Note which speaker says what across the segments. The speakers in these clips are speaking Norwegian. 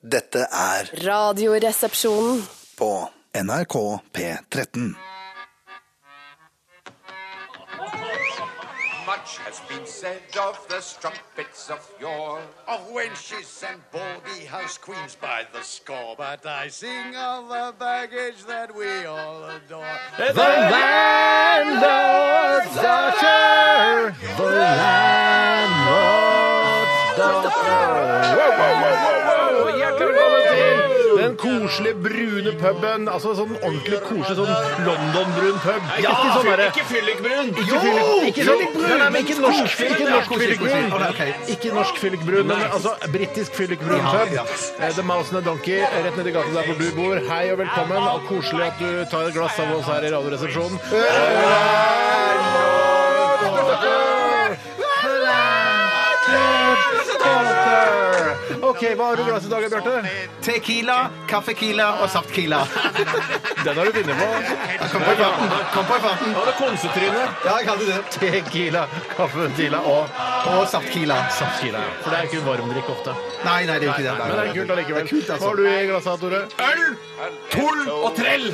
Speaker 1: Dette er
Speaker 2: Radioresepsjonen.
Speaker 1: på NRK P13.
Speaker 3: Much has been said of the strumpets of yore, of wenches and baldy house queens by the score. But I sing of the baggage that we all adore.
Speaker 4: Og hjertelig velkommen til den koselige brune puben. Altså sånn ordentlig koselig sånn London-brun pub. Ja, ikke sånn derre Ikke fyllikbrun! Ikke fyllik, ikke sånn, nei, nei, men ikke norsk fyllik- ikke norsk fyllikbrun. Ikke norsk fyllikbrun, men altså britisk fyllikbrun pub. Eh, The Mouse and the Donkey rett nedi gata der hvor du bor. Hei og velkommen. Og koselig at du tar et glass av oss her i Radioresepsjonen. OK, hva har du i glasset i dag, Bjarte?
Speaker 5: Tequila, kaffekila og saftkila.
Speaker 4: Den har du vunnet på.
Speaker 5: Kom på i farten. Kom på i farten.
Speaker 4: Ja, det konsetrynet.
Speaker 5: Ja, jeg hadde det.
Speaker 4: Tequila, kaffetila og
Speaker 5: Og saftkila.
Speaker 4: Saftskila, ja. For det er ikke varm drikk ofte.
Speaker 5: Nei, nei, det er jo ikke det.
Speaker 4: Men det er kult allikevel.
Speaker 5: Det er kult, altså.
Speaker 4: Hva har du i glasset, Tore? Øl, tull og trell!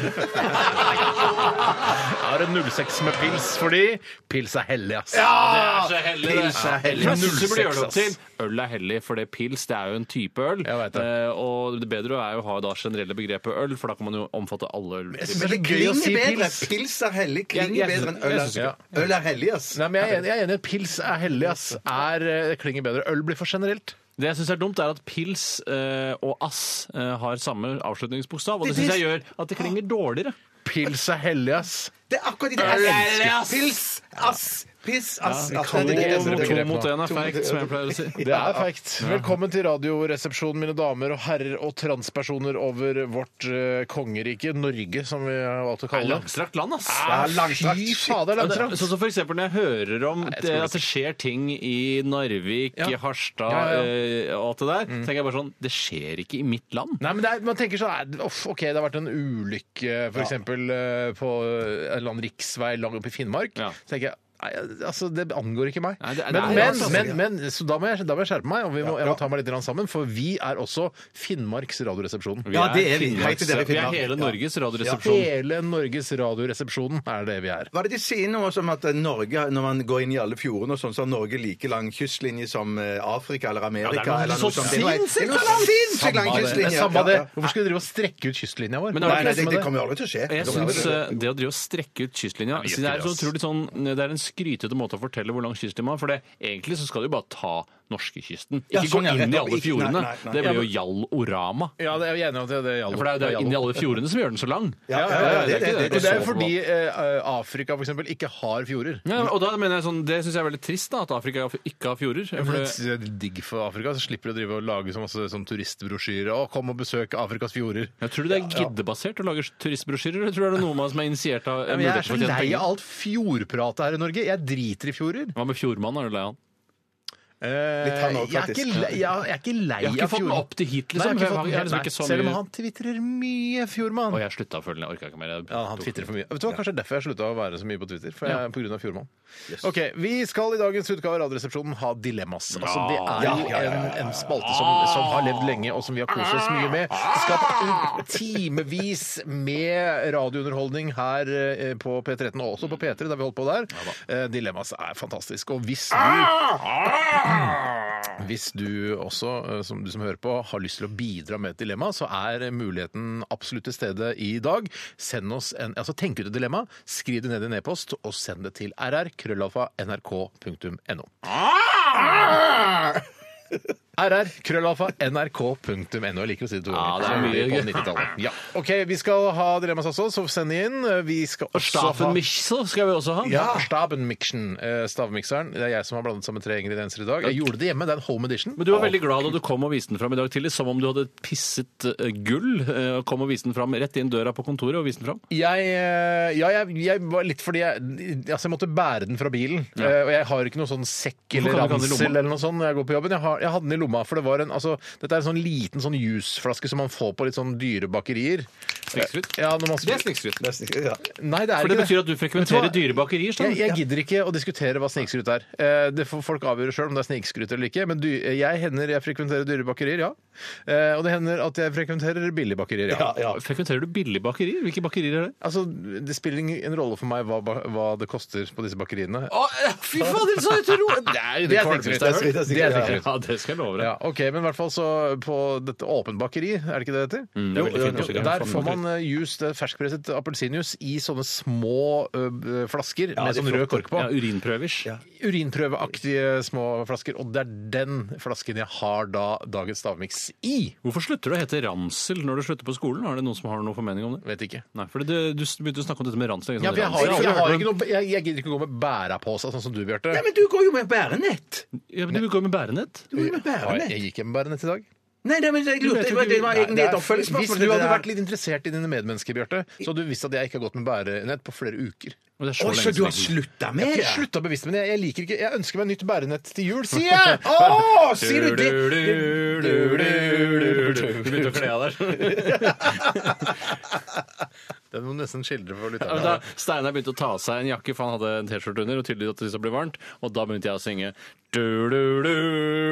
Speaker 4: Da er det 06 med pils, fordi pils er hellig, ass.
Speaker 6: Det er så hellig, det.
Speaker 5: Pils er hellig.
Speaker 6: Altså, Ja. Jeg synes det
Speaker 4: 06,
Speaker 6: blir gjort opp
Speaker 4: ass.
Speaker 6: til. Øl er hellig, for det er pils det er jo en type øl.
Speaker 4: Jeg vet det.
Speaker 6: Eh, Og det bedre er jo å ha da generelle begrepet øl, for da kan man jo omfatte alle øl.
Speaker 4: Jeg synes det er
Speaker 5: Det
Speaker 4: litt gøy å
Speaker 5: klinger
Speaker 4: si
Speaker 5: bedre.
Speaker 4: pils.
Speaker 5: Pils er hellig. Klinger
Speaker 6: Jeg- jeg-
Speaker 5: bedre enn
Speaker 6: jeg
Speaker 5: øl.
Speaker 6: synes
Speaker 5: er-
Speaker 4: ikke
Speaker 5: Øl er hellig, ass.
Speaker 4: Nei, men jeg er enig. Jeg er enig. Pils er hellig, ass. Er, eh, det klinger bedre. Øl blir for generelt.
Speaker 6: Det jeg syns er dumt, er at pils eh, og ass eh, har samme avslutningsbokstav, og det syns jeg gjør at det klinger dårligere.
Speaker 4: Pils er hellig, ass.
Speaker 5: Det er akkurat det jeg
Speaker 6: Øl er
Speaker 5: elsker.
Speaker 6: hellig, ass.
Speaker 5: Pils, ass, piss, ass.
Speaker 4: Ja, vi
Speaker 5: Ass,
Speaker 4: kan
Speaker 5: det er
Speaker 4: ikke-
Speaker 5: det jeg elsker.
Speaker 4: det
Speaker 6: To
Speaker 4: begrepet
Speaker 6: mot
Speaker 4: nå.
Speaker 6: én er feigt, som jeg pleier å si.
Speaker 4: Det er feigt. Velkommen til Radioresepsjonen, mine damer og herrer og transpersoner over vårt eh, kongerike, Norge, som vi har valgt å kalle det.
Speaker 6: Langstrakt land, ass.
Speaker 5: Ja, langstrakt.
Speaker 4: Fy fader,
Speaker 6: Ja, det-
Speaker 4: langstrakt!
Speaker 6: Sånn som for eksempel når jeg hører om
Speaker 4: jeg
Speaker 6: det,
Speaker 4: tror
Speaker 6: at det skjer ting i Narvik,
Speaker 4: Ja.
Speaker 6: Harstad
Speaker 4: Ja, ja,
Speaker 6: eh, og alt det der, tenker jeg bare sånn Det skjer ikke i mitt land.
Speaker 4: Nei, men det er, man tenker sånn nei, off, OK, det har vært en ulykke f.eks. eh, på en eller annen riksvei langt oppe i Finnmark.
Speaker 6: Ja.
Speaker 4: Så tenker jeg Nei, altså, Det angår ikke meg.
Speaker 6: Nei, det-
Speaker 4: men,
Speaker 6: nei,
Speaker 4: men,
Speaker 6: altså,
Speaker 4: men, men så da, må jeg, da må jeg skjerpe meg, og vi må, jeg må ta meg litt grann sammen. For vi er også Finnmarks Radioresepsjon.
Speaker 6: Vi
Speaker 5: Ja, det er vi. Hei
Speaker 6: Finnmarks-
Speaker 5: til dere i
Speaker 6: vi er
Speaker 5: Finnmark.
Speaker 6: hele
Speaker 5: Ja.
Speaker 6: Norges radioresepsjon.
Speaker 4: Hele Norges Radioresepsjon er det vi er.
Speaker 5: Var det de sier noe som at eh, Norge, når man går inn i alle fjordene og sånn, så har Norge like lang kystlinje som eh, Afrika eller Amerika?
Speaker 6: Ja,
Speaker 5: eller
Speaker 6: det er noe så
Speaker 5: sånt. Det er noe- det
Speaker 6: sinnssykt
Speaker 5: er noe sinnssykt lang
Speaker 4: Samme det.
Speaker 5: kystlinje.
Speaker 4: Samme det.
Speaker 5: Ja, ja.
Speaker 4: Hvorfor skal vi drive og strekke ut kystlinja vår?
Speaker 6: Men
Speaker 5: Nei, nei, det,
Speaker 4: Med
Speaker 5: det kommer jo aldri til å skje.
Speaker 6: Jeg
Speaker 5: Det kommer
Speaker 6: syns
Speaker 5: aldri til å skje.
Speaker 6: det å drive og strekke ut kystlinja
Speaker 4: gjør
Speaker 6: så
Speaker 4: ikke
Speaker 6: det, er så
Speaker 4: det, ass.
Speaker 6: utrolig sånn, det er en skrytete måte å fortelle hvor lang kystlinja er. For det, egentlig så skal du jo bare ta norskekysten. Ikke
Speaker 5: Ja, sånn,
Speaker 6: gå
Speaker 5: ja,
Speaker 6: inn i
Speaker 5: nettopp.
Speaker 6: alle
Speaker 5: Ikke-
Speaker 6: fjordene.
Speaker 5: nei, nei, nei.
Speaker 6: Det blir jo Jallorama.
Speaker 4: Ja, det er jeg enig i at det- det gjaldt.
Speaker 6: For det er jo det er inn i alle fjordene som gjør den så lang.
Speaker 5: Ja, ja, ja, det- det- det-
Speaker 4: Og det er jo
Speaker 6: så
Speaker 4: fordi
Speaker 6: på.
Speaker 4: eh, Afrika for eksempel, ikke har fjorder.
Speaker 6: ja, og da mener jeg sånn, Det syns jeg er veldig trist, da, at Afrika ikke har fjorder.
Speaker 4: Ja,
Speaker 6: For
Speaker 4: men
Speaker 6: det,
Speaker 4: Det er digg for Afrika, så slipper de å drive og lage så masse sånn turistbrosjyrer. Å, kom og besøk Afrikas fjorder.
Speaker 6: jeg tror du det er giddebasert å lage turistbrosjyrer, eller tror du det er noe man som er initiert av eh,
Speaker 4: Men jeg
Speaker 6: muligheter
Speaker 4: er
Speaker 6: for
Speaker 4: så
Speaker 6: å tjene
Speaker 4: lei
Speaker 6: penger?
Speaker 4: av alt fjordpratet her i Norge. Jeg driter i fjorder.
Speaker 6: Hva med Fjordmann? Er du lei av han?
Speaker 4: Eh,
Speaker 5: han også,
Speaker 4: jeg, er ikke
Speaker 5: faktisk.
Speaker 4: lei, jeg, jeg er ikke lei
Speaker 6: Jeg har ikke
Speaker 4: av
Speaker 6: fått den
Speaker 4: fjorden.
Speaker 6: opp til hit,
Speaker 4: Nei, jeg har
Speaker 6: liksom. for
Speaker 4: ikke
Speaker 6: jeg har-
Speaker 4: fått-
Speaker 6: jeg har liksom ikke så
Speaker 4: Selv om
Speaker 6: mye-
Speaker 4: han tvitrer mye, fjordmann.
Speaker 6: Og jeg slutta å følge den. Jeg orka ikke mer. Jeg
Speaker 4: Ja, han
Speaker 6: tok-
Speaker 4: twitterer for mye. Vet du hva, Kanskje det er derfor jeg slutta å være så mye på Twitter. For jeg, På grunn av Fjordmann. Ok, Vi skal i dagens utgave av Radioresepsjonen ha dilemmas. Altså, det er jo En, en spalte som, som har levd lenge, og som vi har kost oss mye med. Skapt timevis med radiounderholdning her eh, på P13, og også på P3, da Ah! vi holdt på der. Eh, Dilemmas er fantastisk. Og hvis du hvis du også, eh, som du som hører på, har lyst til å bidra med et dilemma, så er muligheten absolutt til stede i dag. Send oss en, altså Tenk ut et dilemma, skriv det ned i en e-post, og send det til rr.krøllalfa.nrk.no.
Speaker 6: Ah!
Speaker 4: rr.krøllalfa.nrk.no. Jeg liker å si det to
Speaker 6: Ja,
Speaker 4: ganger.
Speaker 6: det er
Speaker 4: Som
Speaker 6: mye
Speaker 4: på
Speaker 6: gøy.
Speaker 4: 90-tallet. Ja. OK, vi skal ha dilemmas også, så send de inn. Vi skal
Speaker 6: Og
Speaker 4: også ha
Speaker 6: Staffen Michel skal vi også ha.
Speaker 4: ja. Stabenmiksen, eh, stavmikseren. Det er jeg som har blandet sammen tre ingredienser i dag. Jeg gjorde det hjemme. Det er en home edition.
Speaker 6: Men du var veldig glad da du kom og viste den fram i dag tidlig, som om du hadde pisset eh, gull. eh, og kom og viste den fram rett inn døra på kontoret og viste den fram.
Speaker 4: Jeg, eh, ja, jeg, jeg var litt fordi jeg, altså jeg måtte bære den fra bilen. Eh, Og jeg har ikke noe sånn sekk eller
Speaker 6: Hvorfor kan du ikke ha den i
Speaker 4: ransel
Speaker 6: lomma?
Speaker 4: eller noe sånt når jeg går på jobben. Jeg, har, jeg hadde den i lomma. For det var en, altså, dette er en sånn liten sånn jusflaske som man får på litt sånn dyre bakerier.
Speaker 6: Snikskryt?
Speaker 4: Ja, når man
Speaker 6: Det er
Speaker 5: eh,
Speaker 6: snikskryt.
Speaker 5: Ja.
Speaker 4: Nei, det er
Speaker 6: For
Speaker 4: Eh,
Speaker 6: det
Speaker 4: ikke
Speaker 6: betyr at du frekventerer
Speaker 4: Vet du hva?
Speaker 6: dyre bakerier? Sånn.
Speaker 4: Jeg, jeg gidder ikke å diskutere hva snikskryt er. Eh, Det får folk avgjøre sjøl om det er snikskryt eller ikke. Men dy- jeg hender jeg frekventerer dyre bakerier, ja. Eh, Og det hender at jeg frekventerer billige bakerier, ja.
Speaker 5: Ja, ja.
Speaker 6: Frekventerer du billige bakerier? Hvilke bakerier er det?
Speaker 4: Altså, Det spiller ingen rolle for meg hva, ba- hva det koster på disse bakeriene.
Speaker 6: fy fader, så jeg tror Det er jo
Speaker 4: Det er
Speaker 6: kvalmeste
Speaker 4: snikskryt,
Speaker 5: det er
Speaker 6: jeg har hørt.
Speaker 5: snikskryt,
Speaker 6: Det er
Speaker 5: ja.
Speaker 6: snikskryt. Ja, det skal jeg love deg.
Speaker 4: Ja, ok, Men i hvert fall så på dette åpent bakeri, er det ikke det det heter?
Speaker 6: Mm, det er
Speaker 4: Jo,
Speaker 6: veldig fint
Speaker 4: jo,
Speaker 6: også, Sånn ja.
Speaker 4: der får man eh, juice, det er ferskpresset appelsinjuice i sånne små ø, ø, flasker med
Speaker 5: det er
Speaker 4: sånn rød kork på.
Speaker 6: Ja, urinprøvers.
Speaker 4: Urinprøveaktige små flasker, og det er den flasken jeg har da dagens stavmiks i.
Speaker 6: Hvorfor slutter du å hete ransel når du slutter på skolen? Er det noen som har noen formening om det?
Speaker 4: Vet ikke.
Speaker 6: Nei, for det, du begynte å snakke om dette med ransel.
Speaker 4: Ja, for jeg, har, jeg, har ikke noe, jeg, jeg gidder ikke å gå med bæra på seg, sånn som du, Bjarte.
Speaker 5: Nei, men du går jo med bærenett!
Speaker 6: Ja, men du går med bærenett.
Speaker 5: Du går jo med
Speaker 4: Har jeg,
Speaker 5: bærenett.
Speaker 4: jeg gikk hjem med bæra nett i dag.
Speaker 5: Nei, nei, men jeg
Speaker 4: Du
Speaker 5: lurte,
Speaker 4: vet
Speaker 5: det
Speaker 4: jo ikke-
Speaker 5: var- det var
Speaker 4: Nei,
Speaker 5: egentlig
Speaker 4: det
Speaker 5: et
Speaker 4: er-
Speaker 5: oppfølgingsspørsmål.
Speaker 4: Hvis
Speaker 5: til
Speaker 4: du
Speaker 5: det
Speaker 4: hadde
Speaker 5: der.
Speaker 4: vært litt interessert i dine medmennesker, Bjarte, så hadde du visst at jeg ikke har gått med bærenett på flere uker.
Speaker 6: Og det er
Speaker 5: Å,
Speaker 6: så
Speaker 5: så
Speaker 6: lenge
Speaker 5: du har
Speaker 6: siden.
Speaker 5: slutta
Speaker 4: Jeg
Speaker 5: med
Speaker 4: har
Speaker 5: det?
Speaker 4: ikke slutta bevisst, men jeg, jeg liker ikke Jeg ønsker meg nytt bærenett til jul, sier jeg!
Speaker 5: Å, sier du det?
Speaker 6: Du begynte å kle av deg.
Speaker 4: Den må du nesten skildre for
Speaker 6: Ja, men Da
Speaker 4: lytterne.
Speaker 6: Steinar begynte å ta av seg en jakke, for han hadde en T-skjorte under, og tydelig at det ble varmt, og da begynte jeg å synge du, du, du,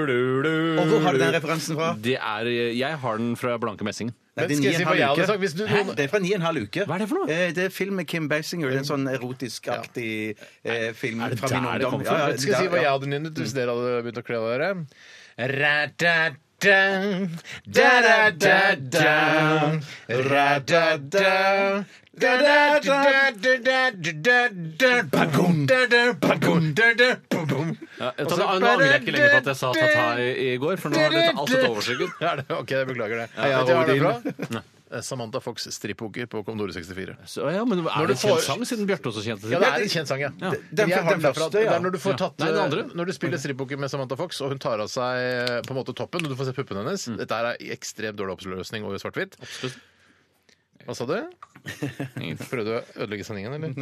Speaker 6: du, du.
Speaker 5: Og hvor har du den referansen fra?
Speaker 6: Det er, jeg har den fra Blanke Messingen.
Speaker 5: Nei, det er
Speaker 4: Skal jeg si
Speaker 5: ni og en
Speaker 4: hva
Speaker 5: halv
Speaker 4: jeg hadde
Speaker 5: uke.
Speaker 4: sagt hvis du-
Speaker 5: Hæ? Det er fra ni og en halv uke.
Speaker 6: Hva er det for noe?
Speaker 5: Eh, Det er film med Kim Basinger. Det er en sånn erotisk-aktig eh, film
Speaker 6: Er det
Speaker 5: fra
Speaker 6: der
Speaker 5: min
Speaker 6: det kom
Speaker 5: ungdom.
Speaker 6: fra?
Speaker 5: Ja, ja,
Speaker 4: Skal jeg si
Speaker 5: der,
Speaker 4: hva jeg
Speaker 5: ja.
Speaker 4: hadde nynnet hvis dere hadde begynt å kle av dere? Ra-da-da, da-da-da-da, ra-da-da, da-da-da-da-da-da, ba-boom, da-da, ba-boom, da-da, ba-boom.
Speaker 6: Ja, jeg tar, nå angrer jeg ikke lenger på at jeg sa ta-ta i, i går, for nå har det alt dette overskygget.
Speaker 4: Ja, det- Ok, jeg beklager det.
Speaker 5: ja,
Speaker 4: Vet du hva det er
Speaker 5: Odin.
Speaker 4: bra? Samantha Fox strippoker på Commodore 64.
Speaker 6: Så, ja, men er
Speaker 4: du
Speaker 6: det en kjent
Speaker 4: får-
Speaker 6: sang siden Bjarte også kjente
Speaker 4: Ja, det er
Speaker 6: det?
Speaker 4: en kjent sang, ja.
Speaker 6: Den-
Speaker 4: Men jeg har
Speaker 5: den
Speaker 4: den derfra,
Speaker 5: første, ja.
Speaker 4: Det er når du får
Speaker 6: Ja.
Speaker 4: tatt
Speaker 6: Nei, den andre.
Speaker 4: eh, Når du spiller strippoker med Samantha Fox, og hun tar av seg eh, på en måte toppen, og du får se puppene hennes Dette er en ekstremt dårlig oppløsning over svart-hvitt.
Speaker 6: Absolutt.
Speaker 4: Hva sa du? Prøvde du å ødelegge sendingen, eller?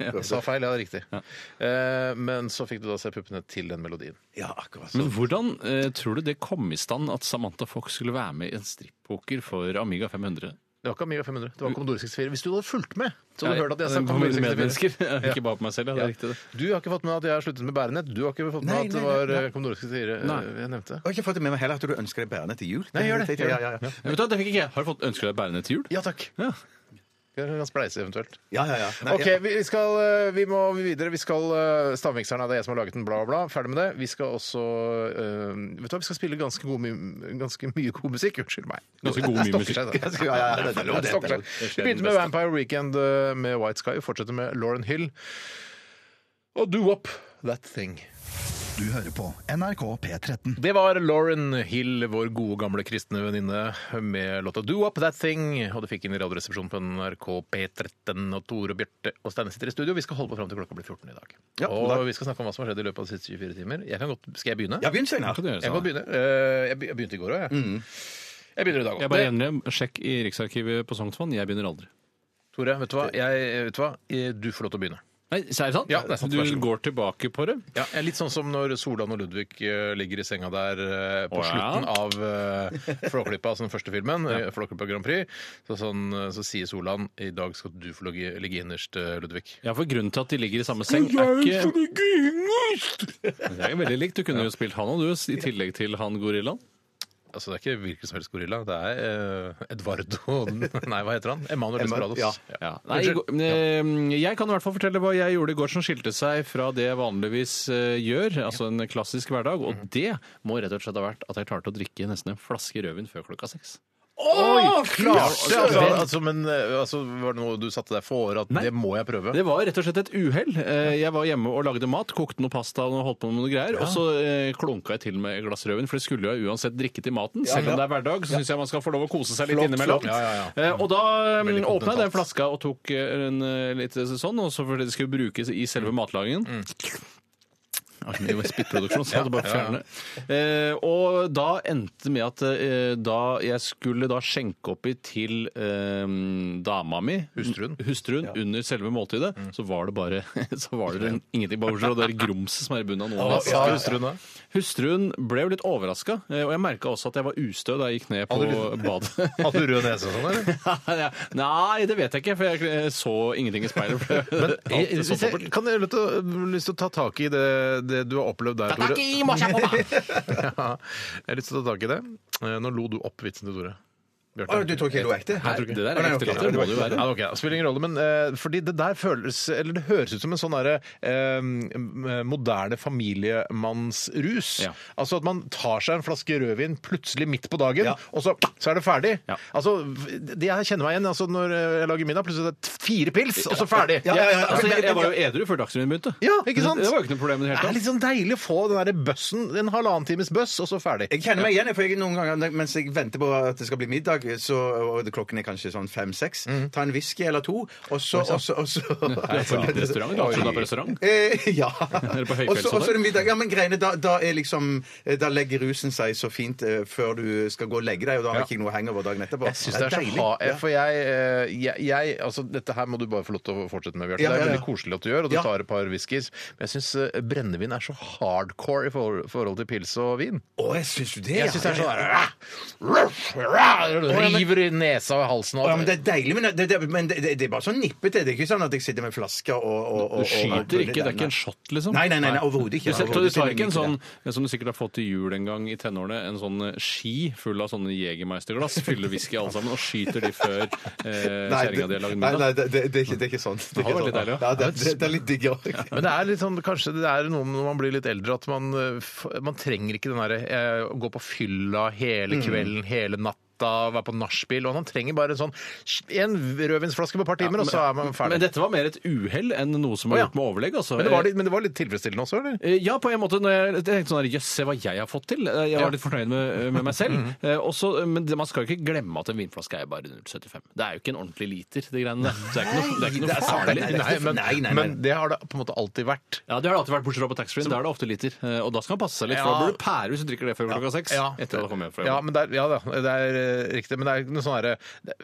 Speaker 4: Jeg sa feil, ja, det er riktig. Eh, Men så fikk du da se puppene til den melodien.
Speaker 5: Ja, akkurat
Speaker 6: Men
Speaker 5: sånn.
Speaker 6: hvordan eh, tror du det kom i stand at Samantha Fox skulle være med i en strippoker for Amiga 500?
Speaker 4: Det var ikke Amiga 500, det var Commodore 64. Hvis du hadde fulgt med, så hadde du
Speaker 6: Jeg-
Speaker 4: hørt at jeg sa
Speaker 6: på
Speaker 4: Commodore
Speaker 6: mine
Speaker 4: 64.
Speaker 6: medmennesker. Ikke bare på meg selv, ja, det er riktig det.
Speaker 4: Du har ikke fått med at jeg har sluttet med bærenett. Du har ikke fått med
Speaker 5: Nei,
Speaker 4: at
Speaker 5: nei,
Speaker 4: det
Speaker 5: nei,
Speaker 4: var
Speaker 5: nei.
Speaker 4: eh, Commodore 64 eh,
Speaker 6: Nei.
Speaker 4: jeg nevnte.
Speaker 5: Jeg har ikke fått det med meg heller at du ønsker deg bærende til jul.
Speaker 4: Nei, gjør det, gjør
Speaker 5: Ja,
Speaker 4: det.
Speaker 5: ja, ja.
Speaker 6: Men Vet du, hva, det fikk ikke jeg. Har du fått ønsker deg bærende til jul?
Speaker 4: Ja takk.
Speaker 6: Ja.
Speaker 4: Kan kan spleise eventuelt.
Speaker 5: ja, ja, ja. Nei,
Speaker 4: Ok, vi, skal, eh, vi må videre. Vi skal eh, Stavmikseren er det jeg som har laget den, bla, bla. bla. Ferdig med det. Vi skal også eh, Vet du hva, vi skal spille ganske, god, my ganske mye god musikk. Unnskyld meg.
Speaker 6: Ganske god mye
Speaker 4: Jeg
Speaker 6: musikk.
Speaker 4: stokker seg der.
Speaker 5: Ganske- ja, ja, ja, det er lov,
Speaker 4: Jeg
Speaker 5: det er
Speaker 4: stokker
Speaker 5: lov.
Speaker 4: seg. Vi begynte med Vampire Weekend eh, med White Sky. Vi fortsetter med Lauren Hill og Do Up That Thing.
Speaker 1: Du hører på NRK P13.
Speaker 4: Det var Lauren Hill, vår gode gamle kristne venninne, med låta 'Do Up That Thing'. Og det fikk inn i Radioresepsjonen på NRK P13. Og Tore, Bjarte og Steine sitter i studio. Vi skal holde på fram til klokka blir 14 i dag.
Speaker 5: Ja,
Speaker 4: og
Speaker 5: da-
Speaker 4: vi skal snakke om hva som har skjedd i løpet av de siste 24 timer. Jeg kan godt, skal jeg begynne?
Speaker 5: Ja, begynn, Steinar.
Speaker 6: Kan du gjøre
Speaker 4: Jeg kan
Speaker 6: sånn?
Speaker 4: begynne. Eh, Jeg be- jeg begynte i går òg, jeg. Jeg begynner i dag
Speaker 6: Jeg bare
Speaker 4: òg.
Speaker 6: gjennom, sjekk i Riksarkivet på Sognsvann. Jeg begynner aldri.
Speaker 4: Tore, vet du hva? Jeg, vet du, hva? Eh, du får lov til å begynne.
Speaker 6: Nei, så er det sant?
Speaker 4: Ja, det er sant.
Speaker 6: Du
Speaker 4: Vær så god.
Speaker 6: går tilbake på det?
Speaker 4: Ja, jeg er Litt sånn som når Solan og Ludvig eh, ligger i senga der eh, på
Speaker 6: Å, ja.
Speaker 4: slutten av eh, Flåklypa, altså den første filmen, eh, Flåklypa Grand Prix. Så, sånn, eh, så sier Solan i dag skal du få ligge, ligge innerst, eh, Ludvig.
Speaker 6: Ja, for grunnen til at de ligger i samme seng, er ikke Det er jo veldig likt. Du kunne jo spilt han og du, i tillegg til han gorillaen.
Speaker 4: Altså Det er ikke hvilken som helst gorilla, det er eh, Eduardo Nei, hva heter han? Emanuel
Speaker 5: Emma-
Speaker 4: Desperados.
Speaker 5: ja.
Speaker 6: Ja. Nei, i går- eh, jeg kan i hvert fall fortelle hva jeg gjorde i går som skilte seg fra det jeg vanligvis eh, gjør, altså en klassisk hverdag, og det må rett og slett ha vært at jeg klarte å drikke nesten en flaske rødvin før klokka seks.
Speaker 4: Oi, klart!
Speaker 6: fy
Speaker 4: det! Altså,
Speaker 6: søren!
Speaker 4: altså, men eh, altså, var det noe du satte deg for at
Speaker 6: Nei.
Speaker 4: det må jeg prøve?
Speaker 6: Det var rett og slett et uhell. Eh, Jeg var hjemme og lagde mat, kokte noe pasta og holdt på med noen greier, og så eh, klunka jeg til med et glass rødvin, for det skulle jo uansett drikke til maten. Selv om det er hverdag, så syns jeg man skal få lov å kose seg litt
Speaker 4: Flott,
Speaker 6: innimellom.
Speaker 4: flott. Ja, ja,
Speaker 6: Eh, Og da
Speaker 4: Veldig
Speaker 6: åpna jeg den
Speaker 4: kontinentalt.
Speaker 6: flaska og tok
Speaker 4: Mm.
Speaker 6: eh, en eh, litt sånn, og så fordi det skulle brukes i selve matlagingen. Har ikke noe med spyttproduksjon, så hadde bare fjerne det. Eh, og da endte det med at eh, da jeg skulle da skjenke oppi til eh, dama mi,
Speaker 4: Hustruen.
Speaker 6: hustruen under selve måltidet, så var det bare så var det ingenting. Bare bortsett fra det der grumset som er i bunnen av noen.
Speaker 4: Hva sa hustruen da?
Speaker 6: Hustruen ble jo litt overraska, og jeg merka også at jeg var ustø da jeg gikk ned på
Speaker 4: Hadde
Speaker 6: badet.
Speaker 4: Hadde du rød nese og sånn, eller?
Speaker 6: Nei, det vet jeg ikke, for jeg eh, så ingenting i speilet. for jeg-
Speaker 4: Men
Speaker 6: alt
Speaker 4: jeg,
Speaker 6: så
Speaker 4: hvis jeg,
Speaker 6: dobbelt.
Speaker 4: kan jeg lyst til å, lyst til å ta tak i det, det du har opplevd der, Tore? ja, jeg har lyst til å ta tak i det. Eh, Nå lo du opp vitsen til Tore. Bjarte.
Speaker 5: Å, du tror ikke det var ekte?
Speaker 6: Nei, det der
Speaker 5: Å,
Speaker 6: er
Speaker 5: nei,
Speaker 6: ekte
Speaker 5: ok.
Speaker 6: latter, det må det jo
Speaker 4: Ja,
Speaker 6: være.
Speaker 4: ok, det spiller ingen rolle, men eh, fordi det der føles Eller det høres ut som en sånn derre eh, m- moderne familiemannsrus.
Speaker 6: Ja.
Speaker 4: Altså at man tar seg en flaske rødvin plutselig midt på dagen,
Speaker 5: Ja.
Speaker 4: og så, så er det ferdig.
Speaker 6: Ja.
Speaker 4: Altså, det jeg kjenner meg igjen altså når jeg lager middag, plutselig er det t- fire pils, og så ferdig.
Speaker 5: Ja, ja, ja, ja.
Speaker 6: Altså, jeg, jeg var jo edru før Dagsrevyen begynte.
Speaker 4: Ja, ikke sant?
Speaker 6: Det var jo ikke noe problem i det hele
Speaker 4: Det er
Speaker 6: tatt.
Speaker 4: litt sånn deilig å få den der bøssen, en halvannen times bøss, og så ferdig.
Speaker 5: Jeg kjenner meg igjen, for jeg noen ganger mens jeg venter på at det skal bli middag, så, og det- klokken er kanskje sånn fem-seks,
Speaker 6: Mm.
Speaker 5: ta en whisky eller to, og så, og så, og så
Speaker 6: Det er for liten restaurant. Da, så da på restaurant.
Speaker 5: Eh, ja.
Speaker 6: det på høyfjells
Speaker 5: Og så
Speaker 6: og
Speaker 5: og så er det middag. Ja, men greiene, da, da er liksom eh, Da legger rusen seg så fint eh, før du skal gå og legge deg, og da har
Speaker 4: Ja.
Speaker 5: du ikke noe hangover dagen etterpå.
Speaker 4: Jeg syns det er så
Speaker 5: deilig.
Speaker 4: ha...
Speaker 5: Ja.
Speaker 4: For jeg, eh, jeg, jeg Altså, dette her må du bare få lov til å fortsette med, Bjarte.
Speaker 5: Ja,
Speaker 4: Det
Speaker 5: ja,
Speaker 4: er
Speaker 5: ja.
Speaker 4: veldig koselig at du gjør, og du
Speaker 5: Ja.
Speaker 4: tar et par whiskys. Men jeg syns brennevin er så hardcore i for forhold til pils og vin.
Speaker 5: Å, jeg syns jo det, ja.
Speaker 4: Jeg syns det er
Speaker 5: Ja,
Speaker 4: sånn
Speaker 5: ja.
Speaker 4: der, River i nesa og halsen og
Speaker 5: Ja, men det er deilig, men det, det, men det, det, det er bare sånn nippete. Det er ikke sånn at jeg sitter med flasker og, og, og
Speaker 6: Du
Speaker 5: og-
Speaker 6: skyter ikke, det er ikke en shot, liksom.
Speaker 5: Nei, nei, nei, nei overhodet ikke.
Speaker 6: Du, ser,
Speaker 5: Overhodet
Speaker 6: så du tar ikke en
Speaker 5: det.
Speaker 6: sånn som du sikkert har fått til jul en gang i tenårene, en sånn ski full av sånne Jegermeisterglass, fyller whisky alle sammen og skyter de før eh,
Speaker 5: Nei,
Speaker 6: kjerringa di har lagd
Speaker 5: nei, nei
Speaker 6: middag?
Speaker 5: det, det, det, er ikke, det er ikke sånn. Det er,
Speaker 6: har
Speaker 5: ikke
Speaker 6: vært litt
Speaker 5: sånn.
Speaker 6: deilig, ja.
Speaker 5: ja, det, det, det er litt digg òg.
Speaker 4: Men det er litt sånn, kanskje det er noe når man blir litt eldre, at man, eh, f- man trenger ikke den derre eh, å gå på fylla
Speaker 5: Mm.
Speaker 4: hele kvelden, hele natta. Være på nachspiel. og Man trenger bare en sånn en rødvinsflaske på et par timer, og så er man ferdig.
Speaker 6: Men dette var mer et uhell enn noe som
Speaker 4: Å,
Speaker 6: var
Speaker 4: ja.
Speaker 6: gjort med overlegg. Altså.
Speaker 4: Men det, var litt, men det var litt tilfredsstillende også, eller?
Speaker 6: Eh, Ja, på en måte. Når jeg tenkte sånn her, Jøss, se hva jeg har fått til. Eh, Jeg var litt fornøyd med, med meg
Speaker 4: Mhm.
Speaker 6: selv. Eh, også, men det- man skal jo ikke glemme at en vinflaske er bare 0,75. Det er jo ikke en ordentlig liter, de greiene der. Så det er ikke noe, det er ikke noe
Speaker 4: Ah,
Speaker 5: sant,
Speaker 6: farlig.
Speaker 5: det er-
Speaker 4: men,
Speaker 5: nei, nei, nei.
Speaker 4: men det har det på en måte alltid vært.
Speaker 6: Ja, Det har det alltid vært, bortsett fra på taxfree. Der er det ofte liter. Eh, Og da skal man passe seg litt, for
Speaker 4: Ja.
Speaker 6: da blir du pære hvis du drikker det før klokka seks. Etter at du kommer hjem fra
Speaker 4: ja,
Speaker 6: jobb.
Speaker 4: men det er, ja da, det er eh, riktig. Men det er ikke noe sånn herre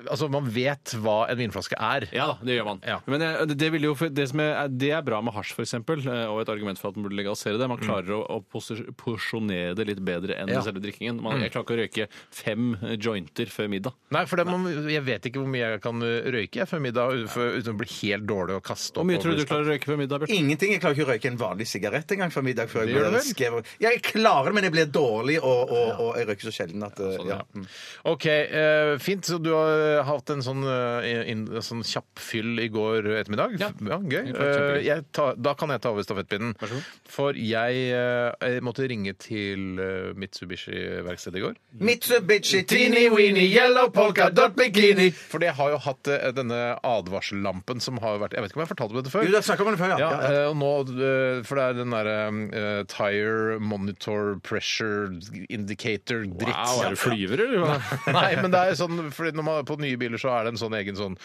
Speaker 4: Altså, man vet hva en vinflaske er.
Speaker 6: Ja da, det gjør man.
Speaker 4: Ja.
Speaker 6: Men eh, det, vil jo, det, som er, det er bra med hasj, f.eks., og et argument for at man burde legalisere det. Man klarer å, å posi- porsjonere det litt bedre enn
Speaker 4: Mm. Ja. Mm.
Speaker 6: selve drikkingen. Man, jeg klarer ikke å røyke fem eh, jointer før middag.
Speaker 4: Nei, for det, man, jeg vet ikke hvor mye jeg kan eh, røyke jeg før middag u- før- uten å bli helt dårlig og kaste opp.
Speaker 6: Hvor mye
Speaker 4: og
Speaker 6: tror du
Speaker 4: bli
Speaker 6: du klarer å røyke før middag, Bjarte?
Speaker 5: Ingenting. Jeg klarer ikke å røyke en vanlig sigarett engang for middag. før
Speaker 4: Det gjør du
Speaker 5: jeg,
Speaker 4: vel?
Speaker 5: skrev, ja, jeg klarer det, men jeg blir dårlig, og, og, og jeg røyker så sjelden at
Speaker 6: sånn,
Speaker 5: eh, ja.
Speaker 4: Ja. OK, eh, fint. Så du har hatt en sånn, eh, inn- sånn kjapp fyll i går ettermiddag.
Speaker 6: Ja.
Speaker 4: gøy.
Speaker 6: Det var kjempegøy.
Speaker 4: Eh, jeg tar, da kan jeg ta over stafettpinnen.
Speaker 6: Vær så god.
Speaker 4: For jeg eh, måtte ringe til eh, Mitsubishi-verkstedet i går.
Speaker 6: Mm.
Speaker 5: Mitsubishi teeny
Speaker 4: Teeny weeny yellow polka dot
Speaker 5: bikini.
Speaker 4: For det har jo hatt eh, denne advarsellampen som har vært Jeg vet ikke om jeg har fortalt om dette før.
Speaker 5: Jo, da snakka man det før, ja.
Speaker 4: Ja,
Speaker 5: ja, ja.
Speaker 4: eh, og nå, eh, for det er den derre eh, tire monitor pressure indicator dritt.
Speaker 6: Wow, er du flyver, eller? hva?
Speaker 4: Nei, men det er jo sånn, fordi når man, på nye biler så er det en sånn egen sånn,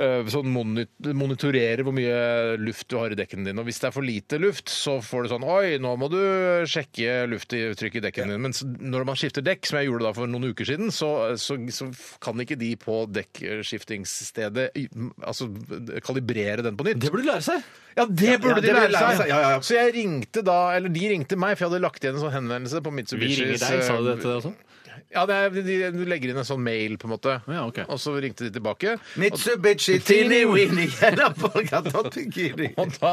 Speaker 4: øh, sånn moni- monitorerer hvor mye luft du har i dekken din. Og hvis det er for lite luft, så får du sånn Oi, nå må du sjekke lufttrykket i dekken din. Men så- når man skifter dekk, som jeg gjorde da for noen uker siden, så, så, så kan ikke de på dekkskiftingsstedet i- altså, kalibrere den på nytt.
Speaker 6: Det burde du lære seg!
Speaker 4: Ja, det burde
Speaker 5: Ja,
Speaker 4: de
Speaker 5: det burde
Speaker 4: lære
Speaker 5: de lære
Speaker 4: seg.
Speaker 5: seg. Ja, ja, ja.
Speaker 4: Så jeg ringte da, eller de ringte meg, for jeg hadde lagt igjen en sånn henvendelse på Mitsubishis
Speaker 6: sa du
Speaker 4: eh,
Speaker 6: det til deg også?
Speaker 4: Ja, det er, de, de, du legger inn en sånn mail, på en måte.
Speaker 6: Ja, ok.
Speaker 4: Og så ringte de tilbake.
Speaker 5: Mitsubishi teeny weeny yellow polka dot bikini.
Speaker 4: Og da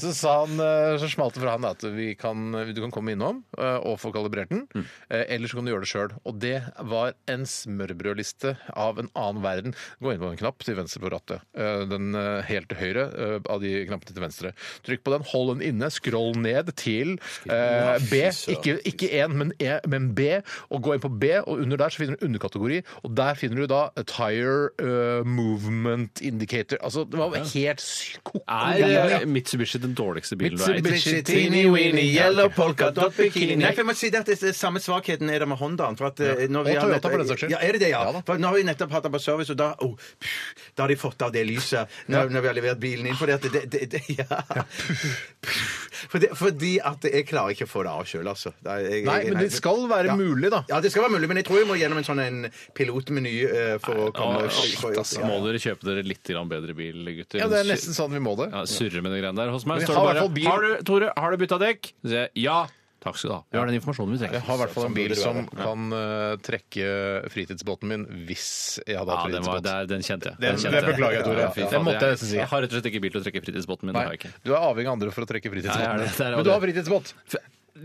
Speaker 4: så sa han, eh, så smalt det fra han da, at vi kan, du kan komme innom eh, og få kalibrert den. eh, Eller så kan du gjøre det sjøl. Og det var en smørbrødliste av en annen verden. Gå inn på en knapp til venstre på rattet. eh, Den eh, helt til høyre eh, av de knappene til venstre. Trykk på den, hold den inne, scroll ned til eh, B. Ikke, ikke én, men, e, men B. Og gå inn på B, og under der så finner du en underkategori. Og der finner du da eh, tire eh, movement indicator. Altså, det var helt sykt koko.
Speaker 6: Er eh, Mitsubishi den dårligste bilen du har eid?
Speaker 5: Mitsubishi teeny weeny yellow polka dot bikini. Nei, for jeg må si det at det er samme svakheten er det med Hondaen. For at, eh, når vi
Speaker 4: Og
Speaker 5: har
Speaker 4: Toyota,
Speaker 5: nettopp-
Speaker 4: for den saks skyld.
Speaker 5: Ja, er det det, ja.
Speaker 4: Ja da.
Speaker 5: for nå har vi nettopp hatt den på service, og da, oh, pff, da har de fått av det lyset når, når vi har levert bilen inn. For det, at det, det, det ja. Pff, Fordi, fordi at jeg klarer ikke å få det av sjøl, altså. Det er- jeg-
Speaker 4: Nei,
Speaker 5: jeg-
Speaker 4: men det skal være
Speaker 5: Ja.
Speaker 4: mulig, da.
Speaker 5: Ja, det skal være mulig, men jeg tror jeg må gjennom en sånn en pilotmeny eh, for å komme
Speaker 6: Å, shit,
Speaker 5: for- for-
Speaker 4: altså,
Speaker 6: ass. Må dere kjøpe dere litt grann bedre bil, gutter?
Speaker 4: Ja, det er nesten sånn vi må det.
Speaker 6: ja, surre med de greiene der. Hos meg
Speaker 4: Men
Speaker 6: står
Speaker 4: har i
Speaker 6: det
Speaker 4: hvert fall bil.
Speaker 6: bare Har du, Tore, har du bytta dekk? Så sier jeg ja. Takk skal du ha. Vi har den informasjonen vi
Speaker 4: Jeg
Speaker 6: trenger.
Speaker 4: har i hvert fall en bil
Speaker 5: burde
Speaker 4: som
Speaker 5: være.
Speaker 4: kan eh, trekke fritidsbåten min hvis jeg hadde
Speaker 6: Ja,
Speaker 4: hatt
Speaker 6: den, var,
Speaker 4: fritidsbåt.
Speaker 6: der, den kjente jeg.
Speaker 4: Den-
Speaker 6: kjente
Speaker 4: den beklager jeg, Tore.
Speaker 6: Ja, fy
Speaker 4: Den
Speaker 6: faen,
Speaker 4: måtte jeg nesten si.
Speaker 6: Jeg har rett og slett ikke bil til å trekke fritidsbåten min. Det har
Speaker 4: Nei,
Speaker 6: jeg ikke.
Speaker 4: du er avhengig av andre for å trekke
Speaker 6: Ja, jeg er
Speaker 4: fritidsbåten.
Speaker 6: det. Der er
Speaker 4: Men du
Speaker 6: det.
Speaker 4: har fritidsbåt.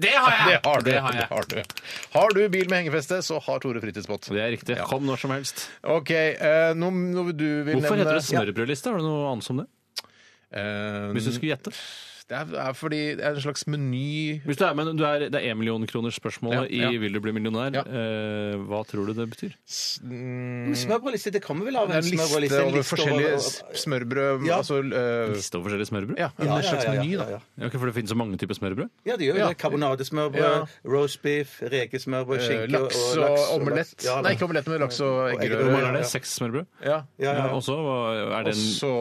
Speaker 6: Det har
Speaker 4: Det har du.
Speaker 6: Det har
Speaker 4: det
Speaker 6: jeg.
Speaker 4: har, du. har du bil med hengefeste, så har Tore fritidsbåt.
Speaker 6: Det er riktig. Kom når som helst.
Speaker 4: OK, eh, noe, noe du vil
Speaker 6: Hvorfor
Speaker 4: nevne
Speaker 6: heter
Speaker 5: eh,
Speaker 6: det smørbrødliste? Har du noe annet som det?
Speaker 4: Eh,
Speaker 6: Hvis du skulle gjette?
Speaker 5: Mm.
Speaker 4: Det er, er fordi det er en slags meny
Speaker 6: Hvis du er, men du er, det er 1 million kroners spørsmålet
Speaker 4: Ja, ja.
Speaker 6: i Vil du bli millionær.
Speaker 4: Ja.
Speaker 6: Eh, hva tror du det betyr?
Speaker 5: Men Smørbrødliste, det kommer vel av
Speaker 4: Det mm, er en liste
Speaker 5: en
Speaker 4: over
Speaker 5: liste
Speaker 4: forskjellige
Speaker 5: over-
Speaker 4: s- smørbrød
Speaker 5: Ja.
Speaker 4: altså, eh,
Speaker 6: Liste over forskjellige smørbrød?
Speaker 4: Ja, en
Speaker 5: Ja, ja, ja,
Speaker 4: slags
Speaker 5: ja,
Speaker 4: meny,
Speaker 5: ja, Eh, ja.
Speaker 4: da.
Speaker 6: Ja, ikke for det finnes så mange typer smørbrød?
Speaker 5: Ja, det gjør jo det. Karbonadesmørbrød, roastbeef, rekesmørbrød,
Speaker 4: Eh,
Speaker 5: skinke
Speaker 4: Laks og, omelett.
Speaker 5: Ja,
Speaker 4: Nei, ikke omelett, men laks og
Speaker 6: Hvor mange
Speaker 4: eggerøre.
Speaker 6: er det?
Speaker 5: ja.
Speaker 6: Seks smørbrød?
Speaker 4: Ja.
Speaker 5: ja, ja.
Speaker 6: Ja, og så hva- er
Speaker 4: Og
Speaker 6: det en
Speaker 4: så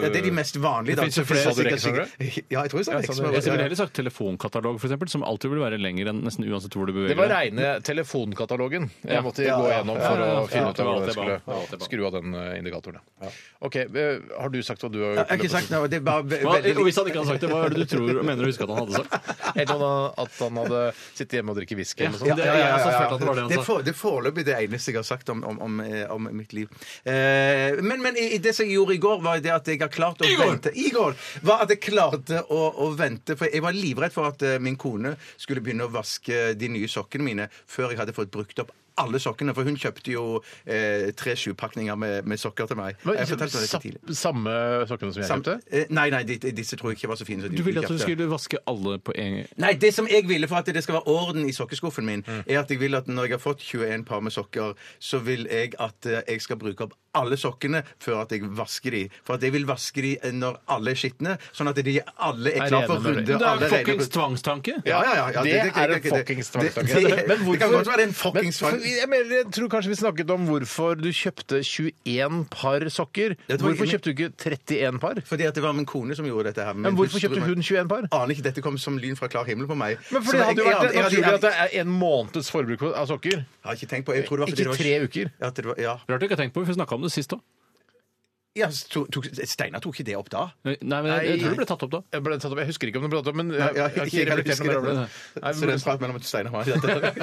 Speaker 4: eh,
Speaker 5: Ja, det er de mest vanlige.
Speaker 6: Det
Speaker 5: da.
Speaker 6: finnes jo
Speaker 5: Så
Speaker 6: flere. sånn
Speaker 5: finnes det
Speaker 4: Sa du
Speaker 5: sikkert- Ja,
Speaker 4: Ja, sa du
Speaker 5: jeg tror jeg sa rekesmørbrød.
Speaker 6: jeg ville
Speaker 5: Ja,
Speaker 6: heller sagt telefonkatalog, for eksempel, som alltid vil være lenger enn nesten uansett hvor du
Speaker 4: Det
Speaker 6: beveger
Speaker 4: var reine telefonkatalogen jeg måtte
Speaker 5: Ja,
Speaker 4: gå
Speaker 5: ja,
Speaker 4: gjennom
Speaker 5: ja,
Speaker 4: for
Speaker 6: ja,
Speaker 4: å
Speaker 6: ja,
Speaker 4: finne ut
Speaker 6: ja,
Speaker 4: av
Speaker 6: ja,
Speaker 4: hvordan jeg
Speaker 6: ja, ja, ja,
Speaker 4: skulle
Speaker 6: ja.
Speaker 4: skru av den eh, indikatoren. ja. OK, eh, har du sagt hva du har
Speaker 5: Jeg
Speaker 4: gjort?
Speaker 5: har ikke sagt noe. Det er bare ve-
Speaker 6: Hva, og
Speaker 5: veldig
Speaker 6: hvis han ikke hadde sagt det, hva er det du tror mener du husker at han hadde sagt?
Speaker 4: Eller om han- at han hadde sittet hjemme og drikket whisky eller noe
Speaker 6: Ja,
Speaker 4: sånt?
Speaker 6: det- jeg også følte at det altså. var det han
Speaker 5: Det er
Speaker 6: sa.
Speaker 5: for- det er foreløpig det eneste jeg har sagt om, om, om, eh, om mitt liv. Eh, men men i, i det som jeg gjorde i går, var det at jeg har klart å vente I går! Var at jeg klarte å, å vente. For jeg var livredd for at eh, min kone skulle begynne å vaske de nye sokkene mine før jeg hadde fått brukt opp alle sokkene. For hun kjøpte jo eh, tre sjupakninger med, med sokker til meg.
Speaker 4: Men,
Speaker 5: Jeg fortalte deg
Speaker 4: sa-
Speaker 5: dette tidlig.
Speaker 4: samme sokkene som jeg
Speaker 5: Sam-
Speaker 4: kjøpte?
Speaker 5: eh, Nei, nei, de- disse tror jeg ikke var så fine. som de
Speaker 6: Du ville at du
Speaker 5: kjøpte.
Speaker 6: skulle vaske alle på en gang.
Speaker 5: Nei, det som jeg ville for at det skal være orden i sokkeskuffen min,
Speaker 4: Mm.
Speaker 5: er at jeg vil at når jeg har fått 21 par med sokker, så vil jeg at eh, jeg skal bruke opp alle sokkene før at jeg vasker de. For at jeg vil vaske de eh, når alle er skitne, sånn at de alle er klar for
Speaker 4: rene med
Speaker 5: runde.
Speaker 6: Det er
Speaker 5: alle
Speaker 6: jo
Speaker 5: rene-
Speaker 6: fuckings tvangstanke!
Speaker 5: Ja, ja, ja, ja,
Speaker 4: Det er en
Speaker 5: det-
Speaker 4: fuckings
Speaker 5: det-
Speaker 4: tvangstanke.
Speaker 5: det-
Speaker 4: Men
Speaker 5: Det kan
Speaker 4: hvorfor-
Speaker 5: godt være en
Speaker 4: Men
Speaker 5: fuckings
Speaker 4: for-
Speaker 5: tvangstanke.
Speaker 4: jeg, mener, jeg tror kanskje vi snakket om hvorfor du kjøpte 21 par sokker.
Speaker 5: Jeg tror
Speaker 4: Hvorfor
Speaker 5: ikke-
Speaker 4: kjøpte du ikke 31 par?
Speaker 5: Fordi at det var min kone som gjorde dette her.
Speaker 4: Men hvorfor kjøpte hun 21 par?
Speaker 5: Aner ikke, dette kom som lyn fra klar himmel på meg.
Speaker 4: Men
Speaker 5: Så
Speaker 4: for Det hadde jo
Speaker 5: jeg-
Speaker 4: vært
Speaker 5: jeg- jeg-
Speaker 4: naturlig at det er en måneds forbruk av sokker.
Speaker 5: Jeg har ikke tenkt på jeg tror det var fordi
Speaker 4: Ikke
Speaker 5: det var-
Speaker 4: tre uker.
Speaker 5: At det var, ja.
Speaker 6: Rart du ikke har tenkt på, for vi snakka om det sist òg.
Speaker 5: ja tok, tok, Steinar tok ikke det opp da?
Speaker 6: Nei, men jeg, jeg tror det ble tatt opp da.
Speaker 4: Jeg, ble tatt opp. jeg husker ikke om det ble tatt opp, men jeg,
Speaker 5: Ja,
Speaker 4: jeg har ikke reflektert noe mer over det. Nei,
Speaker 5: Så det er
Speaker 4: men,
Speaker 5: en prat mellom Steinar og meg.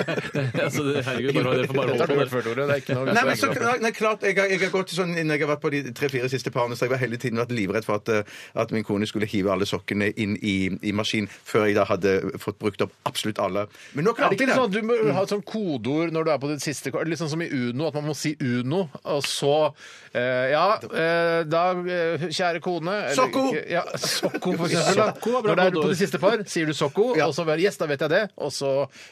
Speaker 6: altså, det- herregud, bare, dere får bare
Speaker 4: dette har du
Speaker 6: holde
Speaker 4: hørt
Speaker 6: på.
Speaker 4: før, Tore. Det er ikke noe
Speaker 5: Nei, men så, nei, klart, jeg har, jeg har gått sånn, Når jeg har vært på de tre-fire siste parene, så har jeg bare hele tiden vært livredd for at, eh, at min kone skulle hive alle sokkene inn i, i maskinen før jeg da hadde fått brukt opp absolutt alle. Men nå
Speaker 4: Er det
Speaker 5: klarte
Speaker 4: ikke
Speaker 5: jeg det.
Speaker 4: sånn at du må ha et sånt kodeord når du er på ditt siste kort? Litt sånn som i Uno, at man må si Uno, og så eh, Ja, eh, da, eh, kjære kone eller-
Speaker 5: Sokko!
Speaker 4: Ja, Sokko, for eksempel. Da.
Speaker 6: Sokko var bra
Speaker 4: Når det er
Speaker 6: kodeord.
Speaker 4: på det siste par, sier du Sokko,
Speaker 5: Ja.
Speaker 4: og så bare Yes, da vet jeg det, og så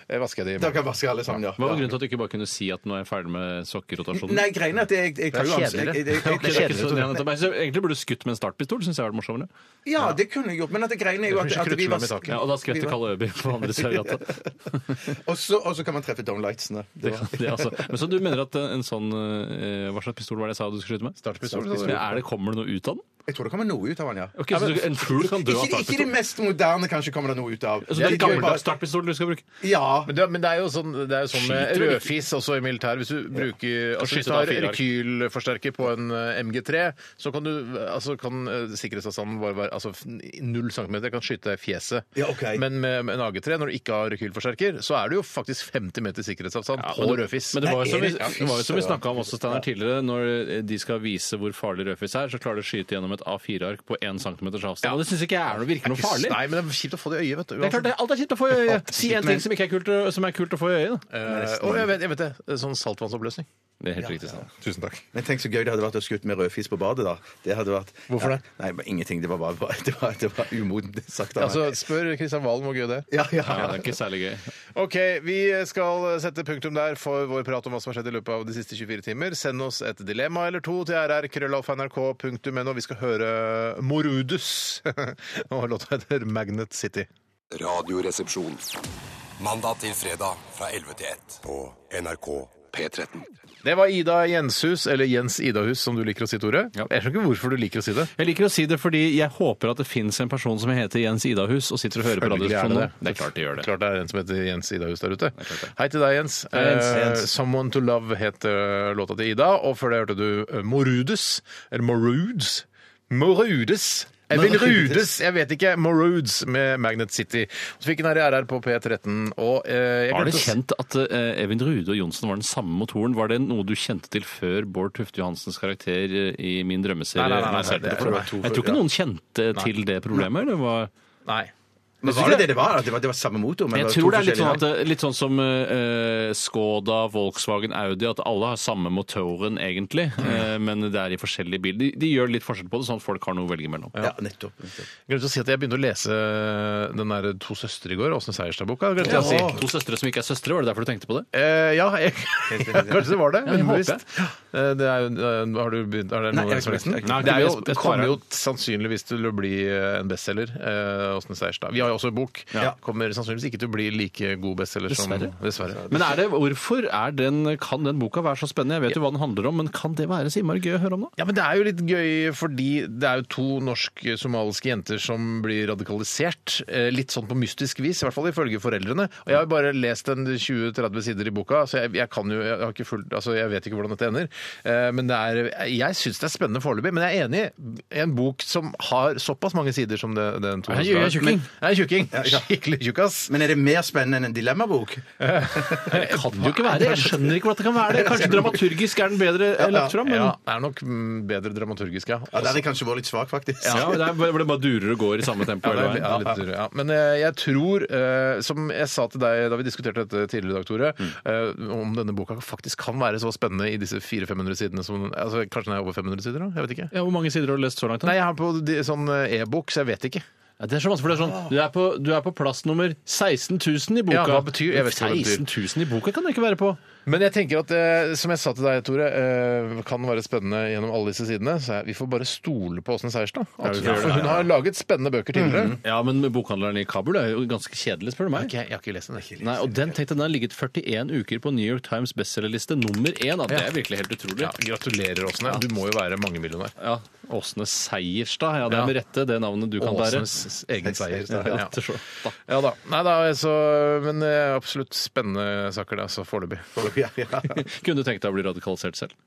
Speaker 4: eh, vasker jeg det i
Speaker 5: Da
Speaker 4: morgen.
Speaker 5: kan jeg vaske alle sammen, ja.
Speaker 6: Hva var
Speaker 5: ja.
Speaker 6: grunnen til at du ikke bare kunne si at nå er jeg ferdig med sokkerotasjonen?
Speaker 5: Nei, greien er at jeg, jeg tar
Speaker 4: Det
Speaker 5: jo
Speaker 4: er kjedeligere.
Speaker 5: ansvar. Jeg- jeg- jeg-
Speaker 6: Ok, det er ikke så-
Speaker 5: jeg-
Speaker 6: det er nettopp- jeg synes Egentlig burde du skutt med en startpistol, syns jeg var det morsommere.
Speaker 5: Ja, det kunne jeg gjort. Men at det greiene er jo
Speaker 4: Det er
Speaker 5: at,
Speaker 4: ikke
Speaker 5: at vi
Speaker 4: kruttlommer i taket.
Speaker 5: var
Speaker 6: Ja, og da skvetter Kalle Øby på andre siden av gata.
Speaker 5: Og så og så kan man treffe downlightsene. Det var-
Speaker 6: Det, altså. Men så du mener at en sånn eh, Hva slags pistol var det jeg sa du skulle skyte med?
Speaker 4: Startpistol,
Speaker 6: Men
Speaker 4: sa du.
Speaker 6: Er det, kommer det noe ut av den?
Speaker 5: Jeg tror det kommer noe ut av den, ja.
Speaker 6: Ok, så du, en fugl kan dø av
Speaker 5: Ikke, ikke det
Speaker 6: startpistol?
Speaker 5: mest moderne kanskje kommer det noe ut av.
Speaker 6: Så det er
Speaker 5: De gjør jo bare-
Speaker 6: gammeldags startpistol du skal bruke?
Speaker 5: Ja.
Speaker 4: Men det, men det er jo sånn, det er jo sånn med
Speaker 6: Skyter du ikke?
Speaker 4: rødfis også i militæret. Hvis du bruker altså, hvis du
Speaker 6: skyte
Speaker 4: har
Speaker 6: da fire ark.
Speaker 4: rekylforsterker på en eh, MG3, så kan, du, altså, kan eh, sikkerhetsavstanden bare være altså, f- null centimeter. Jeg kan skyte deg i fjeset.
Speaker 5: Ja, ok.
Speaker 4: Men med, med en AG3, når du ikke har rekylforsterker, så er det jo faktisk 50 meter sikkerhetsavstand på
Speaker 6: det-
Speaker 4: rødfis.
Speaker 6: Men det var
Speaker 5: Nei,
Speaker 6: jo som vi,
Speaker 5: er det-
Speaker 6: det var jo som vi
Speaker 5: Ja.
Speaker 6: snakka om også, Steinar, tidligere. Når de skal vise hvor farlig rødfis er, så klarer de å skyte gjennom et A4-ark på 1 cm avstand. Og det syns ikke jeg er noe, virker noe farlig.
Speaker 4: Nei, men det er kjipt å få det i øyet, vet du.
Speaker 6: Det er klart, det, alt er kjipt å få i øyet. Si en ting som ikke er kult, å- som er kult å få i øyet. da.
Speaker 4: Eh, og jeg vet, jeg vet det. Sånn saltvannsoppløsning.
Speaker 6: Det er helt riktig. Steinar.
Speaker 4: Tusen takk.
Speaker 5: Men tenk så gøy det hadde vært å skutt med rødfis på badet, da. Det hadde vært
Speaker 4: Hvorfor det?
Speaker 5: Nei, men ingenting. Det var bare bare- det var, det var umodent sagt av meg.
Speaker 4: Altså, spør Kristian Valen hvor gøy det er.
Speaker 5: ja, ja.
Speaker 6: Ja, det er ikke særlig gøy.
Speaker 4: Ok, Vi skal sette punktum der for vår prat om hva som har skjedd i løpet av de siste 24 timer. Send oss et dilemma eller to til rr.krøllalfa.nrk.no. Vi skal høre Morudus. Og låta heter Magnet City.
Speaker 7: Radioresepsjon. Mandag til fredag fra 11 til 1 på NRK P13.
Speaker 4: Det var Ida Jenshus, eller Jens Idahus, som du liker å si, Tore.
Speaker 6: Ja.
Speaker 4: Jeg skjønner ikke hvorfor du liker å si det.
Speaker 6: Jeg liker å si det fordi jeg håper at det fins en person som heter Jens Idahus og sitter og hører på
Speaker 4: Selvfølgelig er
Speaker 6: Radioresepsjonen.
Speaker 4: det
Speaker 6: nå. Det er klart de gjør det.
Speaker 4: Klart det er en som heter Jens Idahus der ute. Hei til deg, Jens.
Speaker 6: Hei, Jens.
Speaker 4: Eh,
Speaker 6: Jens.
Speaker 4: 'Someone to Love' het eh, låta til Ida, og før det hørte du eh, Morudes, eller Morudes. Morudes. Jeg vil
Speaker 5: Morudes.
Speaker 4: rudes, jeg vet ikke. Morudes med Magnet City. Så fikk hun her i RR på P13, og eh, jeg
Speaker 6: Var
Speaker 4: glemte
Speaker 6: det
Speaker 4: å si-
Speaker 6: kjent at eh, Evin Rude og Johnsen var den samme motoren? Var det noe du kjente til før Bård Tufte Johansens karakter eh, i Min drømmeserie?
Speaker 4: Nei, nei, nei, nei,
Speaker 6: lanserte
Speaker 4: det-
Speaker 6: det for
Speaker 4: det var
Speaker 6: deg?
Speaker 4: to
Speaker 6: jeg
Speaker 4: før,
Speaker 6: tror ikke
Speaker 4: ja.
Speaker 6: noen kjente til det problemet. eller hva?
Speaker 4: Nei.
Speaker 5: Men var det det det var? At det var, det var samme motor? Men det
Speaker 6: Jeg
Speaker 5: var to
Speaker 6: tror det er litt
Speaker 5: forskjellige
Speaker 6: sånn, at, det- litt sånn som eh, eh, Skoda, Volkswagen, Audi, at alle har samme motoren egentlig,
Speaker 4: Mm.
Speaker 6: eh, men det er i forskjellige biler. De, de gjør litt forskjell på det, sånn at folk har noe å velge mellom.
Speaker 5: navn. Ja, nettopp. nettopp.
Speaker 4: Glemte å si at jeg begynte å lese eh, den der To søstre i går, Åsne Seierstad-boka. glemte jeg å si.
Speaker 6: To søstre som ikke er søstre, var det derfor du tenkte på det?
Speaker 4: Eh, ja, jeg, kanskje det var det.
Speaker 6: jeg
Speaker 4: ubevisst.
Speaker 6: håper
Speaker 4: Eh, det er, jo- eh, har du begynt, er det
Speaker 5: Nei,
Speaker 4: noen
Speaker 5: jeg
Speaker 4: som har
Speaker 5: har
Speaker 4: lest den?
Speaker 5: ikke lest den.
Speaker 6: Nei,
Speaker 4: Det, er
Speaker 6: ikke
Speaker 4: jo,
Speaker 6: lest.
Speaker 4: det
Speaker 6: Jeg
Speaker 4: kommer
Speaker 6: sparer
Speaker 4: jo sannsynligvis til å bli eh, en bestselger. eh, Åsne Seierstad. Vi har jo også en bok. Kommer sannsynligvis ikke til å bli like god bestselger som
Speaker 6: Dessverre.
Speaker 4: Dessverre.
Speaker 6: Men er det, hvorfor er den, kan den boka være så spennende? Jeg vet jo hva den handler om, men kan det være så innmari gøy å høre om da?
Speaker 4: Ja, men Det er jo litt gøy fordi det er jo to norsk-somaliske jenter som blir radikalisert. eh, Litt sånn på mystisk vis, i hvert fall ifølge foreldrene. Og Jeg har jo bare lest en 20-30 sider i boka, så jeg, jeg kan jo, jeg, har ikke fulgt, altså jeg vet ikke hvordan dette ender. Eh, Men det er, jeg syns det er spennende foreløpig. Men jeg er enig i en bok som har såpass mange sider som det, den to
Speaker 6: Er det en
Speaker 4: har.
Speaker 6: tjukking?
Speaker 4: Men- Jeg er tjukking. Skikkelig tjukkas.
Speaker 5: Men er det mer spennende enn en dilemmabok?
Speaker 6: Det kan det jo ikke være det. Jeg skjønner ikke hvordan det kan være det. Kanskje dramaturgisk er den bedre eh, lagt fram, men...
Speaker 4: Ja, det er nok mm, bedre dramaturgisk, ja.
Speaker 5: Ja, Der er jeg kanskje vært litt svak, faktisk.
Speaker 6: Ja, det er hvor det bare durer og går i samme tempo.
Speaker 4: Ja,
Speaker 6: hele
Speaker 4: det er,
Speaker 6: veien.
Speaker 4: ja, litt dyrere, ja. Men eh, jeg tror, eh, som jeg sa til deg da vi diskuterte dette tidligere i dag, Tore, eh, om denne boka faktisk kan være så spennende i disse 400-500 sidene som altså, Kanskje den er over 500 sider, da? Jeg vet ikke.
Speaker 6: Ja, hvor mange sider har du lest så langt? da?
Speaker 4: Nei, jeg har på de, sånn eh, e-bok, så jeg vet ikke.
Speaker 6: Ja, det er så vanskelig, for det er sånn Du er på, du er på plass nummer 16 000 i boka.
Speaker 4: Ja, hva betyr- jeg vet ikke hva det betyr.
Speaker 6: 16 000 i boka kan det ikke være på.
Speaker 4: Men jeg tenker at, eh, som jeg sa til deg, Tore, eh, kan være spennende gjennom alle disse sidene. Så jeg, vi får bare stole på Åsne Seierstad. Altså, for hun har laget spennende bøker tidligere.
Speaker 6: Ja, men bokhandleren i Kabul er jo ganske kjedelig, spør du meg.
Speaker 4: Ok, jeg har ikke lest den.
Speaker 6: Nei, og den tenkte jeg, den har ligget 41 uker på New York Times bestselgerliste nummer én. da. Det er virkelig helt utrolig.
Speaker 4: Ja, gratulerer, Åsne. Du må jo være mangemillionær.
Speaker 6: Ja, Åsne Seierstad. Ja, det
Speaker 4: Ja.
Speaker 6: er med rette det navnet du kan bære.
Speaker 4: Åsnes egen seier.
Speaker 6: Ja,
Speaker 4: Ja.
Speaker 6: til slutt, da.
Speaker 4: Ja da. Nei da, altså, men eh, absolutt spennende saker, det, altså, foreløpig.
Speaker 5: Ja, ja.
Speaker 6: Kunne du tenkt deg å bli radikalisert selv?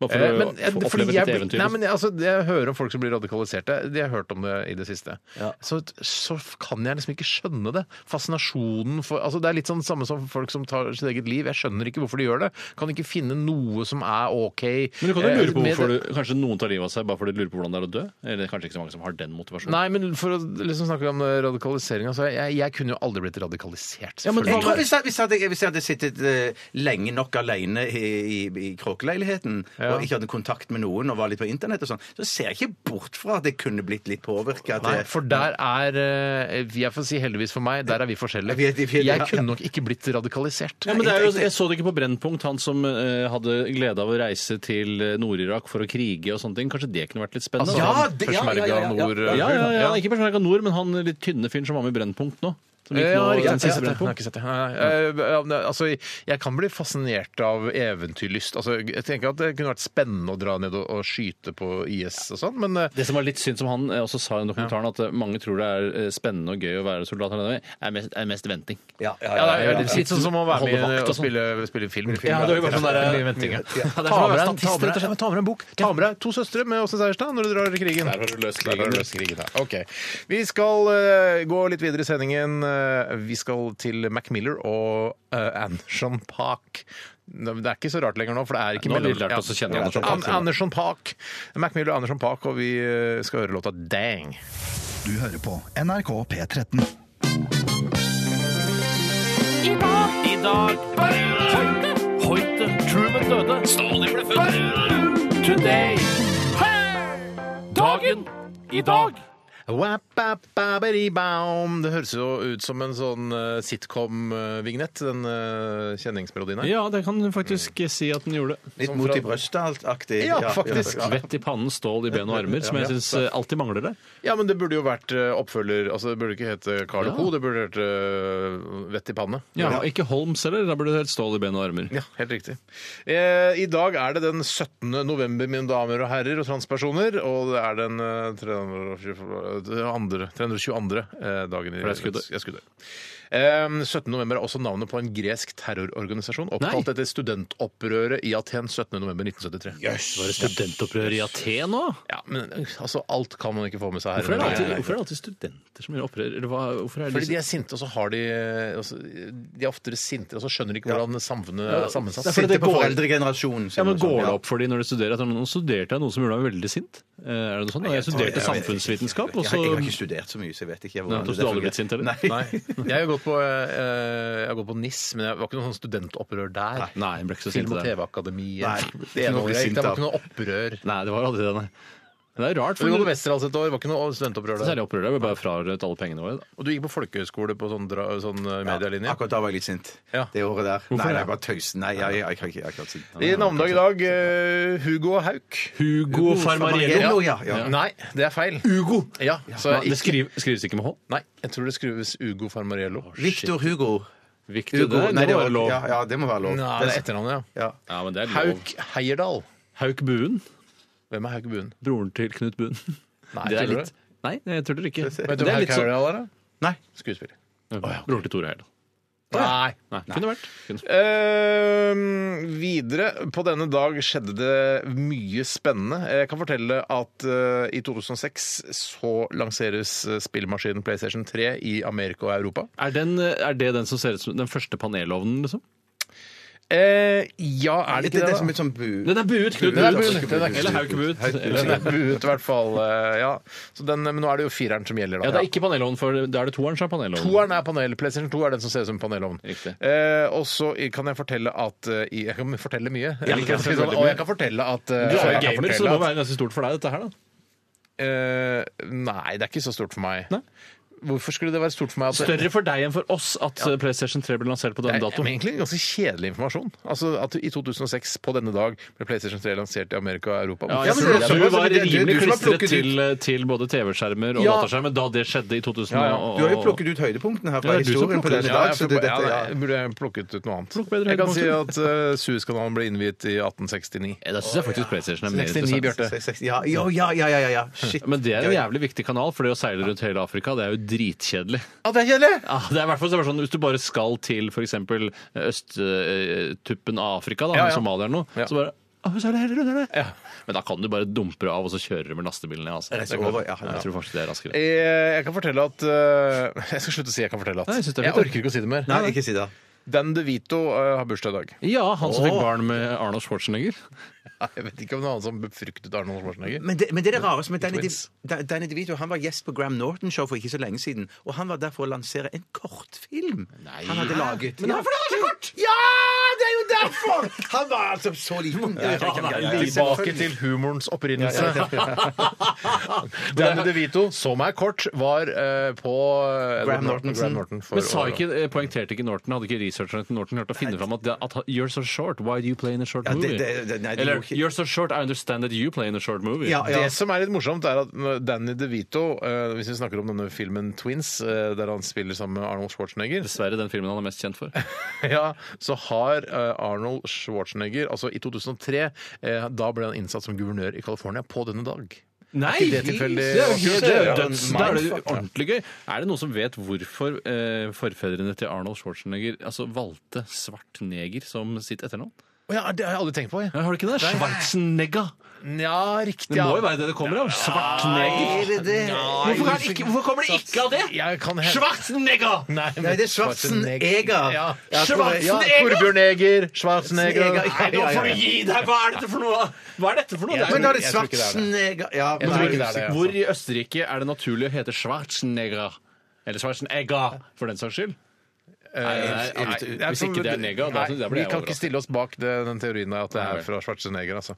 Speaker 6: Bare for
Speaker 4: Eh,
Speaker 6: å
Speaker 4: men, eh,
Speaker 6: få
Speaker 4: fordi
Speaker 6: oppleve
Speaker 4: jeg,
Speaker 6: ditt
Speaker 4: blir-
Speaker 6: eventyr. liksom.
Speaker 4: nei, men jeg- altså, det jeg hører om folk som blir radikaliserte. De har hørt om det i det siste. Så, så kan jeg liksom ikke skjønne det. Fascinasjonen for altså, Det er litt sånn samme som folk som tar sitt eget liv. Jeg skjønner ikke hvorfor de gjør det. Kan ikke finne noe som er OK.
Speaker 6: Men du kan jo
Speaker 4: eh,
Speaker 6: lure på
Speaker 4: med
Speaker 6: hvorfor
Speaker 4: det-
Speaker 6: du, Kanskje noen tar livet av seg bare fordi de lurer på hvordan det er å dø? Eller kanskje ikke så mange som har den motivasjonen?
Speaker 4: Nei, men for å liksom snakke om radikaliseringa, så jeg, jeg kunne jo aldri blitt radikalisert.
Speaker 6: Ja, men
Speaker 4: selvfølgelig.
Speaker 5: Jeg tror hvis jeg, hvis jeg, hadde- hvis jeg hadde sittet eh, lenge nok alene i, i, i kråkeleiligheten og ikke hadde kontakt med noen og var litt på internett og sånn, så ser jeg ikke bort fra at jeg kunne blitt litt påvirka.
Speaker 4: Nei, for der er eh, Jeg får si heldigvis for meg, der er vi forskjellige.
Speaker 5: Vi er- vi er- ja.
Speaker 4: Jeg kunne nok ikke blitt radikalisert.
Speaker 6: Ja, men det er jo, jeg så det ikke på Brennpunkt, han som eh, hadde glede av å reise til eh, Nord-Irak for å krige og sånne ting. Kanskje det kunne vært litt spennende?
Speaker 4: Altså,
Speaker 5: Ja,
Speaker 6: han,
Speaker 4: han
Speaker 5: det- ja,
Speaker 4: peshmerga
Speaker 5: ja, ja, ja.
Speaker 4: nord,
Speaker 6: ja,
Speaker 4: eh,
Speaker 6: ja, ja,
Speaker 4: ja.
Speaker 6: Ikke Persmerka Nord, men han litt tynne fyren som var med i Brennpunkt nå. Som gikk
Speaker 4: Ja,
Speaker 6: nå
Speaker 4: riktig.
Speaker 6: den siste
Speaker 4: Jeg har
Speaker 6: Brennpunkt.
Speaker 4: ikke sett det. Nei, nei. Eh, ja, men, Altså, jeg kan bli fascinert av eventyrlyst. Altså, jeg tenker at det kunne vært spennende å dra ned og, og skyte på IS og sånn, men eh,
Speaker 6: Det som var litt synd, som han eh, også sa i den dokumentaren, at eh, mange tror det er eh, spennende og gøy å være soldat. her nede, Er mest, er mest venting.
Speaker 5: Ja, ja,
Speaker 4: ja,
Speaker 5: ja,
Speaker 4: det er litt sånn som å være
Speaker 6: Holde
Speaker 4: med
Speaker 6: vakt
Speaker 4: og
Speaker 6: og sånn.
Speaker 4: spille, spille film.
Speaker 6: Ja, det er jo bare sånn der, eh,
Speaker 4: Mye venting, ja.
Speaker 6: Ja, det er
Speaker 4: Ta
Speaker 6: sånn
Speaker 4: med
Speaker 6: å være
Speaker 4: deg en- ta
Speaker 6: statist,
Speaker 4: med
Speaker 6: rett og
Speaker 4: deg-
Speaker 6: slett.
Speaker 4: ja, men ta med deg en bok. Ta med deg to søstre med Åsne Seierstad når du drar i krigen.
Speaker 6: Der har du løst
Speaker 4: Der har
Speaker 6: krigen.
Speaker 4: du løst krigen, ja. Ok. Vi skal eh, gå litt videre i sendingen. Eh, vi skal til Mac Miller og eh, Anderson Park. Det er ikke så rart lenger nå, for det er ikke
Speaker 6: Nå har vi
Speaker 4: mellom-
Speaker 6: lært oss å kjenne
Speaker 4: Ja,
Speaker 6: Anderson
Speaker 4: An-
Speaker 6: Paak.
Speaker 4: Anderson Park. Mac Miller og Anderson Park, og vi eh, skal høre låta Dang.
Speaker 1: Du hører på NRK P13.
Speaker 7: I dag Hoite Hoite Truman døde Stalin ble født Today Dagen I dag
Speaker 4: Wap, Ba-ba-ba-ba-ba-di-baum. Det høres jo ut som en sånn eh, sitcom-vignett, den eh, kjenningsmelodien her.
Speaker 6: Ja, det kan du faktisk si at den gjorde.
Speaker 5: Litt
Speaker 4: Som
Speaker 5: mot
Speaker 4: fra-
Speaker 5: i brøstet-aktig.
Speaker 4: Ja, faktisk.
Speaker 6: Svett i pannen, stål i ben og armer, som jeg syns alltid mangler der.
Speaker 4: Ja, men det burde jo vært eh, oppfølger Altså, det burde ikke hete Carl
Speaker 6: Ja.
Speaker 4: Co., det burde hete eh, Vett i panne.
Speaker 6: Ja, og Ikke Holms heller, da burde det hett stål i ben og armer.
Speaker 4: Ja, helt riktig. Eh, I dag er det den 17. november, mine damer og herrer og transpersoner. Og det er den eh, 322. 322. Eh, dagen i
Speaker 6: For det er skuddet.
Speaker 4: Ja, skuddet. Eh, 17. november er også navnet på en gresk terrororganisasjon oppkalt
Speaker 6: Nei.
Speaker 4: etter studentopprøret i Aten 17. november 1973.
Speaker 6: Var det studentopprør i Aten nå?
Speaker 4: Ja, men altså, alt kan man ikke få med seg her. eh,
Speaker 6: Hvorfor er, det alltid,
Speaker 4: Nei, nei, nei.
Speaker 6: hvorfor er det alltid studenter som gjør opprør? Eller hva, hvorfor er det
Speaker 4: Fordi de er sinte, og så har de altså, De er oftere sinte, og så skjønner de ikke hvordan samfunnet er sammensatt.
Speaker 6: det er fordi
Speaker 5: Sinte
Speaker 6: det
Speaker 5: på
Speaker 6: går-
Speaker 5: foreldregenerasjonen. sånn,
Speaker 6: ja, men Går det opp for de når de studerer at noen studerte jeg noe som gjorde meg veldig sint? Eh, Er det noe sånt? Jeg studerte samfunnsvitenskap, og
Speaker 5: Jeg,
Speaker 6: så
Speaker 5: jeg har ikke studert så mye, så jeg vet ikke hvordan
Speaker 6: Nei, så
Speaker 5: det
Speaker 6: du har
Speaker 5: fungerer.
Speaker 6: aldri blitt sint, eller?
Speaker 5: Nei.
Speaker 4: Nei. Jeg har gått på, eh, jeg har gått på NIS, men jeg var ikke noe sånn studentopprør der.
Speaker 6: Nei, jeg ble ikke så sint
Speaker 4: Film- og
Speaker 6: der.
Speaker 4: TV-akademiet.
Speaker 5: Nei,
Speaker 4: Det ene
Speaker 5: noe å bli
Speaker 4: året jeg gikk der, var
Speaker 5: sint
Speaker 4: altså. ikke noe opprør.
Speaker 6: Nei, det var aldri det, nei. Men det er rart,
Speaker 4: Du
Speaker 6: for
Speaker 4: gikk på
Speaker 6: det
Speaker 4: Westerdals et år, var ikke noe studentopprør der.
Speaker 6: særlig opprør der. Vi bare frarøvet alle pengene våre. da.
Speaker 4: Og du gikk på folkehøyskole på sånn, dra, sånn eh, medielinje.
Speaker 5: Akkurat da var jeg litt sint.
Speaker 4: Ja.
Speaker 5: Det året der.
Speaker 6: Hvorfor
Speaker 5: nei, nei,
Speaker 6: det?
Speaker 5: bare tøys. Nei, jeg, jeg, jeg, kan ikke- jeg, kan ikke sint.
Speaker 4: I navnedag i dag eh, Hugo Hauk.
Speaker 6: Hugo Farmariello.
Speaker 5: Farmariello, ja, ja.
Speaker 4: Nei, det er feil.
Speaker 6: Hugo!
Speaker 4: Ja, så
Speaker 6: Nei,
Speaker 4: ikke-
Speaker 6: det skriv, skrives ikke med H.
Speaker 4: Nei, jeg tror det skrives Ugo Farmariello.
Speaker 5: Victor Hugo.
Speaker 6: Victor,
Speaker 5: Hugo.
Speaker 6: det, det var lov.
Speaker 5: Ja, ja, det må være lov.
Speaker 4: Nei, det er etternavnet, ja.
Speaker 5: ja.
Speaker 6: Ja, men det er lov.
Speaker 4: Hauk Heierdal.
Speaker 6: Hauk Buen.
Speaker 4: Hvem er Hauk Buen?
Speaker 6: Broren til Knut Buen.
Speaker 4: Nei,
Speaker 6: Det
Speaker 4: tror
Speaker 6: er
Speaker 4: du
Speaker 6: litt... Nei, jeg tuller ikke.
Speaker 4: Vet du
Speaker 6: Det
Speaker 4: hvem
Speaker 6: er
Speaker 4: Hauk
Speaker 6: litt sånn...
Speaker 4: Heierdal er, da?
Speaker 5: Nei.
Speaker 4: Skuespiller.
Speaker 6: Broren til Tore Heyerdahl.
Speaker 4: Nei.
Speaker 6: Nei, kunne vært. Kunne.
Speaker 4: Ehm, videre på denne dag skjedde det mye spennende. Jeg kan fortelle at eh, i 2006 så lanseres eh, spillmaskinen PlayStation 3 i Amerika og Europa.
Speaker 6: Er, den, eh, er det den som ser ut som den første panelovnen, liksom?
Speaker 4: Eh, ja, er det ikke det,
Speaker 5: Det, er
Speaker 4: da?
Speaker 5: som et sånt bu...
Speaker 6: Den er buet, Knut.
Speaker 4: Den er
Speaker 6: Buet.
Speaker 4: buet. Den er ikke-
Speaker 6: Eller haukbuet.
Speaker 4: Den
Speaker 6: Eller-
Speaker 4: er buet, i hvert fall. eh, ja. så den, men nå er det jo fireren som gjelder,
Speaker 6: Ja,
Speaker 4: da.
Speaker 6: det er ikke panelovn, for da er det toeren som er panelovn.
Speaker 4: Toeren er panel. PlayStation 2 er den som ser ut som panelovn.
Speaker 6: Riktig.
Speaker 4: Eh, og så kan jeg fortelle at eh, i- Jeg kan fortelle mye. Jeg liker å si sånn,
Speaker 6: veldig
Speaker 4: Og
Speaker 6: mye.
Speaker 4: jeg kan fortelle at eh,
Speaker 6: Du er jo
Speaker 4: jeg kan
Speaker 6: gamer, så
Speaker 4: fortelle
Speaker 6: det må
Speaker 4: at-
Speaker 6: være ganske stort for deg, dette her, da.
Speaker 4: Eh, nei, det er ikke så stort for meg. Hvorfor skulle det være stort for meg? At
Speaker 6: Større for deg enn for oss at eh, PlayStation 3 ble lansert på
Speaker 4: Det
Speaker 6: denne
Speaker 4: er
Speaker 6: datoen.
Speaker 4: egentlig ganske kjedelig informasjon. Altså At i 2006, på denne dag, ble PlayStation 3 lansert i Amerika og Europa. Hvorfor
Speaker 6: Ja, jeg
Speaker 5: men
Speaker 4: skulle
Speaker 5: det er
Speaker 6: tror du
Speaker 5: såpass,
Speaker 6: var
Speaker 5: men det er du-
Speaker 6: rimelig
Speaker 5: du som har
Speaker 6: klistret
Speaker 5: plukket ut-
Speaker 6: til, eh, til både TV-skjermer og
Speaker 4: Ja.
Speaker 6: dataskjermer da det skjedde i 2000.
Speaker 4: Ja, ja.
Speaker 6: og-
Speaker 5: Du har jo plukket ut høydepunktene her
Speaker 6: Ja,
Speaker 5: fra
Speaker 6: det er du som
Speaker 5: historien på
Speaker 6: plukker
Speaker 4: Ja,
Speaker 5: denne dag.
Speaker 4: jeg
Speaker 5: Så
Speaker 4: får-
Speaker 5: det,
Speaker 4: ja,
Speaker 5: dette,
Speaker 4: nei,
Speaker 5: ja.
Speaker 4: burde jeg plukket ut noe annet.
Speaker 6: Plukk bedre
Speaker 4: jeg kan
Speaker 6: høydepunkt.
Speaker 4: si at uh, Suezkanalen ble innviet i 1869.
Speaker 6: Ja, Da syns jeg faktisk PlayStation er mer
Speaker 4: 69,
Speaker 6: interessant.
Speaker 4: Bjarte.
Speaker 5: Se- se- Ja, jo, ja, ja, ja, ja, ja. Shit.
Speaker 6: Men det
Speaker 5: Ja,
Speaker 6: er en
Speaker 5: ja.
Speaker 6: jævlig viktig kanal, for det å seile rundt hele Afrika det er jo dritkjedelig.
Speaker 4: Ja, det er kjedelig!
Speaker 6: Ja, det er i hvert fall sånn Hvis du bare skal til f.eks. østtuppen av Afrika, da,
Speaker 4: Ja, ja.
Speaker 6: Somalia eller noe,
Speaker 4: Ja.
Speaker 6: så bare «Å, så er det hele rundt, er det?» Men da kan du bare dumpe det av og så kjøre det med lastebilen. Ja, altså.
Speaker 5: Rett over, ja, ja.
Speaker 6: Jeg tror faktisk det er raskere.
Speaker 4: Eh, Jeg kan fortelle at eh, Jeg skal slutte å si 'jeg kan fortelle at'.
Speaker 6: Nei, jeg synes det er
Speaker 4: jeg
Speaker 6: fint,
Speaker 4: orker ikke å si det mer.
Speaker 5: Nei, ikke si det.
Speaker 4: Dan DeVito eh, har bursdag i dag.
Speaker 6: Ja, han som fikk barn med Arnold Schwarzenegger.
Speaker 4: Jeg vet ikke om det er han som befruktet Arnold Schwarzenegger.
Speaker 5: Men det, men det er det rareste med Danny,
Speaker 4: Twins.
Speaker 5: Di- Da- Danny DeVito han var gjest på Graham Norton-show for ikke så lenge siden. Og han var der for å lansere en kortfilm han hadde laget. Men hvorfor det var så kort?! Ja, det er jo derfor! Han var altså så liten. Ja, ja, ja, ja, ja.
Speaker 4: Tilbake til humorens opprinnelse. Danny DeVito, som er kort, var eh, på eh,
Speaker 5: Graham Mm.
Speaker 4: Norton-
Speaker 5: Nortonsen.
Speaker 4: Graham Norton for
Speaker 6: Men sa
Speaker 4: å-
Speaker 6: ikke, eh, Poengterte ikke Norton, hadde ikke researcheren til Norton klart å finne fram at, det- at han- 'you're so short, why do you play in a short
Speaker 5: Ja, det-
Speaker 6: movie'?
Speaker 5: det- det- nei, det
Speaker 6: Eller
Speaker 5: går ikke.
Speaker 6: 'you're so short, I understand that you play in a short movie'.
Speaker 5: Ja, ja.
Speaker 4: Det som er litt morsomt, er at når Danny DeVito, eh, hvis vi snakker om denne filmen Twins, eh, der han spiller sammen med Arnold Schwarzenegger,
Speaker 6: Dessverre den filmen han er mest kjent for.
Speaker 4: ja, så har eh, Arnold Schwarzenegger Altså, i 2003, eh, da ble han innsatt som guvernør i California på denne dag.
Speaker 6: Nei!
Speaker 4: ikke det tilfeldig?
Speaker 6: Det er jo helt- det er jo
Speaker 4: Ja,
Speaker 6: døds- Da er det jo
Speaker 4: mindfuck, ja.
Speaker 6: ordentlig gøy. Er det noen som vet hvorfor eh, forfedrene til Arnold Schwarzenegger altså, valgte svart neger som sitt etternavn?
Speaker 4: Å ja, det har jeg aldri tenkt på, jeg.
Speaker 6: Ja, Har du ikke det? Schwarzenegger!
Speaker 4: Ja, riktig.
Speaker 6: Det
Speaker 4: ja.
Speaker 6: må jo være det det kommer av. Svart neger.
Speaker 5: Er det det?
Speaker 6: Hvorfor, er det ikke, hvorfor kommer det ikke av det?
Speaker 4: Jeg kan hende-
Speaker 6: Schwarzenegger!
Speaker 4: Nei, men
Speaker 5: Nei, det er Schwarzenegger.
Speaker 4: Ja.
Speaker 5: Ja, Schwarzenegger!
Speaker 4: Ja, Torbjørn Eger, Schwarzenegger
Speaker 5: Schwarzenegger, ja, ja, ja.
Speaker 6: gi deg! Hva er dette for noe? Hva er dette for noe? Det er
Speaker 5: Men da er det
Speaker 4: Jeg tror ikke det er det.
Speaker 5: Schwarzenegger ja, men
Speaker 4: tror
Speaker 5: da er
Speaker 4: ikke det er det.
Speaker 5: det-
Speaker 4: altså.
Speaker 6: Hvor i Østerrike er det naturlig å hete Schwarzenegger? Eller Schwarzenegger, for den saks skyld? nei,
Speaker 4: Eh,
Speaker 6: absolutt
Speaker 4: nei,
Speaker 6: ikke. Hvis ikke det er nega, da-
Speaker 4: Nei,
Speaker 6: da blir jeg
Speaker 4: Vi kan
Speaker 6: overrasket.
Speaker 4: ikke stille oss bak det, den teorien der at det
Speaker 6: Nei.
Speaker 4: er fra Schwarzenegger, altså.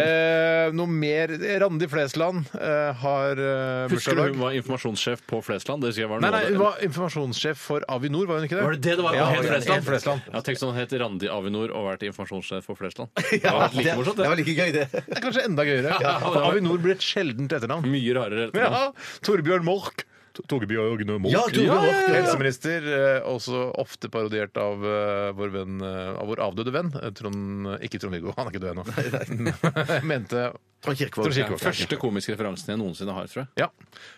Speaker 4: Eh, noe mer Randi Flesland eh, har eh,
Speaker 6: Husker du
Speaker 4: bursdag i
Speaker 6: hun
Speaker 4: dag.
Speaker 6: var informasjonssjef på Flesland? Det husker jeg var
Speaker 4: Nei,
Speaker 6: noe
Speaker 4: nei,
Speaker 6: av det-
Speaker 4: hun var informasjonssjef for Avinor, var hun ikke det?
Speaker 6: Var det det det var?
Speaker 4: Ja,
Speaker 6: Helt
Speaker 4: helt
Speaker 6: Flesland?
Speaker 4: Flesland.
Speaker 6: Jeg har tenkt sånn het Randi Avinor og vært informasjonssjef for Flesland. Det hadde vært like morsomt, det.
Speaker 5: var like gøy, det.
Speaker 4: Det er kanskje enda gøyere.
Speaker 6: det
Speaker 4: For
Speaker 6: var-
Speaker 4: Avinor blir et sjeldent etternavn.
Speaker 6: Mye rarere.
Speaker 4: Ja, Torbjørn Mork. To- Torbjørn Mork.
Speaker 5: Ja, Torbjørn Mork, ja, ja, ja.
Speaker 4: Helseminister, eh, også ofte parodiert av eh, vår, venn, eh, av vår avdøde venn eh, Trond Ikke Trond-Viggo, han er ikke død ennå. Jeg mente Trond
Speaker 5: Trond Kirkevåg.
Speaker 6: Den
Speaker 4: Kirkevåg.
Speaker 6: første komiske referansen jeg noensinne har, tror jeg.
Speaker 4: Ja.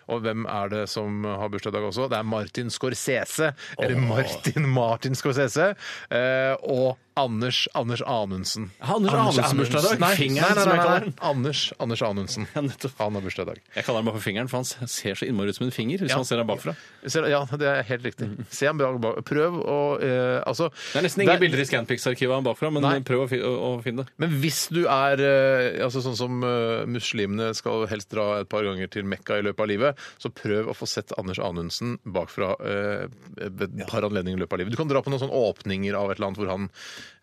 Speaker 4: Og hvem er det som har bursdag i dag også? Det er Martin Scorsese. Eller Martin Martin Scorsese. eh, Og Anders Anders Anundsen.
Speaker 6: Anders Anundsen bursdag i dag?
Speaker 4: Nei, nei,
Speaker 6: Fingeren,
Speaker 4: nei,
Speaker 6: som jeg
Speaker 4: nei,
Speaker 6: kaller
Speaker 4: nei.
Speaker 6: den.
Speaker 4: Anders, Anders Anundsen.
Speaker 6: Ja, nettopp.
Speaker 4: Han har bursdag i dag.
Speaker 6: Jeg kaller den bare for fingeren, for han ser så innmari ut som en finger hvis
Speaker 4: Ja.
Speaker 6: man ser ham bakfra.
Speaker 4: Ser- Ja, det er helt riktig. Se han bra, bra. Prøv å eh, Altså
Speaker 6: Det er nesten ingen bilder i Scanpix-arkivet av ham bakfra, men
Speaker 4: Nei.
Speaker 6: prøv å, fi å, å finne det.
Speaker 4: Men hvis du er eh, altså sånn som eh, muslimene skal helst dra et par ganger til Mekka i løpet av livet, så prøv å få sett Anders Anundsen bakfra eh, ved et par anledninger i løpet av livet. Du kan dra på noen sånne åpninger av et eller annet hvor han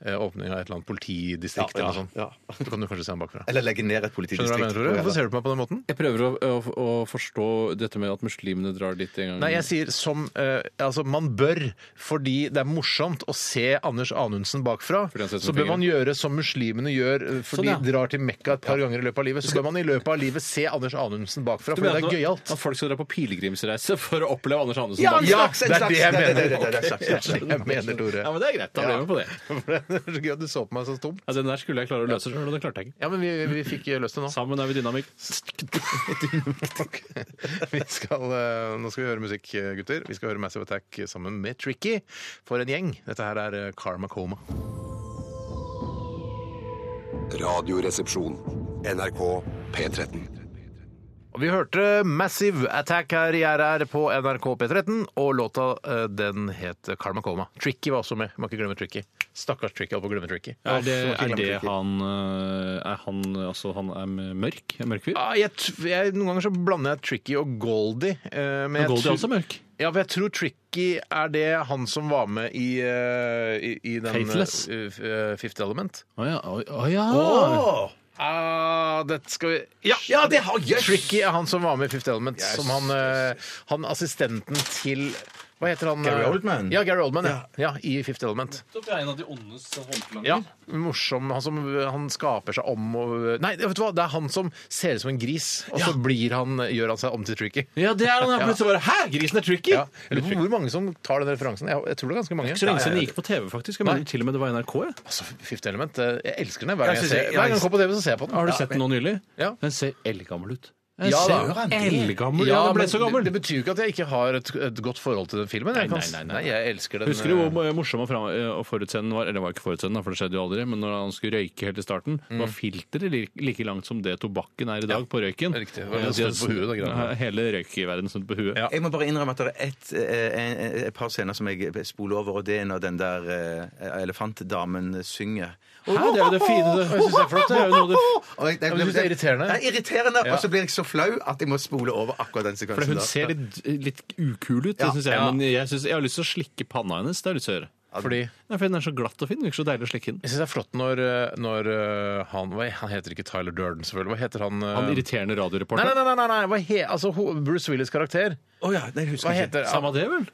Speaker 4: eh, åpning av et eller annet politidistrikt
Speaker 5: Ja,
Speaker 4: eller
Speaker 5: ja,
Speaker 4: noe sånt.
Speaker 5: ja.
Speaker 4: Så kan du kanskje se han bakfra.
Speaker 5: Eller legge ned
Speaker 4: Skjønner du hva
Speaker 5: et
Speaker 4: jeg
Speaker 5: politidistrikt.
Speaker 4: mener, Tore? Hvorfor ser du på meg på den måten?
Speaker 6: Jeg prøver å, å, å forstå dette med at muslimene drar dit en gang.
Speaker 4: Nei, jeg sier som eh, Altså, man bør, fordi det er morsomt å se Anders Anundsen bakfra,
Speaker 6: Fordi han ser ut
Speaker 4: så
Speaker 6: som
Speaker 4: bør
Speaker 6: fingeren.
Speaker 4: man gjøre som muslimene gjør, eh, for
Speaker 6: Sånn, ja.
Speaker 4: de drar til Mekka et par ganger i løpet av livet. Så bør man i løpet av livet se Anders Anundsen bakfra,
Speaker 6: Du
Speaker 4: for
Speaker 6: mener
Speaker 4: det
Speaker 6: at
Speaker 4: er
Speaker 6: nå-
Speaker 4: gøyalt.
Speaker 6: At folk skal dra på pilegrimsreise for å oppleve Anders Andersen
Speaker 5: Ja,
Speaker 6: bakfra.
Speaker 5: en slags, en
Speaker 4: det er
Speaker 5: slags.
Speaker 4: det jeg
Speaker 5: Det er
Speaker 4: mener.
Speaker 5: det, det er det, det er
Speaker 4: Det er det jeg mener, Tore.
Speaker 6: Ja, men det er greit. Da ble vi med på det.
Speaker 4: Det er så gøy at du så på meg så tom.
Speaker 6: Ja, den der skulle jeg klare å løse sjøl, og det klarte jeg ikke.
Speaker 4: Ja, men vi, vi fikk løst det nå.
Speaker 6: Sammen er vi dynamikk.
Speaker 4: Ok. Vi skal, eh, nå skal vi høre musikk, eh, gutter. Vi skal høre Massive Attack sammen med Tricky. For en gjeng. Dette her er eh, Karma Coma.
Speaker 8: Radioresepsjon. NRK P13.
Speaker 4: Og vi hørte Massive Attack her i RR på NRK P13, og låta eh, den het Karma Coma. Tricky var også med. Må ikke glemme Tricky. Stakkars Tricky. Holdt på å glemme Tricky.
Speaker 6: Er det,
Speaker 4: Må ikke
Speaker 6: er
Speaker 4: glemme
Speaker 6: det
Speaker 4: Tricky.
Speaker 6: han øh, Er han altså han er mørk? Er Mørkfyr?
Speaker 4: Ja, jeg, tr- jeg, noen ganger så blander jeg Tricky og Goldie. eh, men jeg
Speaker 6: Goldie er
Speaker 4: tror-
Speaker 6: også mørk.
Speaker 4: Ja, for jeg tror Tricky er det han som var med i, eh, i, i den
Speaker 6: Faithless?
Speaker 4: eh, f- eh, Fifth Element.
Speaker 6: Å ja. Å, å, ja.
Speaker 5: Åh!
Speaker 4: Ah, dette skal vi Ja!
Speaker 5: Ja, det har jøss!
Speaker 4: Tricky er han som var med i Fifth Element. Som han, eh, han assistenten til Hva heter han?
Speaker 5: Gary
Speaker 4: eh,
Speaker 5: Oldman.
Speaker 4: Ja, Gary Oldman, ja. ja I Fifth Element.
Speaker 6: er en av de ondes håndklanger.
Speaker 4: Ja, morsom. Han som han skaper seg om og Nei, vet du hva? det er han som ser ut som en gris, og så blir han, gjør han seg om til Tricky.
Speaker 6: Ja, det er han. Ja. Plutselig bare Hæ, grisen er tricky!
Speaker 4: Ja. Jeg lurer på hvor mange som tar den referansen. Jeg, jeg tror det er ganske mange.
Speaker 6: Så lenge siden
Speaker 4: Ja,
Speaker 6: den
Speaker 4: ja,
Speaker 6: gikk på TV, faktisk. Jeg mener til og med det var NRK. jeg.
Speaker 4: Altså, Fifth Element, eh, jeg elsker den. Hver gang
Speaker 5: Jeg
Speaker 4: jeg,
Speaker 5: synes
Speaker 4: ser,
Speaker 5: jeg-
Speaker 4: hver gang
Speaker 5: jeg-
Speaker 4: jeg kommer på TV, så ser jeg på den.
Speaker 6: Har du sett den nå nylig?
Speaker 4: Ja.
Speaker 6: Den ser eldgammel ut. Den
Speaker 4: Ja, da.
Speaker 6: ser eldgammel Ja, den ble
Speaker 4: men
Speaker 6: så gammel.
Speaker 4: Det, det betyr jo ikke at jeg ikke har et, et godt forhold til den filmen. Jeg
Speaker 6: Nei,
Speaker 4: kan,
Speaker 6: nei, nei, nei.
Speaker 4: jeg elsker den.
Speaker 6: Husker du hvor morsom og, fram, eh, og forutseende den var? Eller det var ikke forutseende, da, for det skjedde jo aldri. Men når han skulle røyke helt i starten,
Speaker 4: Mm.
Speaker 6: var filteret li- like langt som det tobakken er i dag på røyken.
Speaker 4: riktig. Det var
Speaker 6: Eh,
Speaker 4: snudd
Speaker 6: de har
Speaker 4: på huet, da, greiene.
Speaker 6: Ja, Hele røykverdenen snudd på huet.
Speaker 4: Ja.
Speaker 5: Jeg må bare innrømme at det er et, eh, en- et par scener som jeg spoler over, og det er når den der eh, elefantdamen synger.
Speaker 6: Hæ, det er jo det fine. Det, jeg synes det er flott. Det er jo noe av det
Speaker 5: Og jeg- jeg-
Speaker 4: men du synes det er irriterende?
Speaker 5: Det er irriterende,
Speaker 4: Ja.
Speaker 5: og så blir jeg så flau at jeg må spole over akkurat den sekvensen.
Speaker 6: For hun
Speaker 5: der.
Speaker 6: ser litt, litt ukul ut, det
Speaker 5: Ja.
Speaker 6: synes jeg.
Speaker 5: Ja.
Speaker 6: Men jeg, synes, jeg har lyst til å slikke panna hennes. Det har jeg lyst til å gjøre.
Speaker 4: Fordi
Speaker 6: Nei, for den er så glatt og fin. Det virker så deilig å slikke den.
Speaker 4: jeg syns det er flott når, eh, når eh, han hva, Han heter ikke Tyler Durden, selvfølgelig. Hva heter han? eh?
Speaker 6: Han
Speaker 4: Nei,
Speaker 6: irriterende
Speaker 4: nei,
Speaker 6: radioreporteren.
Speaker 4: nei, nei, nei, nei. Hva he, altså, ho- Bruce Willis' karakter.
Speaker 5: Å ja, nei, jeg husker
Speaker 4: Hva
Speaker 5: ikke.
Speaker 4: heter
Speaker 6: Samme det, vel?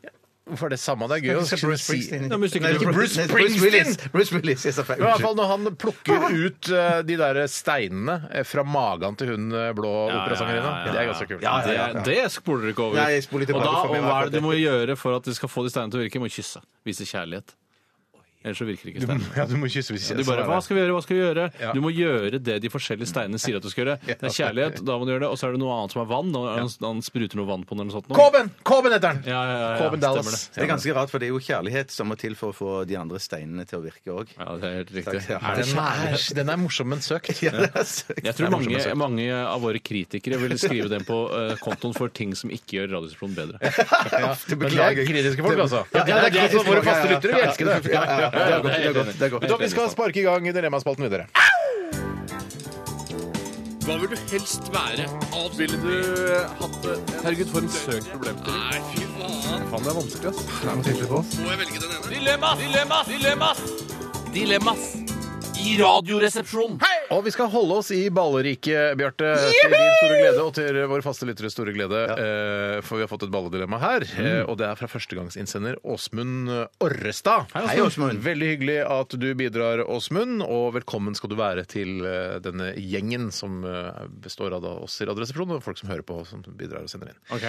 Speaker 4: Hvorfor er det samme? Det er gøy å
Speaker 5: Bruce
Speaker 4: kunne si
Speaker 5: Springsteen.
Speaker 6: Ja, men hvis du ikke-
Speaker 5: Nei,
Speaker 6: Ikke
Speaker 4: Bruce
Speaker 5: nei,
Speaker 4: Springsteen!
Speaker 5: Willis. Bruce Willis, jeg sa feil.
Speaker 4: Men i hvert fall når han plukker ut eh, de der steinene eh, fra magen til hun eh, blå operasangerinna. Det er ganske kult.
Speaker 6: Ja, ja, ja, ja. Det, det spoler dere ikke over.
Speaker 5: Nei, jeg spoler tilbake
Speaker 6: og da,
Speaker 5: for meg
Speaker 6: og hva er det
Speaker 5: akkurat
Speaker 6: du må gjøre for at du skal få de steinene til å virke? Du må kysse. Vise kjærlighet. Ellers så virker ikke steinene.
Speaker 4: Ja, du må kysse hvis
Speaker 6: Du bare, hva skal vi gjøre, hva skal vi gjøre?
Speaker 4: Ja.
Speaker 6: Du må gjøre det de forskjellige steinene sier at du skal gjøre. Det er kjærlighet, da må du gjøre det. Og så er det noe annet som er vann. Da han, han spruter noe vann på den eller noe sånt. nå.
Speaker 4: Coben! Coben heter han!
Speaker 6: Ja, ja, ja, ja,
Speaker 4: Coben Dallas.
Speaker 6: stemmer
Speaker 5: Det er ganske rart, for det er jo kjærlighet som må til for å få de andre steinene til å virke òg.
Speaker 6: Ja, det er helt riktig.
Speaker 5: Takk, ja.
Speaker 6: Er det
Speaker 4: Den er, den er morsom, men søkt.
Speaker 6: jeg tror mange, mange av våre kritikere vil skrive den på eh, kontoen for ting som ikke gjør Radioresepsjonen bedre.
Speaker 4: Men det er kritiske folk, altså. Ja, det er kritiske
Speaker 5: folk,
Speaker 4: våre
Speaker 5: ja, ja.
Speaker 4: faste lyttere. Vi elsker det.
Speaker 5: Ja, ja, ja, det er godt, det er godt, det er godt.
Speaker 4: Vet du hva, Vi skal sparke i gang Dilemmaspalten videre.
Speaker 7: Hva vil du helst være? Ville du eh, hatt det?
Speaker 6: Herregud, for en søkt problem.
Speaker 7: Nei, fy faen.
Speaker 6: Faen, det er vanskelig, ass.
Speaker 7: Må jeg velge den ene? Dilemmas! Dilemmas! Dilemmas! Dilemmas i Radioresepsjonen.
Speaker 4: Og vi skal holde oss i balleriket, Bjarte. Til din store glede og til vår faste lytteres store glede. eh, For vi har fått et balledilemma her.
Speaker 5: Mm.
Speaker 4: eh, Og det er fra førstegangsinnsender Åsmund Orrestad.
Speaker 5: Hei, Åsmund.
Speaker 4: Veldig hyggelig at du bidrar, Åsmund. Og velkommen skal du være til eh, denne gjengen som eh, består av da oss i Radioresepsjonen og folk som hører på, som bidrar og sender inn.
Speaker 6: Ok.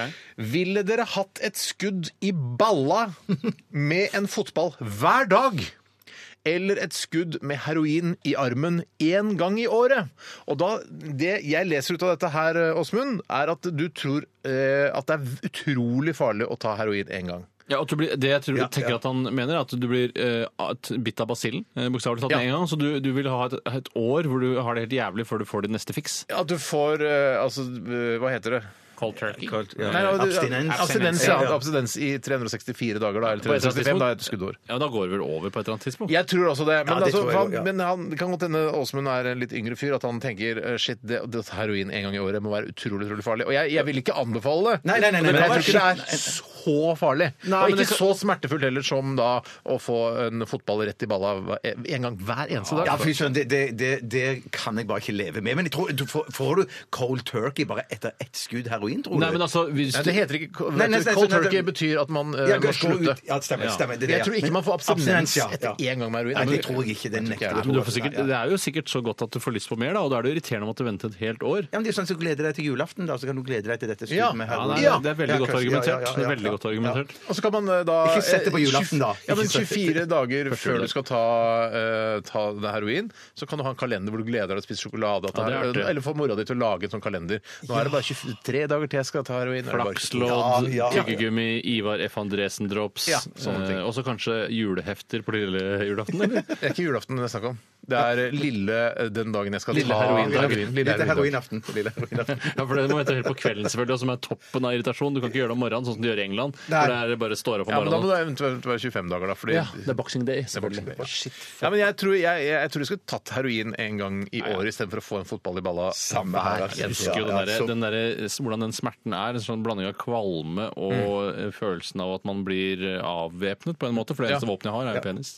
Speaker 4: Ville dere hatt et skudd i balla med en fotball hver dag? Eller et skudd med heroin i armen én gang i året. Og da, Det jeg leser ut av dette, her, eh, Åsmund, er at du tror eh, at det er utrolig farlig å ta heroin én gang.
Speaker 6: Ja, og du blir, det jeg tror, tenker at han mener, er at du blir eh, at- bitt av basillen, eh, bokstavelig talt,
Speaker 4: Ja.
Speaker 6: med en gang. Så du, du vil ha et, et år hvor du har det helt jævlig før du får ditt neste fiks.
Speaker 4: At du får eh, Altså, eh, hva heter det?
Speaker 6: Cold turkey.
Speaker 4: Nei, ja, det-
Speaker 5: abstinens.
Speaker 4: Abstinens, ja.
Speaker 5: Ja.
Speaker 4: Abstinens i 364 dager, da. Eller
Speaker 6: På et eller annet
Speaker 4: 365, da er
Speaker 6: tidspunkt.
Speaker 4: et skuddår.
Speaker 6: Ja, da går det vel over på et eller annet tidspunkt.
Speaker 4: Jeg tror også det. Men,
Speaker 5: det
Speaker 4: altså,
Speaker 5: tror jeg
Speaker 4: hva-
Speaker 5: også, ja.
Speaker 4: men han, det kan godt hende Åsmund er en litt yngre fyr, at han tenker eh, shit, det, det heroin en gang i året må være utrolig utrolig farlig. Og jeg, jeg vil ikke anbefale det.
Speaker 5: Nei, nei, nei, nei,
Speaker 4: men jeg
Speaker 5: men
Speaker 4: tror ikke det er så farlig. og
Speaker 6: Nei, men
Speaker 4: ikke
Speaker 6: det kan-
Speaker 4: så smertefullt heller som da å få en fotball rett i balla hver- en gang hver eneste dag.
Speaker 5: Ja, fy søren, det, det, det, det kan jeg bare ikke leve med. Men jeg tror, du, får, får du cold turkey bare etter ett skudd heroin, tror du?
Speaker 6: Nei, men altså, hvis
Speaker 4: Nei,
Speaker 6: du,
Speaker 4: det heter ikke
Speaker 5: Nei, nei, nei,
Speaker 4: Cold
Speaker 5: nei, nei,
Speaker 4: turkey
Speaker 5: nei.
Speaker 4: betyr at man eh,
Speaker 5: Ja,
Speaker 4: må
Speaker 5: gå
Speaker 4: slutte.
Speaker 5: ut. Ja, stemmer.
Speaker 6: Ja.
Speaker 5: stemmer det, er det,
Speaker 4: Jeg tror ikke
Speaker 5: Men-
Speaker 4: man får abstinens
Speaker 5: ja,
Speaker 4: etter
Speaker 5: ja.
Speaker 4: én gang med heroin.
Speaker 5: Nei, det tror jeg ikke.
Speaker 4: Jeg tror ikke
Speaker 5: Det
Speaker 4: jeg
Speaker 5: nekter
Speaker 4: heller.
Speaker 5: jeg.
Speaker 6: men du får sikkert,
Speaker 5: Nei,
Speaker 6: det
Speaker 5: nei.
Speaker 6: er jo sikkert så godt at du får lyst på mer, da, og da er det jo irriterende å måtte vente et helt år.
Speaker 5: Ja, men det er jo sånn som gleder deg til julaften, da, så kan du glede deg til dette skuddet
Speaker 4: Ja.
Speaker 5: med
Speaker 6: Ja,
Speaker 5: heroin.
Speaker 6: nei,
Speaker 4: Ja.
Speaker 6: Det er veldig
Speaker 5: Ja,
Speaker 6: godt
Speaker 5: kanskje. Ja,
Speaker 6: argumentert.
Speaker 5: ja, ja,
Speaker 6: Det
Speaker 5: ja,
Speaker 6: er veldig
Speaker 5: ja.
Speaker 6: godt argumentert.
Speaker 4: Og så kan man eh, da
Speaker 5: Ikke sett det på
Speaker 4: eh,
Speaker 5: julaften, da.
Speaker 4: Ja, men
Speaker 5: Ikke sett det.
Speaker 4: 24 dager før du skal ta, eh, ta det heroin, så kan du ha en kalender hvor du gleder deg til å spise sjokolade. At
Speaker 6: Ja, det er
Speaker 4: det
Speaker 6: artig.
Speaker 4: er, eller få mora di til å lage en sånn kalender. Nå er det bare 23 dager til jeg skal ta heroin. er det bare 24.
Speaker 6: Flakslodd,
Speaker 5: Ja, ja, ja.
Speaker 6: tyggegummi, Ivar F. Andresen-drops.
Speaker 4: Ja, sånne ting.
Speaker 6: eh, og så kanskje julehefter på lille julaften, eller?
Speaker 4: Det er ikke julaften det er snakk om. Det er eh, lille eh, den dagen jeg skal
Speaker 5: Lille
Speaker 4: ta
Speaker 5: heroin.
Speaker 4: heroin. Lille
Speaker 5: Lille
Speaker 4: heroin.
Speaker 5: heroinaften. Lille heroinaften.
Speaker 6: Ja, for Det må hete helt på kvelden, selvfølgelig, og som er toppen av irritasjon. Du kan ikke gjøre det om morgenen, sånn som de gjør i England. For
Speaker 5: Nei.
Speaker 6: der bare står opp om
Speaker 4: Ja, men da må
Speaker 6: morgenen.
Speaker 4: det eventuelt være 25 dager, da. Fordi
Speaker 6: Ja, det er boxing day.
Speaker 4: Det er boxing
Speaker 6: selvfølgelig.
Speaker 4: day, ja. Ja, men jeg tror jeg, jeg, jeg tror jeg skulle tatt heroin en gang i året istedenfor å få en fotball i balla.
Speaker 5: Samme her, altså.
Speaker 6: Jeg husker jo den derre- den derre- hvordan den smerten er. En sånn blanding av kvalme og eh, følelsen av at man blir eh, avvæpnet på en måte. For det eneste våpenet jeg har, er jo penis.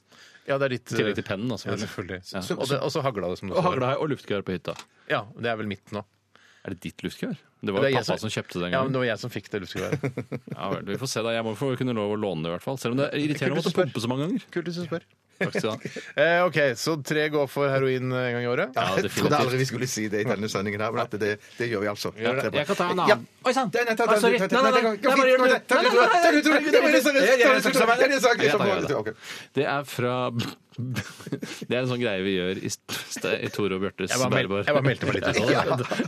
Speaker 4: Ja, det er ditt, eh,
Speaker 6: I tillegg til pennen, altså.
Speaker 4: Ja, selvfølgelig.
Speaker 6: Ja.
Speaker 4: Og, det, og så hagla det, som du
Speaker 6: Og
Speaker 4: sa.
Speaker 6: hagla og luftkøer på hytta.
Speaker 4: Ja, det er vel mitt nå.
Speaker 6: Er det ditt luftkøer? Det var
Speaker 4: Det er
Speaker 6: jo
Speaker 4: jeg
Speaker 6: pappa som kjøpte det en
Speaker 4: Ja, men
Speaker 6: gang.
Speaker 4: det var jeg som fikk det luftgeværet.
Speaker 6: Ja, vel, vi får se da. Jeg må få kunne lov å låne det, i hvert fall. Selv om det er irriterende å måtte
Speaker 4: Kult å spørre.
Speaker 6: pumpe så mange ganger.
Speaker 4: Kult hvis du spør.
Speaker 6: Takk skal du ha.
Speaker 4: Eh, ok, så tre går for heroin eh, en gang i året.
Speaker 6: Ja,
Speaker 5: Jeg trodde
Speaker 6: definitivt.
Speaker 5: aldri vi skulle si det i denne sendingen, her, men at det, det gjør vi altså.
Speaker 6: Jeg kan ta en
Speaker 5: Ja.
Speaker 6: annen. Oi sann!
Speaker 5: Nei, nei, ta- ta-
Speaker 6: Oi, sorry.
Speaker 5: ta- ta-
Speaker 6: Nei, nei,
Speaker 5: nei,
Speaker 6: nei.
Speaker 5: det går-
Speaker 6: Jeg bare gjør det.
Speaker 5: Takk, Tore.
Speaker 6: Nei, nei, nei,
Speaker 5: Takk, Tore.
Speaker 6: nei, nei, nei, nei, nei,
Speaker 5: Ja, ja,
Speaker 6: nei,
Speaker 5: takk, Tore.
Speaker 6: nei, nei,
Speaker 5: Ja, ja, takk,
Speaker 6: Jeg tar
Speaker 5: Tore.
Speaker 6: det.
Speaker 5: Ok.
Speaker 6: Det er fra Det er en sånn greie vi gjør i, st- i Tore og Bjørtes
Speaker 4: Jeg bare mel-
Speaker 6: bærbare.
Speaker 4: jeg bare meldte meg litt ut.
Speaker 6: Ja.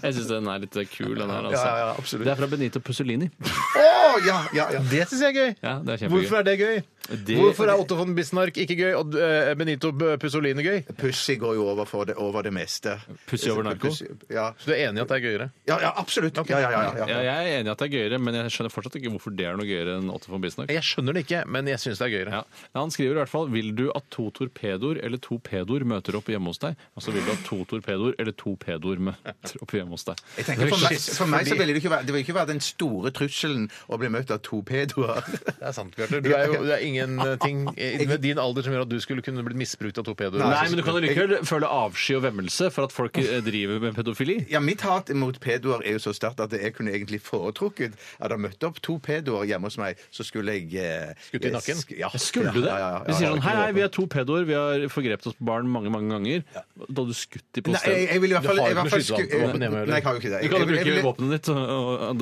Speaker 6: Jeg syns den er litt kul, den her. Altså.
Speaker 5: Ja, ja, absolutt.
Speaker 6: Det er fra Benito Pussolini.
Speaker 5: Å, ja, ja, ja.
Speaker 4: Det syns jeg er gøy.
Speaker 6: Ja, det er kjempegøy.
Speaker 4: Hvorfor er det gøy?
Speaker 6: Det-
Speaker 4: Hvorfor er Otto von Bismarck ikke gøy, og eh, Benito B- Pussolini gøy?
Speaker 5: Pussy går jo over, for det, over det meste.
Speaker 6: Pussy over narko?
Speaker 5: Pussy- Ja,
Speaker 4: Så du er enig i at det er gøyere?
Speaker 5: ja, ja absolutt. Ja, ja, ja, ja,
Speaker 6: Ja,
Speaker 5: ja.
Speaker 6: jeg er enig i at det er gøyere, men jeg skjønner fortsatt ikke hvorfor det er noe gøyere enn Otto von Bismarck.
Speaker 4: Jeg skjønner det ikke, men jeg syns det er gøyere.
Speaker 6: Ja. Han skriver i hvert fall Vil du at to torpedoer eller to pedoer møter opp hjemme hos deg? Altså vil du at to torpedoer eller to pedoer møter opp hjemme hos deg?
Speaker 5: Jeg tenker For meg,
Speaker 4: Shit,
Speaker 5: for meg så
Speaker 4: fordi-
Speaker 5: ville det ikke være, det ville ikke være den store trusselen å bli møtt av to pedoer.
Speaker 4: Det er sant, Bjarte. Du er jo det er ingenting eh, ved din alder som gjør at du skulle kunne blitt misbrukt av to pedoer.
Speaker 6: Nei, men du kan jo likevel føle avsky og vemmelse for at folk eh, driver med pedofili.
Speaker 5: Ja, Mitt hat mot pedoer er jo så sterkt at jeg kunne egentlig foretrukket at det møtte opp to pedoer hjemme hos meg, så skulle jeg eh,
Speaker 4: Skutt i nakken?
Speaker 5: sk- Ja.
Speaker 6: Skulle du det?
Speaker 5: Ja, ja, ja, ja,
Speaker 6: Vi sier
Speaker 5: ja, ja,
Speaker 6: sånn Hei, hei,
Speaker 5: ikke
Speaker 6: vi er to pedoer, vi har forgrepet oss på barn mange mange ganger. Da hadde du skutt de på
Speaker 5: Nei, jeg,
Speaker 6: stedet.
Speaker 5: jeg vil i hvert fall
Speaker 4: Du har
Speaker 5: jeg i
Speaker 4: jo
Speaker 5: hvert
Speaker 4: ikke noe
Speaker 5: fall sku-
Speaker 4: skyteapparatet hjemme, eller?
Speaker 5: Nei, jeg har jo ikke det.
Speaker 6: Du kan jo
Speaker 5: Jeg- jeg-
Speaker 6: bruke
Speaker 5: jeg-
Speaker 6: våpenet ditt og,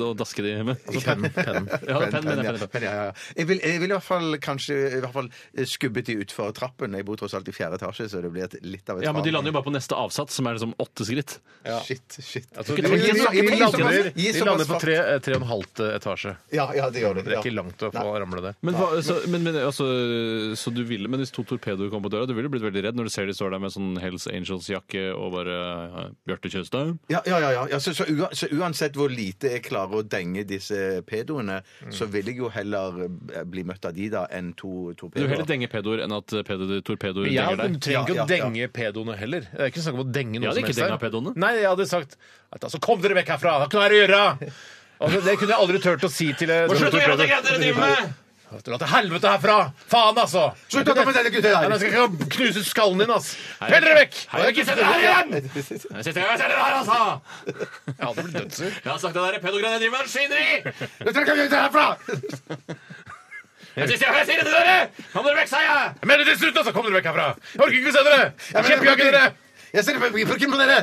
Speaker 6: og, og daske de med.
Speaker 4: Altså pennen. pennen.
Speaker 6: Ja,
Speaker 5: Pen,
Speaker 6: penn,
Speaker 5: pen,
Speaker 6: mener jeg,
Speaker 5: ja.
Speaker 6: penn,
Speaker 5: Pen, ja, ja, ja. Jeg vil, jeg vil i hvert fall kanskje i hvert fall skubbet de utfor trappen. Jeg bor tross alt i fjerde etasje, så det blir et, litt av et
Speaker 6: Ja, men de lander jo bare på neste avsats, som er liksom åtte skritt.
Speaker 5: Shit, shit.
Speaker 4: Altså, de,
Speaker 6: Ikke ta-
Speaker 4: de,
Speaker 6: gi så- gi
Speaker 4: de,
Speaker 6: såpass-
Speaker 4: lander,
Speaker 5: gi
Speaker 4: de
Speaker 5: såpass
Speaker 4: lander på
Speaker 5: fart.
Speaker 4: tre, eh, tre og en halv etasje.
Speaker 5: Ja, ja, det gjør de.
Speaker 4: Det er
Speaker 5: ja.
Speaker 4: ikke langt å få ramle det.
Speaker 6: Men, hva, så, men, men, altså, så du ville, men hvis to torpedoer kom på på døra. Du ville blitt veldig redd når du ser de står der med sånn Hells Angels-jakke og bare ja, Bjarte Tjøstheim.
Speaker 5: Ja, ja, ja. ja. ja så, så, ua- så uansett hvor lite jeg klarer å denge disse pedoene, så vil jeg jo heller eh, bli møtt av de da enn to, to
Speaker 6: Du vil
Speaker 5: pedoer.
Speaker 6: heller denge pedoer enn at eh, pedo- torpedoer
Speaker 4: Men Jeg
Speaker 6: denger deg.
Speaker 4: du trenger ikke
Speaker 5: Ja,
Speaker 4: å
Speaker 5: ja, ja.
Speaker 4: denge pedoene heller. Det er ikke snakk om å denge noen
Speaker 6: Jeg hadde
Speaker 4: som
Speaker 6: ikke
Speaker 4: helst. her.
Speaker 6: denga pedoene.
Speaker 4: Nei, jeg hadde sagt at, altså, Kom dere vekk herfra! Hva kan dere gjøre? Altså, det kunne jeg aldri turt å si til eh, en
Speaker 7: Slutt å gjøre det greia dere driver med!
Speaker 4: Dra til helvete herfra! Faen, altså!
Speaker 5: Slutt å ta på denne gutten her!
Speaker 4: Nei, men Jeg skal ikke knuse skallen din, ass! Pell dere vekk!
Speaker 7: Hei, ikke sett her igjen! Jeg sitter her, jeg sitter her, altså!
Speaker 4: Jeg hadde blitt dødsur.
Speaker 7: Jeg har sagt det der pedogreiene jeg driver med, er svineri!
Speaker 5: Vet dere hva jeg gjør herfra?
Speaker 7: Jeg sier jeg sier det til dere! Kom dere vekk, sa jeg!
Speaker 4: Jeg mener til slutt, altså! Kom dere vekk herfra! Jeg orker ikke å se dere! Jeg kjempejager dere!
Speaker 5: Jeg ser på bruken på dere!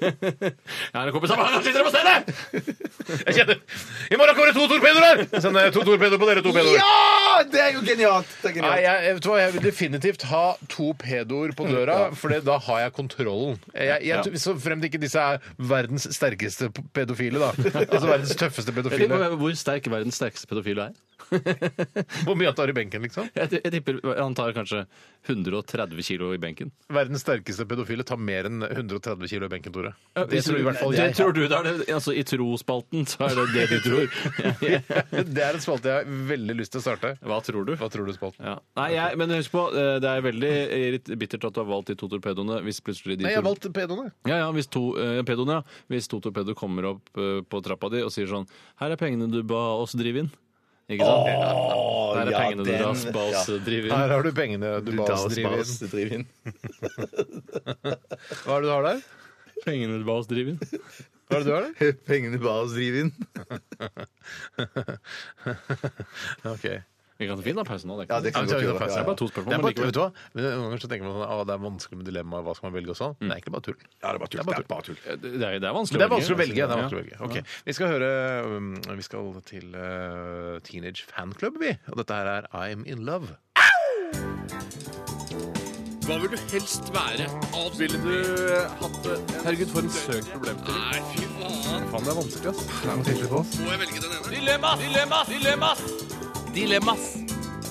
Speaker 6: Jeg har en kompis
Speaker 7: Så
Speaker 6: av meg.
Speaker 7: bare han sitter på stedet!
Speaker 4: Jeg kjenner I morgen kommer det to torpedoer her! Jeg sender to torpedoer på dere to pedoer.
Speaker 5: Ja! Det er jo genialt! Det er
Speaker 4: Nei,
Speaker 5: genialt.
Speaker 4: jeg, jeg, vet du hva, jeg vil definitivt ha to pedoer på døra, for da har jeg kontrollen. Jeg, jeg,
Speaker 6: Ja.
Speaker 4: Så fremt ikke disse er verdens sterkeste p- pedofile, da. Altså verdens tøffeste
Speaker 6: Jeg lurer
Speaker 4: pedofile.
Speaker 6: på Hvor sterk verdens sterkeste pedofil er?
Speaker 4: Hvor mye han tar i benken, liksom?
Speaker 6: Jeg, jeg tipper han tar kanskje 130 kilo i benken.
Speaker 4: Verdens sterkeste pedofile tar mer enn 130 kilo i benken, Tore. Det
Speaker 6: Hvis
Speaker 4: tror
Speaker 6: du-
Speaker 4: i hvert fall
Speaker 6: det
Speaker 4: jeg.
Speaker 6: tror du det er det, altså I trospalten så er det det du tror. Jeg- jeg-
Speaker 4: Det er en spalte jeg har veldig lyst til å starte.
Speaker 6: Hva tror du?
Speaker 4: Hva tror du, spalten?
Speaker 6: Ja. Nei, jeg, men husk på, eh, det er veldig irrit- bittert at du har valgt de to torpedoene hvis plutselig de
Speaker 4: Nei, jeg
Speaker 6: tor-
Speaker 4: har valgt pedoene.
Speaker 6: Ja, ja, hvis to, eh, pedoene, ja. Hvis to torpedoer kommer opp eh, på trappa di og sier sånn Her er pengene du ba oss drive inn. Ikke sant? Her er
Speaker 5: ja,
Speaker 6: pengene
Speaker 5: den-
Speaker 6: du ba oss- ba oss eh, drive inn.
Speaker 4: Her har du pengene du ba oss drive inn.
Speaker 5: drive inn.
Speaker 4: Hva er det du har der?
Speaker 6: Pengene du ba oss drive inn.
Speaker 4: Hva er det du har der?
Speaker 5: Pengene ba oss drive inn.
Speaker 4: Ok.
Speaker 6: Vi kan fint ha pause nå. Det er
Speaker 5: Ja,
Speaker 6: ikke
Speaker 5: det
Speaker 4: Ja, vi
Speaker 5: kan vi godt
Speaker 6: det
Speaker 4: tar
Speaker 5: gjøre.
Speaker 4: pause.
Speaker 5: Ja,
Speaker 6: det er
Speaker 5: ja.
Speaker 6: bare to spørsmål.
Speaker 4: Det er
Speaker 6: men
Speaker 4: bare,
Speaker 6: likevel.
Speaker 4: vet du hva? Men Noen ganger så tenker man sånn, «Å, det er vanskelig med dilemmaer, hva skal man velge og sånn. Det er egentlig bare tull.
Speaker 5: Ja, det er bare tull. Det er bare tull.
Speaker 6: Eh, Det er, det er vanskelig, altså.
Speaker 4: Men det er vanskelig å velge. Det er
Speaker 6: Ja.
Speaker 4: vanskelig å velge. Ok. Vi skal høre um, Vi skal til uh, Teenage Fan Club, vi. Og dette her er I'm In Love.
Speaker 7: Hva vil du helst være? Ville du hatt det?
Speaker 6: Herregud, for eh, en søk problem.
Speaker 7: Nei, fy faen.
Speaker 4: Faen, det er vanskelig, ass.
Speaker 7: Må jeg velge den ene? Dilemmas! Dilemmas! Dilemmas! Dilemmas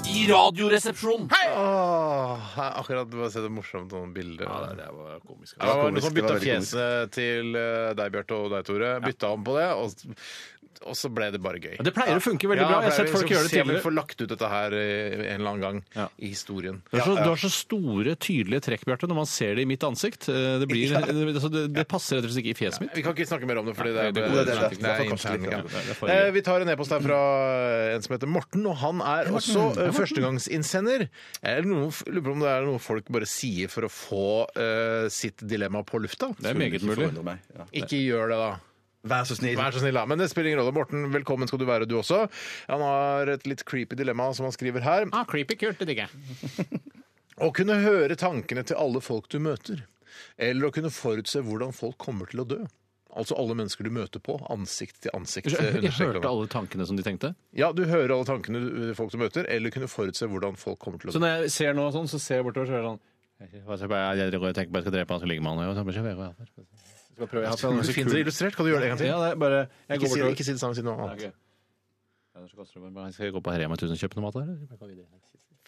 Speaker 7: i Radioresepsjonen.
Speaker 4: Åh, jeg har akkurat bare sett et morsomt noen bilder. Ja, det var komisk. Det var noen
Speaker 5: komisk,
Speaker 4: som
Speaker 5: det
Speaker 4: bytta
Speaker 5: var veldig komisk.
Speaker 4: fjeset til uh, deg, Bjarte, og deg, Tore. Bytta om på det, og, og så ble det bare gøy.
Speaker 6: Det pleier liksom å funke veldig bra. Jeg har sett folk gjøre det
Speaker 4: liksom Vi
Speaker 6: tidligere.
Speaker 4: får lagt ut dette her eh, en eller annen gang
Speaker 6: Ja.
Speaker 4: i historien.
Speaker 6: Du har, så, du har så store, tydelige trekk, Bjarte, når man ser det i mitt ansikt. Eh, Det, blir, altså, det, det passer rett og slett ikke i fjeset mitt.
Speaker 4: Vi kan ikke snakke mer om det, fordi det er,
Speaker 6: Nei, det går- det er- det
Speaker 4: det
Speaker 6: er-
Speaker 4: er
Speaker 5: det er for
Speaker 4: intern
Speaker 5: kostelig.
Speaker 4: greie.
Speaker 6: Det er for-
Speaker 4: Eh, Vi tar en e-post her fra en som heter Morten, og han er også eh, førstegangsinnsender. Jeg lurer på- lurer på om det er noe folk bare sier for å få eh, sitt dilemma på lufta.
Speaker 6: Det er meget
Speaker 5: Ikke
Speaker 6: mulig.
Speaker 5: forundre meg, ja.
Speaker 4: Ikke gjør det, da.
Speaker 5: Vær så snill.
Speaker 4: Vær så snill, da. Men det spiller ingen rolle. Morten, velkommen skal du være, du også. Han har et litt creepy dilemma som han skriver her.
Speaker 6: Ah, creepy kult, det digger jeg.
Speaker 4: Å kunne høre tankene til alle folk du møter, eller å kunne forutse hvordan folk kommer til å dø. Altså alle mennesker du møter på, ansikt til ansikt.
Speaker 6: Jeg
Speaker 4: understreker
Speaker 6: hørte
Speaker 4: han.
Speaker 6: alle tankene som de tenkte.
Speaker 4: Ja, du hører alle tankene du- eh, folk du møter, eller kunne forutse hvordan folk kommer til å
Speaker 6: Så når jeg ser noe sånn, så ser jeg bortover, så er det sånn Hva skal jeg bare- jeg tenker på jeg skal drepe han, så ligger man og så bare, så prøver jeg alt her. Så skal jeg prøve, jeg har hatt en
Speaker 4: Du
Speaker 6: så
Speaker 4: finner det
Speaker 6: kul-
Speaker 4: illustrert. Kan du gjøre det en gang til?
Speaker 6: Ja, det er bare Jeg går
Speaker 4: Ikke si,
Speaker 6: bortover.
Speaker 4: ikke si det samme, si noe
Speaker 6: Ja,
Speaker 4: annet.
Speaker 6: ok. Ja, så koster det bare- Skal jeg gå på Herrema 1000 og kjøpe noe mat her?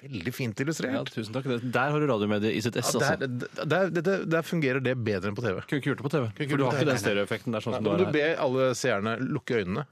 Speaker 4: Veldig fint
Speaker 6: Ja,
Speaker 4: illustrert.
Speaker 6: tusen takk. Det- Der har du radiomediet i sitt ess,
Speaker 4: Ja,
Speaker 6: altså.
Speaker 4: der, der, der, der fungerer det bedre enn på TV.
Speaker 6: Kunne ikke gjort det på TV.
Speaker 4: ikke
Speaker 6: For
Speaker 4: gjort
Speaker 6: du har
Speaker 4: det.
Speaker 6: ikke den stereoeffekten der sånn som du
Speaker 4: Men
Speaker 6: har
Speaker 4: du
Speaker 6: her.
Speaker 4: ber alle seerne lukke øynene,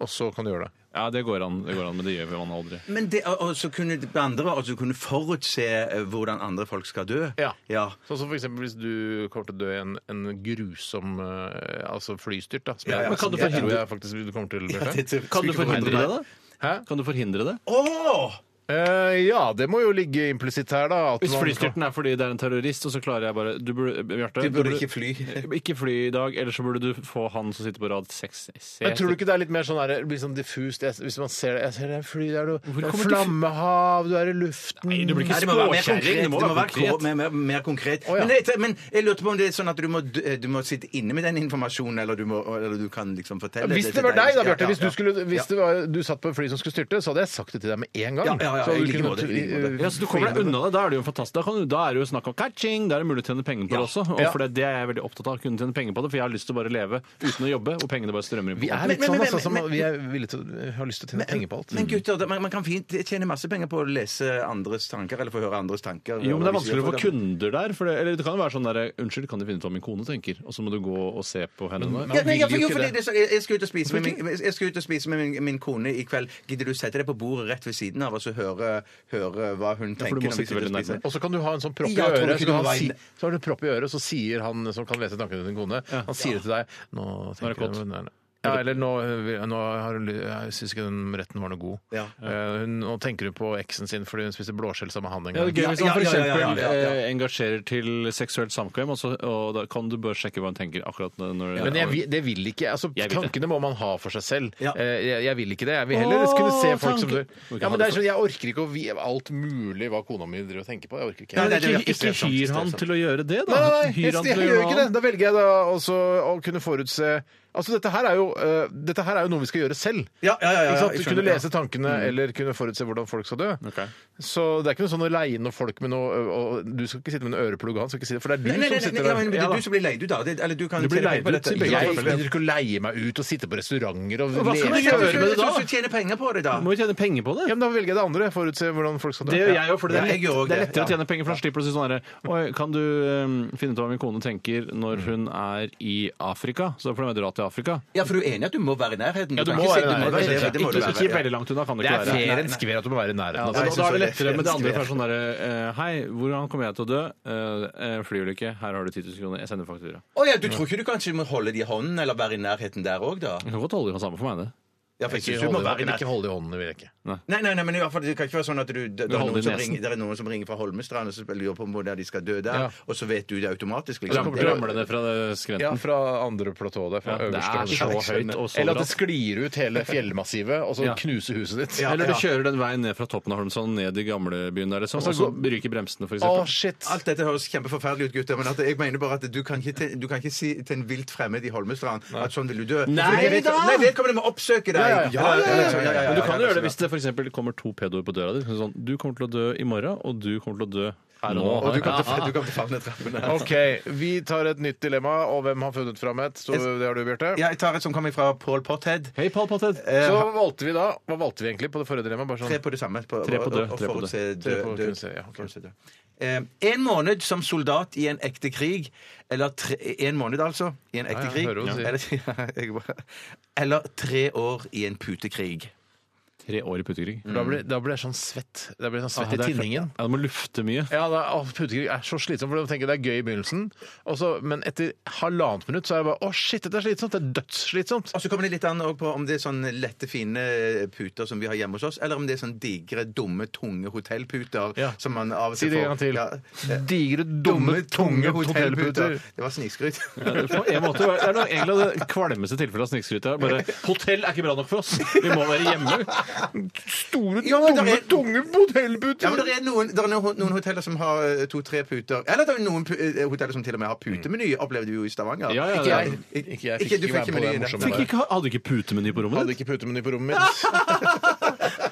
Speaker 4: og så kan du gjøre det.
Speaker 6: Ja, det går an, det går an men det gjør man aldri.
Speaker 5: Men det, og, og så kunne det andre og så kunne forutse eh, hvordan andre folk skal dø.
Speaker 4: Ja.
Speaker 5: ja.
Speaker 4: Sånn som for eksempel hvis du kommer til å dø i en, en grusom eh, altså flystyrt, da. Som
Speaker 5: Ja, ja.
Speaker 4: jeg,
Speaker 5: Men kan du
Speaker 4: som jeg
Speaker 6: forhindre-
Speaker 4: tror jeg faktisk du kommer til å gjøre.
Speaker 6: Kan du forhindre det, da?
Speaker 4: Hæ?
Speaker 6: Kan du forhindre det?
Speaker 5: Åh!
Speaker 4: Eh, ja, det må jo ligge implisitt her, da. at
Speaker 6: Hvis
Speaker 4: man-
Speaker 6: flystyrten er fordi det er en terrorist, og så klarer jeg bare Du burde, Bjarte
Speaker 5: Du
Speaker 6: du
Speaker 5: burde ikke fly.
Speaker 6: Ikke fly i dag, eller så burde du få han som sitter på rad 6
Speaker 4: Men tror du ikke det er litt mer sånn der, blir sånn diffust? Jeg, hvis man ser det Jeg ser det er fly der, du. Det er
Speaker 6: kommer du-
Speaker 4: flammehav, du er i luften
Speaker 6: Nei, du blir ikke
Speaker 5: Nei, det må være mer
Speaker 6: spåkjerring,
Speaker 5: konkret.
Speaker 6: det må være konkret.
Speaker 5: mer, mer, mer konkret.
Speaker 4: ja.
Speaker 5: men, jeg, men jeg lurte på om det er sånn at du må, du må sitte inne med den informasjonen, eller du, må, eller du kan liksom fortelle
Speaker 4: Hvis det
Speaker 5: til
Speaker 4: var deg, da,
Speaker 5: Ja,
Speaker 4: Bjarte.
Speaker 5: ja,
Speaker 4: Hvis, du,
Speaker 5: ja.
Speaker 4: skulle, hvis
Speaker 5: Ja.
Speaker 4: det var, du satt på et fly som skulle styrte, så hadde jeg sagt det til deg med en gang.
Speaker 5: Ja, ja, ja, ja,
Speaker 4: Så
Speaker 5: i
Speaker 4: du
Speaker 5: like
Speaker 4: kunne-
Speaker 5: måte, i like måte.
Speaker 4: eh,
Speaker 6: Ja, så Du kommer deg unna det. Da er det jo fantastisk. Da, kan du, da er det jo snakk om catching, da er det mulig å tjene penger på det også. Og
Speaker 4: Ja.
Speaker 6: for det, det er jeg veldig opptatt av, å kunne tjene penger på det, for jeg har lyst til å bare leve uten å jobbe, og pengene bare strømmer inn.
Speaker 4: Vi
Speaker 6: på
Speaker 4: er
Speaker 6: kontoen.
Speaker 4: litt
Speaker 5: men-
Speaker 4: sånn
Speaker 5: men-
Speaker 4: altså, som
Speaker 5: men-
Speaker 4: vi er villige til å har lyst til å tjene penger på alt.
Speaker 5: Men gutter, det- man, man kan fint tjene masse penger på å lese andres tanker, eller få høre andres tanker.
Speaker 6: Jo, men
Speaker 5: Hvis
Speaker 6: det er
Speaker 5: vi
Speaker 6: vanskeligere å
Speaker 5: gjør
Speaker 6: få
Speaker 5: det.
Speaker 6: kunder der. For det, eller det kan jo være sånn der, Unnskyld, kan de finne ut hva min kone tenker? Og så må du gå og se på henne.
Speaker 5: Ja, men, ja,
Speaker 4: vil
Speaker 5: for,
Speaker 4: jo
Speaker 5: jo,
Speaker 4: ikke det.
Speaker 5: fordi det er så- jeg, jeg skal ut og spise med, min, jeg skal ut og spise med min, min kone i kveld. Gidder du sette deg på bordet rett ved siden av og så høre, høre hva hun tenker?
Speaker 6: du må
Speaker 5: når vi
Speaker 6: sitte
Speaker 5: sitter
Speaker 6: veldig
Speaker 5: og spiser?
Speaker 6: nærme.
Speaker 4: Og så kan du ha en sånn propp i
Speaker 5: liksom. Ja, jeg tror
Speaker 4: øret,
Speaker 5: ikke
Speaker 4: så, kan
Speaker 5: du
Speaker 4: han
Speaker 5: var
Speaker 4: si,
Speaker 5: inne.
Speaker 4: så har du propp i øret, så sier han som kan lese tankene til din kone, han sier det til deg Nå
Speaker 6: er det
Speaker 4: tenker
Speaker 6: kåt.
Speaker 4: hun nei, nei. ja, eller nå, nå har hun, ly- jeg syns ikke den retten var noe god.
Speaker 5: Ja.
Speaker 4: Eh, hun, nå tenker hun på eksen sin fordi hun spiste blåskjell sammen med han en
Speaker 6: Ja,
Speaker 4: gang.
Speaker 6: det er gøy hvis han
Speaker 5: Ja,
Speaker 6: for
Speaker 5: ja, ja, ja, ja,
Speaker 6: eksempel
Speaker 5: ja, ja.
Speaker 6: eh, engasjerer til seksuelt samkvem, og, så, og da kan du bare sjekke hva han tenker akkurat når
Speaker 4: Men jeg, vil- det vil ikke. altså
Speaker 6: Jeg vil det.
Speaker 4: Tankene må man ha for seg selv.
Speaker 5: Ja.
Speaker 4: Eh, Jeg, jeg vil ikke det. Jeg vil heller kunne se
Speaker 6: Åh,
Speaker 4: folk som
Speaker 6: tanker.
Speaker 4: dør.
Speaker 6: Du kan
Speaker 4: Ja,
Speaker 6: ha
Speaker 4: men
Speaker 6: det
Speaker 4: det er sånn, Jeg orker ikke å vi- alt mulig hva kona mi driver og tenker på. Jeg orker ikke.
Speaker 5: Nei, nei, det er
Speaker 6: ikke, sånn
Speaker 5: ikke
Speaker 6: ikke
Speaker 5: strevsomt,
Speaker 6: hyr han
Speaker 5: strevsomt.
Speaker 6: til å gjøre det, da.
Speaker 4: Nei, nei, nei.
Speaker 6: Hyr
Speaker 4: Jeg,
Speaker 6: han
Speaker 4: jeg,
Speaker 6: til å
Speaker 4: gjør
Speaker 6: gjøre
Speaker 4: ikke
Speaker 6: noe
Speaker 4: det. Da velger jeg da også å kunne forutse Altså, dette her er jo, eh, dette her er jo noe vi skal gjøre selv.
Speaker 5: Ja, ja, ja, ja,
Speaker 4: ikke sant?
Speaker 5: jeg
Speaker 4: Du
Speaker 5: skjønner,
Speaker 4: kunne
Speaker 5: ja.
Speaker 4: lese tankene eller kunne forutse hvordan folk skal dø.
Speaker 6: Ok.
Speaker 4: Så det er ikke noe sånn å leie noen folk med noe og, og, Du skal ikke sitte med en øreplugg, og han skal ikke sitte For det er du
Speaker 5: Nei, nei, nei,
Speaker 4: som sitter
Speaker 5: nei, ja, men sånn det
Speaker 4: der.
Speaker 5: er du som blir leid ut, da. Det, eller du kan
Speaker 6: Du blir
Speaker 5: tjene penger på
Speaker 6: leid ut
Speaker 5: dette.
Speaker 6: til
Speaker 5: Ja,
Speaker 6: begge
Speaker 4: Jeg
Speaker 5: selvfølgelig.
Speaker 4: gidder ikke å leie meg ut og sitte på restauranter og
Speaker 6: Hva
Speaker 5: Men jeg tror-
Speaker 6: skal du gjøre med det da?
Speaker 5: jeg tror du tjener penger på det, da.
Speaker 6: Du Må jo tjene penger på det.
Speaker 4: Ja, men Da velger jeg det andre. Forutse hvordan folk skal dø.
Speaker 6: Det gjør jeg òg, for det
Speaker 5: Ja,
Speaker 6: er,
Speaker 5: jeg
Speaker 6: lett,
Speaker 5: gjør også
Speaker 6: det er
Speaker 5: det.
Speaker 6: lettere å
Speaker 5: Ja.
Speaker 6: tjene penger, for da slipper du å si sånn herre Oi, kan du eh, finne ut hva min kone tenker når hun er i Afrika? Så da får du dra til Afrika.
Speaker 5: Ja, for du er enig at du må være i nærheten?
Speaker 4: Ja, du
Speaker 5: kan
Speaker 4: må
Speaker 5: ikke si-
Speaker 4: være i
Speaker 5: du må
Speaker 4: nærheten,
Speaker 5: være i
Speaker 4: synes
Speaker 5: nærheten,
Speaker 4: jeg.
Speaker 5: det må du
Speaker 6: Ikke,
Speaker 5: være,
Speaker 6: ikke
Speaker 5: ja.
Speaker 6: veldig langt unna kan du
Speaker 4: Det
Speaker 6: ikke
Speaker 4: er
Speaker 6: være.
Speaker 4: fair enn skver at du må være i nærheten.
Speaker 6: Ja,
Speaker 4: altså.
Speaker 6: da,
Speaker 5: jeg
Speaker 6: da,
Speaker 5: synes
Speaker 6: er
Speaker 5: det
Speaker 6: det
Speaker 5: er
Speaker 6: lettere med det andre.
Speaker 5: skver.
Speaker 6: for sånn der, eh, Hei, hvordan kommer jeg til å dø? Eh, eh, Flyulykke. Her har du 10 000 kroner. Jeg sender faktura.
Speaker 5: Å ja, du tror ikke du kanskje må holde de i hånden, eller være i nærheten der òg, da?
Speaker 6: Du kan godt holde det samme for meg, det.
Speaker 5: Ja, for jeg
Speaker 4: Ikke
Speaker 5: synes du må
Speaker 4: holde-
Speaker 5: være i nærheten.
Speaker 4: Ikke holde i hånden, vil jeg ikke.
Speaker 5: Nei, nei, nei, men i hvert fall, det kan ikke være sånn at du, det, det, er,
Speaker 6: holder
Speaker 5: noen
Speaker 6: i
Speaker 5: som
Speaker 6: nesen.
Speaker 5: ringer, det er noen som ringer fra Holmestrand og så lurer på hvor der de skal dø der,
Speaker 4: Ja.
Speaker 5: og så vet du det automatisk.
Speaker 6: Du
Speaker 5: Liksom.
Speaker 6: kommer til å ramle ned fra eh,
Speaker 4: Ja,
Speaker 6: skrenten.
Speaker 4: fra andre platået der. Fra
Speaker 6: Ja, det
Speaker 4: øverste
Speaker 6: er så
Speaker 4: platå.
Speaker 6: høyt og så
Speaker 4: Eller at det
Speaker 6: bratt.
Speaker 4: sklir ut hele fjellmassivet, og så
Speaker 6: Ja.
Speaker 4: knuser huset ditt.
Speaker 5: Ja.
Speaker 6: Eller du kjører den veien ned fra toppen av Holmsand ned i gamlebyen der, liksom, og så ryker bremsene, for
Speaker 4: Å,
Speaker 6: eksempel.
Speaker 4: shit!
Speaker 5: Alt dette høres kjempeforferdelig ut, gutter, men at jeg mener bare at du kan ikke, til, du kan ikke si til en vilt fremmed i Holmestrand at sånn vil du dø.
Speaker 6: Nei
Speaker 5: Fordi vet-
Speaker 6: da!
Speaker 5: Nei, vedkommende må oppsøke deg!
Speaker 4: Ja, ja, ja.
Speaker 5: Eller- eller- ja, ja, ja,
Speaker 6: Men du
Speaker 5: ja,
Speaker 6: kan
Speaker 5: ja,
Speaker 6: jo gjøre det
Speaker 5: ja.
Speaker 6: hvis det for eksempel kommer to pedoer på døra di. Sånn, du kommer til å dø i morgen, og du kommer til å dø her og nå.
Speaker 5: Og du kommer til, du kommer til å favne trappene.
Speaker 4: OK, vi tar et nytt dilemma, og hvem har funnet fram et? Så det har du, Bjarte.
Speaker 5: Ja, jeg tar et som kommer fra Paul Potthead.
Speaker 6: Hei, Pall Pottet!
Speaker 4: Så valgte vi da Hva valgte vi egentlig på det forrige dilemmaet? Bare
Speaker 5: Tre
Speaker 4: sånn
Speaker 5: på det samme. På,
Speaker 6: Tre på
Speaker 5: og-
Speaker 6: død,
Speaker 5: og
Speaker 6: tre på
Speaker 5: forutse
Speaker 6: død.
Speaker 5: død-
Speaker 4: Tre på
Speaker 5: død-
Speaker 4: kunne se, ja, ok.
Speaker 5: forutse død. Eh, en måned som soldat i en ekte krig, eller tre, en måned altså, i en ekte
Speaker 4: ja,
Speaker 5: krig,
Speaker 4: hører hva du
Speaker 5: eller, ja, jeg bare, eller tre år i en putekrig.
Speaker 6: Tre år i putekrig.
Speaker 4: da blir, da blir jeg sånn svett. Da blir jeg sånn svett i tinningen.
Speaker 6: Mm. Ja, du må lufte mye.
Speaker 4: Ja, da, å, Putekrig er så slitsomt, for de tenker det er gøy i begynnelsen, og så- men etter halvannet minutt så er jeg bare Å, shit, dette er slitsomt! Det er dødsslitsomt!
Speaker 5: Og så kommer det litt an også på om det er sånne lette, fine eh, puter som vi har hjemme hos oss, eller om det er sånne digre, dumme, tunge hotellputer
Speaker 4: Ja.
Speaker 5: som man av og
Speaker 4: Si
Speaker 5: til
Speaker 4: det en gang
Speaker 5: får.
Speaker 4: til.
Speaker 5: Ja.
Speaker 4: Digre, dumme, tunge hotellputer.
Speaker 5: Det var snikskryt.
Speaker 6: Ja, det, på en måte, det er noe, egentlig det kvalmeste tilfellet av snikskryt. det er Bare hotell er ikke bra nok for oss! Vi må være hjemme.
Speaker 4: Store,
Speaker 5: Ja, men det
Speaker 4: dumme,
Speaker 5: er-
Speaker 4: tunge hotellputer!
Speaker 5: Ja, men det er noen, der er noen, noen hoteller som har eh, to-tre puter. Eller det er noen pu- eh, hoteller som til og med har
Speaker 4: Mm.
Speaker 5: putemeny, opplevde vi jo i Stavanger.
Speaker 6: Ja, ja,
Speaker 5: ikke
Speaker 6: ja.
Speaker 5: jeg.
Speaker 4: Ikke jeg fikk
Speaker 5: Ikke, du
Speaker 4: ikke
Speaker 5: fikk
Speaker 4: være med på
Speaker 5: ikke
Speaker 4: det
Speaker 5: menyen.
Speaker 4: morsomme
Speaker 5: Fikk
Speaker 4: der.
Speaker 5: ikke-
Speaker 6: Ikke, hadde du ikke putemeny på rommet
Speaker 4: Hadde
Speaker 6: ditt?
Speaker 4: ikke putemeny på rommet mitt.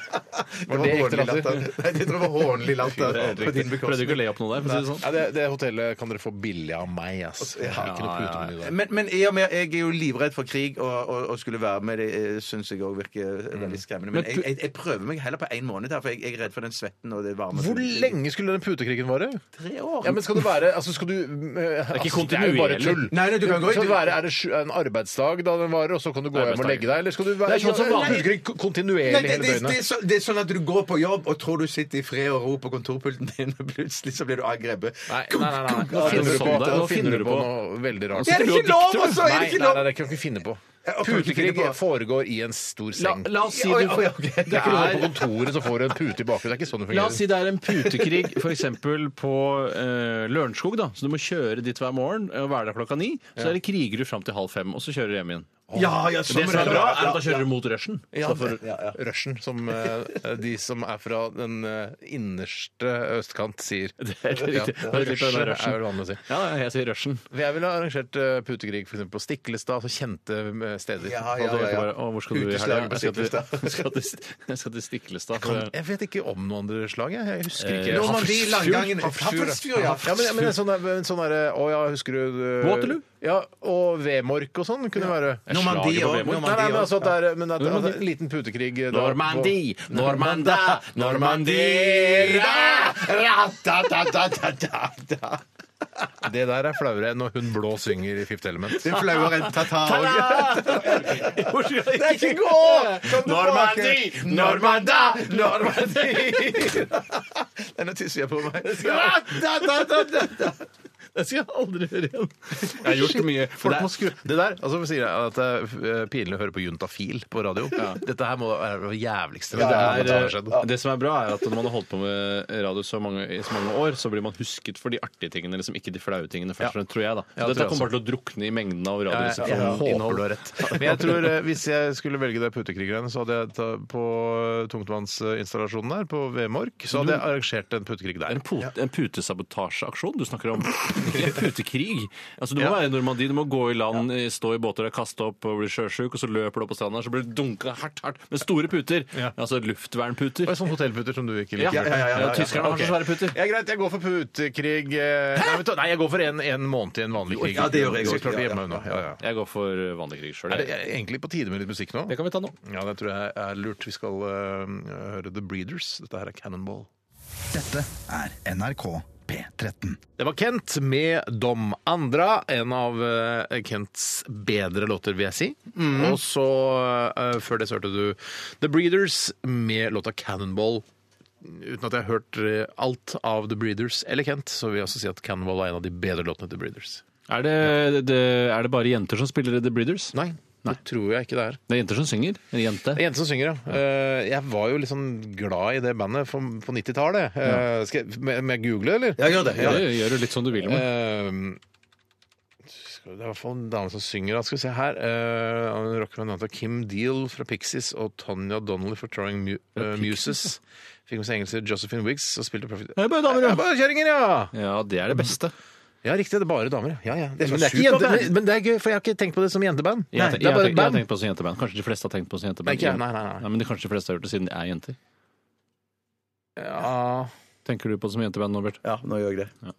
Speaker 5: Det
Speaker 4: Var
Speaker 5: var
Speaker 4: det ekte
Speaker 5: hånlig
Speaker 4: latter?
Speaker 5: latter. Nei, det tror jeg var hånlig latter på din
Speaker 6: Prøvde ikke å
Speaker 5: bekostning.
Speaker 6: le opp noe der, for å si det sånn.
Speaker 4: Ja, det, det hotellet kan dere få billig av meg, ass. Jeg har ikke noe putemeny der.
Speaker 5: Men, men i og med jeg er jo livredd for krig, og, og, og skulle være med, det syns jeg òg virker eh, veldig skremmende. Men
Speaker 6: Men
Speaker 5: jeg, jeg, jeg prøver meg heller på én måned, her, for jeg, jeg er redd for den svetten og det varme.
Speaker 4: Hvor lenge skulle den putekrigen vare?
Speaker 5: Tre år.
Speaker 4: Ja, men skal du være altså skal du, altså, Det er
Speaker 6: kontinuerlig.
Speaker 4: bare tull.
Speaker 5: Nei, nei, du kan gå i-
Speaker 4: Skal det være, Er det sju- en arbeidsdag da den varer, og så kan du gå hjem og
Speaker 6: Arbeidsdag.
Speaker 4: legge deg? Eller skal du være
Speaker 6: Det er sånn som vanlig.
Speaker 4: putekrig kontinuerlig
Speaker 5: Nei, det, det,
Speaker 4: hele
Speaker 5: det,
Speaker 4: døgnet?
Speaker 5: er så, det er sånn at du går på jobb og tror du sitter i fred og ro på kontorpulten din, og plutselig så blir du angrepet.
Speaker 4: Nei, nei, nei, nei. Nå
Speaker 6: Kuk,
Speaker 4: finner du
Speaker 6: kuk.
Speaker 4: på,
Speaker 6: Sånn der,
Speaker 4: nå finner du på noe veldig rart.
Speaker 5: Er det ikke lov, altså? Er
Speaker 4: Nei,
Speaker 5: det ikke
Speaker 4: nei,
Speaker 5: lov?
Speaker 4: nei, det kan vi ikke finne på.
Speaker 5: Ja, kan vi ikke finne
Speaker 4: Putekrig
Speaker 5: på.
Speaker 4: foregår i en stor
Speaker 6: La,
Speaker 4: seng.
Speaker 6: la oss si
Speaker 5: Oi,
Speaker 6: du
Speaker 5: oi, ok.
Speaker 4: Det er ikke noe på kontoret så får du en pute i bakgrunnen. Det er ikke sånn det
Speaker 6: La oss si
Speaker 4: fungerer.
Speaker 6: det er en putekrig f.eks. på eh, Lørenskog, da. Så du må kjøre dit hver morgen og være der klokka ni. Så er det krigere fram til halv fem, og så kjører du hjem igjen.
Speaker 5: Ja, sånn ja,
Speaker 6: Det som er bra, er at da
Speaker 5: ja,
Speaker 6: kjører du mot rushen.
Speaker 4: Ja,
Speaker 6: Så får du-
Speaker 4: ja, ja. Rushen, som eh, de som er fra den eh, innerste østkant sier.
Speaker 6: Det er helt
Speaker 4: Ja,
Speaker 6: riktig. Det er litt av
Speaker 4: rushen
Speaker 6: den
Speaker 4: er
Speaker 6: rushen.
Speaker 4: vel vanlig å si.
Speaker 6: Ja, jeg sier rushen.
Speaker 4: Jeg ville ha arrangert eh, putekrig for eksempel på Stiklestad, altså kjente eh, steder.
Speaker 5: Ja, ja,
Speaker 6: Og så
Speaker 5: ja, ja.
Speaker 6: ikke Altså, bare, å, hvor skal du i helga?
Speaker 5: Uteslaget på
Speaker 6: Jeg skal til-
Speaker 5: Stiklestad.
Speaker 6: Jeg skal til- jeg skal til Stiklestad. for-
Speaker 4: Kan, jeg vet ikke om noe andre slag. Jeg, jeg husker
Speaker 6: Eh,
Speaker 4: ikke.
Speaker 5: Normandie, Langangen
Speaker 4: Hafrsfjord,
Speaker 5: Hafrsfjord, ja.
Speaker 4: Ja, men, men en sånn, der- en sånn derre Å ja, husker du eh,
Speaker 6: Waterloo?
Speaker 4: Ja, Og Vemork og sånn kunne være.
Speaker 6: Jeg slager
Speaker 5: Normandie
Speaker 6: på
Speaker 5: også,
Speaker 6: Vemund.
Speaker 4: Nei, nei, men altså at det er men at, at det er en liten putekrig eh, da på-
Speaker 6: Normandie, Normanda, Normandie
Speaker 4: Det der er flauere enn når hun blå synger i Fifth Element.
Speaker 5: Det er flauere enn tata
Speaker 6: Hvor skal jeg-
Speaker 5: Nei, ikke gå!
Speaker 6: Normandie, Normanda, Normandie
Speaker 5: Denne tisser jeg på meg.
Speaker 6: Det skal jeg aldri gjøre igjen. Jeg har gjort det mye.
Speaker 4: For det,
Speaker 6: Det er-
Speaker 4: er- det der, altså sier jeg at det er eh, pinlig å høre på Juntafil på radio. Dette her må være det jævligste.
Speaker 6: Det,
Speaker 4: som
Speaker 6: er,
Speaker 4: har skjedd.
Speaker 6: eh, det som er bra, er at når man har holdt på med radio så mange, i så mange år, så blir man husket for de artige tingene, liksom ikke de flaue tingene først, og fremst, tror jeg. da.
Speaker 4: Ja,
Speaker 6: Så
Speaker 4: tror jeg
Speaker 6: Dette kommer bare til å drukne i mengden av
Speaker 4: Jeg, jeg
Speaker 6: radioresepsjonen.
Speaker 4: håper du har rett. Men jeg tror eh, Hvis jeg skulle velge det putekriggreiene, så hadde jeg ta, på eh, tungtvannsinstallasjonen der, på Vemork, så hadde jeg arrangert en putekrig der.
Speaker 6: En, put, en putesabotasjeaksjon du snakker om? Ikke en putekrig. Altså, du må være i Normandie, du må gå i land, eh, stå i båter og kaste opp og bli sjøsjuk, og så løper du opp på stranda, så blir du dunka hardt, hardt med store puter.
Speaker 4: Ja.
Speaker 6: Altså luftvernputer.
Speaker 4: Og sånn hotellputer som du ikke
Speaker 6: Ja,
Speaker 4: liker.
Speaker 6: ja, ja, ja,
Speaker 5: ja.
Speaker 6: Tyskerne har
Speaker 4: Ok.
Speaker 6: så svære puter.
Speaker 4: Ja, greit, jeg går for putekrig eh, Nei, vet du, nei jeg går for en, en måned i en vanlig krig.
Speaker 5: Ja, det gjør jeg
Speaker 4: Skal
Speaker 5: også.
Speaker 4: klart å
Speaker 5: Ja,
Speaker 4: gjemme meg unna. Ja, ja.
Speaker 6: Jeg går for eh, vanlig krig sjøl.
Speaker 4: Er det egentlig på tide med litt musikk nå?
Speaker 6: Det kan vi ta nå.
Speaker 4: Ja, det tror jeg er lurt. Vi skal eh, høre The Breeders. Dette her er Cannonball.
Speaker 1: Dette er NRK P13.
Speaker 4: Det var Kent med Dom Andra, en av eh, Kents bedre låter, vil jeg si. Og så, eh, før det, så hørte du The Breeders med låta Cannonball. Uten at jeg har hørt eh, alt av The Breeders eller Kent, så vil jeg også si at Cannonball er en av de bedre låtene til The Breeders.
Speaker 6: Er det, det, er det bare jenter som spiller i The Breeders?
Speaker 4: Nei, det tror jeg ikke det er.
Speaker 6: Det er jenter som synger. En jente.
Speaker 4: Det er jente som synger, ja. Eh, jeg var jo litt sånn glad i det bandet for- på 90-tallet. Eh, skal jeg- må jeg- må jeg google, eller?
Speaker 5: Ja, gjør det.
Speaker 6: Ja, det gjør du litt som du vil med.
Speaker 4: Ehm, skal, det er i hvert fall en dame som synger. da. Skal vi se her eh, Han rocker med navnet Kim Deal fra Pixies og Tonja Donnelly fra Trying Mu eh, Muses. Fikk med seg engelske Josephine Wiggs og spilte Perfect
Speaker 6: Det er bare damer,
Speaker 4: Det
Speaker 6: ja.
Speaker 4: er bare kjerringer, ja!
Speaker 6: Ja, det er det beste.
Speaker 4: Ja, riktig. Det er bare damer, ja. ja, ja.
Speaker 5: er
Speaker 4: men,
Speaker 5: sånn
Speaker 4: det er ikke jente,
Speaker 5: superband.
Speaker 4: men, men det er gøy, for jeg har ikke tenkt på det som jenteband.
Speaker 6: Jeg,
Speaker 4: det
Speaker 6: jeg,
Speaker 4: er
Speaker 6: har
Speaker 4: bare et
Speaker 6: tenkt- jeg har
Speaker 4: band.
Speaker 6: tenkt på det som jenteband. Kanskje de fleste har tenkt på det som jenteband.
Speaker 4: Nei, ikke jeg. Nei, nei, nei.
Speaker 6: men de kanskje de fleste har gjort det siden de er jenter.
Speaker 4: Ja.
Speaker 6: Tenker du på det som jenteband, Norbert?
Speaker 5: Ja, nå gjør jeg det.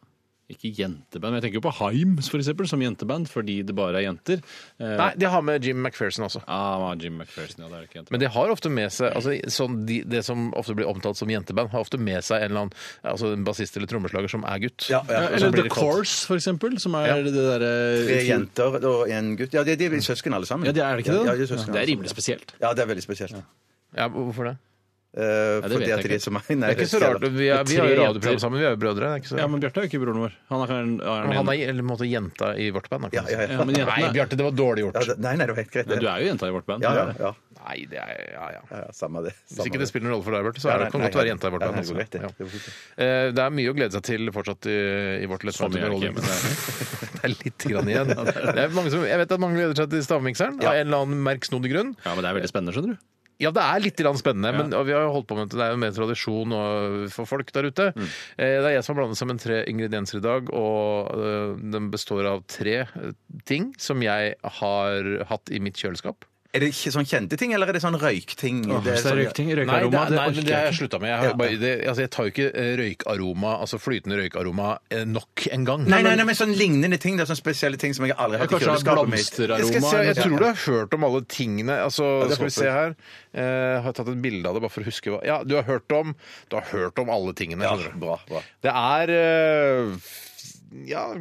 Speaker 6: Ikke jenteband, men jeg tenker jo på Himes for eksempel, som jenteband, fordi det bare er jenter. Eh,
Speaker 4: Nei, de har med Jim McPherson også.
Speaker 6: Ah, Jim McPherson, ja, det er ikke jenteband.
Speaker 4: Men de har ofte med seg altså, sånn de, Det som ofte blir omtalt som jenteband, har ofte med seg en eller annen altså, en bassist eller trommeslager som er gutt.
Speaker 5: Ja, ja.
Speaker 6: Ja,
Speaker 4: Og så
Speaker 6: eller
Speaker 4: blir
Speaker 6: The
Speaker 4: de kalt-
Speaker 6: Course, for eksempel, som er
Speaker 4: Ja.
Speaker 6: det derre
Speaker 5: Tre jenter og en gutt. Ja, de, de er søsken alle sammen.
Speaker 6: Ja, det er det ikke
Speaker 5: Ja,
Speaker 6: det?
Speaker 5: de
Speaker 6: da?
Speaker 5: er søsken
Speaker 6: det er
Speaker 5: alle
Speaker 6: rimelig spesielt.
Speaker 5: sammen. Ja, det er veldig spesielt.
Speaker 4: Ja, hvorfor det?
Speaker 5: Eh,
Speaker 6: det vet
Speaker 5: fordi
Speaker 6: jeg
Speaker 5: at de
Speaker 6: ikke.
Speaker 5: er så mange.
Speaker 4: Det er ikke så rart. Vi, er, vi har
Speaker 6: Tre
Speaker 4: jo
Speaker 6: jenter.
Speaker 4: radioprogram sammen, vi er jo brødre. Det er ikke så
Speaker 6: Ja,
Speaker 4: rart.
Speaker 6: men Bjarte er jo ikke broren vår. Han er, han er,
Speaker 4: Men han er eller, på en måte jenta i vårt band. da,
Speaker 5: Ja,
Speaker 4: kan man
Speaker 5: ja,
Speaker 4: si.
Speaker 5: ja.
Speaker 6: Ja, men jentene-
Speaker 4: Nei, Bjarte, det var dårlig
Speaker 5: Ja,
Speaker 4: gjort.
Speaker 5: det- Nei, nei, det var helt greit.
Speaker 6: Nei,
Speaker 5: det.
Speaker 6: Du er jo jenta i vårt band.
Speaker 5: Ja, ja, ja.
Speaker 4: Nei, det er ja, ja.
Speaker 5: ja, ja, Samme det.
Speaker 4: Hvis
Speaker 5: Samme
Speaker 4: ikke det
Speaker 5: det.
Speaker 4: spiller noen rolle for deg, Bjarte, så er det, kan godt være jenta i vårt band.
Speaker 5: Ja, nei,
Speaker 4: altså. Ja.
Speaker 5: det er greit, det. Det er fint.
Speaker 4: Eh, Det er mye å glede seg til fortsatt i, i vårt lette
Speaker 6: Så mye er det ikke, men det
Speaker 4: Det er litt grann igjen. Det er mange som, jeg vet at mange gleder seg til stavmikseren, av en eller annen merksnodig grunn.
Speaker 6: Ja, men det er veldig spennende, skjønner du.
Speaker 4: Ja, det er litt grann spennende, men og vi har jo holdt på med det. Det er jo mer tradisjon og- øh, for folk der ute.
Speaker 6: Mm.
Speaker 4: Eh, Det er jeg som har blandet sammen tre ingredienser i dag, og eh, den består av tre eh, ting som jeg har hatt i mitt kjøleskap.
Speaker 5: Er det ikke sånn kjente ting, eller er det sånn røykting? Det er
Speaker 6: Hvis det er
Speaker 5: sånn-
Speaker 6: røykting,
Speaker 4: Nei, det,
Speaker 6: røykaroma,
Speaker 4: er- nei,
Speaker 6: det
Speaker 4: men
Speaker 6: orker
Speaker 4: det har
Speaker 6: jeg
Speaker 4: jeg
Speaker 6: ikke.
Speaker 4: slutta med. Jeg, har bare, det, altså, jeg tar jo ikke eh, røykaroma, altså flytende røykaroma, eh, nok en gang.
Speaker 5: Nei, nei, nei, men sånn lignende ting. Det er sånne spesielle ting som jeg aldri har hatt i
Speaker 6: Kanskje har
Speaker 5: kjøleskapet mitt.
Speaker 4: Jeg,
Speaker 6: blomsteraroma.
Speaker 4: skal se, jeg
Speaker 6: eller noe sånt.
Speaker 4: tror du har hørt om alle tingene. Altså, skal
Speaker 5: det
Speaker 4: vi
Speaker 5: håper
Speaker 4: se
Speaker 5: jeg.
Speaker 4: her. Eh, Jeg har tatt et bilde av det bare for å huske hva Ja, du har hørt om, du har hørt om alle tingene.
Speaker 5: Ja,
Speaker 4: skjønner du.
Speaker 5: bra, bra.
Speaker 4: Det er eh, ja,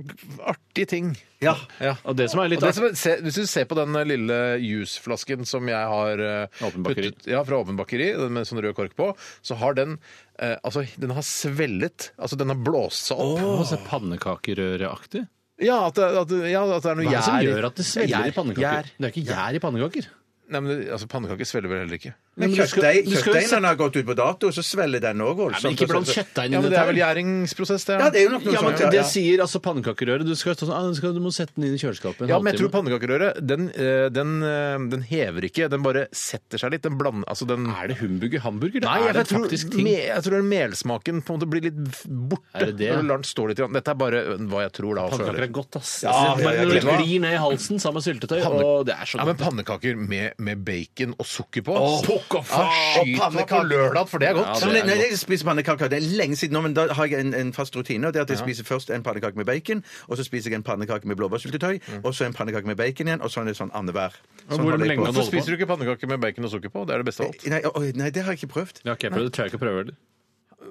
Speaker 4: artige ting.
Speaker 5: Ja.
Speaker 4: Ja.
Speaker 6: Og det som er litt
Speaker 4: Og det som, er- se, hvis du ser på den eh, lille jusflasken som jeg har eh,
Speaker 6: Åpen bakeri.
Speaker 4: puttet- ja, fra Åpen bakeri, den med sånn rød kork på, så har den eh, altså, den har svellet. Altså, den har blåst seg opp.
Speaker 6: Åh, så Pannekakerøreaktig?
Speaker 4: Ja, at, det- at, det- ja, at det er noe
Speaker 6: Hva er det som
Speaker 4: gjær i-
Speaker 6: gjør at det svelger
Speaker 4: Gjær.
Speaker 6: i pannekaker?
Speaker 4: Gjær.
Speaker 6: Det er ikke gjær i pannekaker.
Speaker 4: Nei, men det- altså, Pannekaker svelger vel heller ikke.
Speaker 5: Men
Speaker 6: du skal-
Speaker 5: kjøttdeig-
Speaker 6: du skal jo
Speaker 5: Kjøttdeigen har gått ut på dato, så svelger den òg
Speaker 6: Nei, men
Speaker 5: voldsomt.
Speaker 6: ikke blant
Speaker 5: Så-
Speaker 4: Ja,
Speaker 6: kjøttdeigen
Speaker 4: men
Speaker 6: under
Speaker 4: det er
Speaker 6: tau.
Speaker 4: vel gjæringsprosess, det.
Speaker 5: Ja, det er jo nok noe
Speaker 6: Ja, men
Speaker 5: sånt. Ja,
Speaker 6: Det
Speaker 5: ja.
Speaker 6: sier altså pannekakerøret. Du, skal, stå sånn, «Ah, du skal, du må sette den inn i kjøleskapet. en
Speaker 4: Ja, men jeg tror
Speaker 6: halvtime».
Speaker 4: pannekakerøret den, eh, den, eh, den hever ikke. Den bare setter seg litt. Den blander Altså, den
Speaker 6: Er det humburger? Hamburger?
Speaker 4: Nei,
Speaker 6: er
Speaker 4: jeg,
Speaker 6: det
Speaker 4: tror,
Speaker 6: faktisk ting?
Speaker 4: me, jeg tror den melsmaken på en måte blir litt borte.
Speaker 6: Er det det?
Speaker 4: Når du lar den stå litt. grann. Dette er bare ø, hva jeg tror da. altså. og
Speaker 6: Pannekaker
Speaker 4: føler.
Speaker 6: er godt, ass.
Speaker 5: Ja,
Speaker 6: Altså,
Speaker 5: ja, ja,
Speaker 6: bare når det
Speaker 5: glem det.
Speaker 6: glir ned i halsen sammen med syltetøy,
Speaker 4: Panne-
Speaker 6: og det er så
Speaker 4: Ja, men
Speaker 6: godt.
Speaker 4: Pannekaker med, med bacon og sukker på.
Speaker 6: Åh, pokker faen!
Speaker 4: Ja, skyt
Speaker 5: Og
Speaker 4: meg på
Speaker 5: pannekaker.
Speaker 4: lørdag, for det er godt.
Speaker 5: Ja,
Speaker 6: Ja,
Speaker 5: nei,
Speaker 6: det er
Speaker 5: nei, jeg spiser pannekaker. Det er lenge siden nå, men da har jeg en, en fast rutine. og Det er at jeg spiser først en pannekake med bacon, og så spiser jeg en pannekake med blåbærsyltetøy, og så en pannekake med bacon igjen, og sånn er det sånn annenhver. Sånn
Speaker 6: Mm. hvor
Speaker 5: holder jeg
Speaker 6: lenge
Speaker 5: på.
Speaker 6: kan du
Speaker 4: Hvorfor spiser du ikke pannekaker med bacon og sukker på? Det er det beste av alt.
Speaker 5: Nei, oi, nei, det har jeg ikke prøvd.
Speaker 6: Ja, ok, prøv det. Tør jeg ikke prøve heller.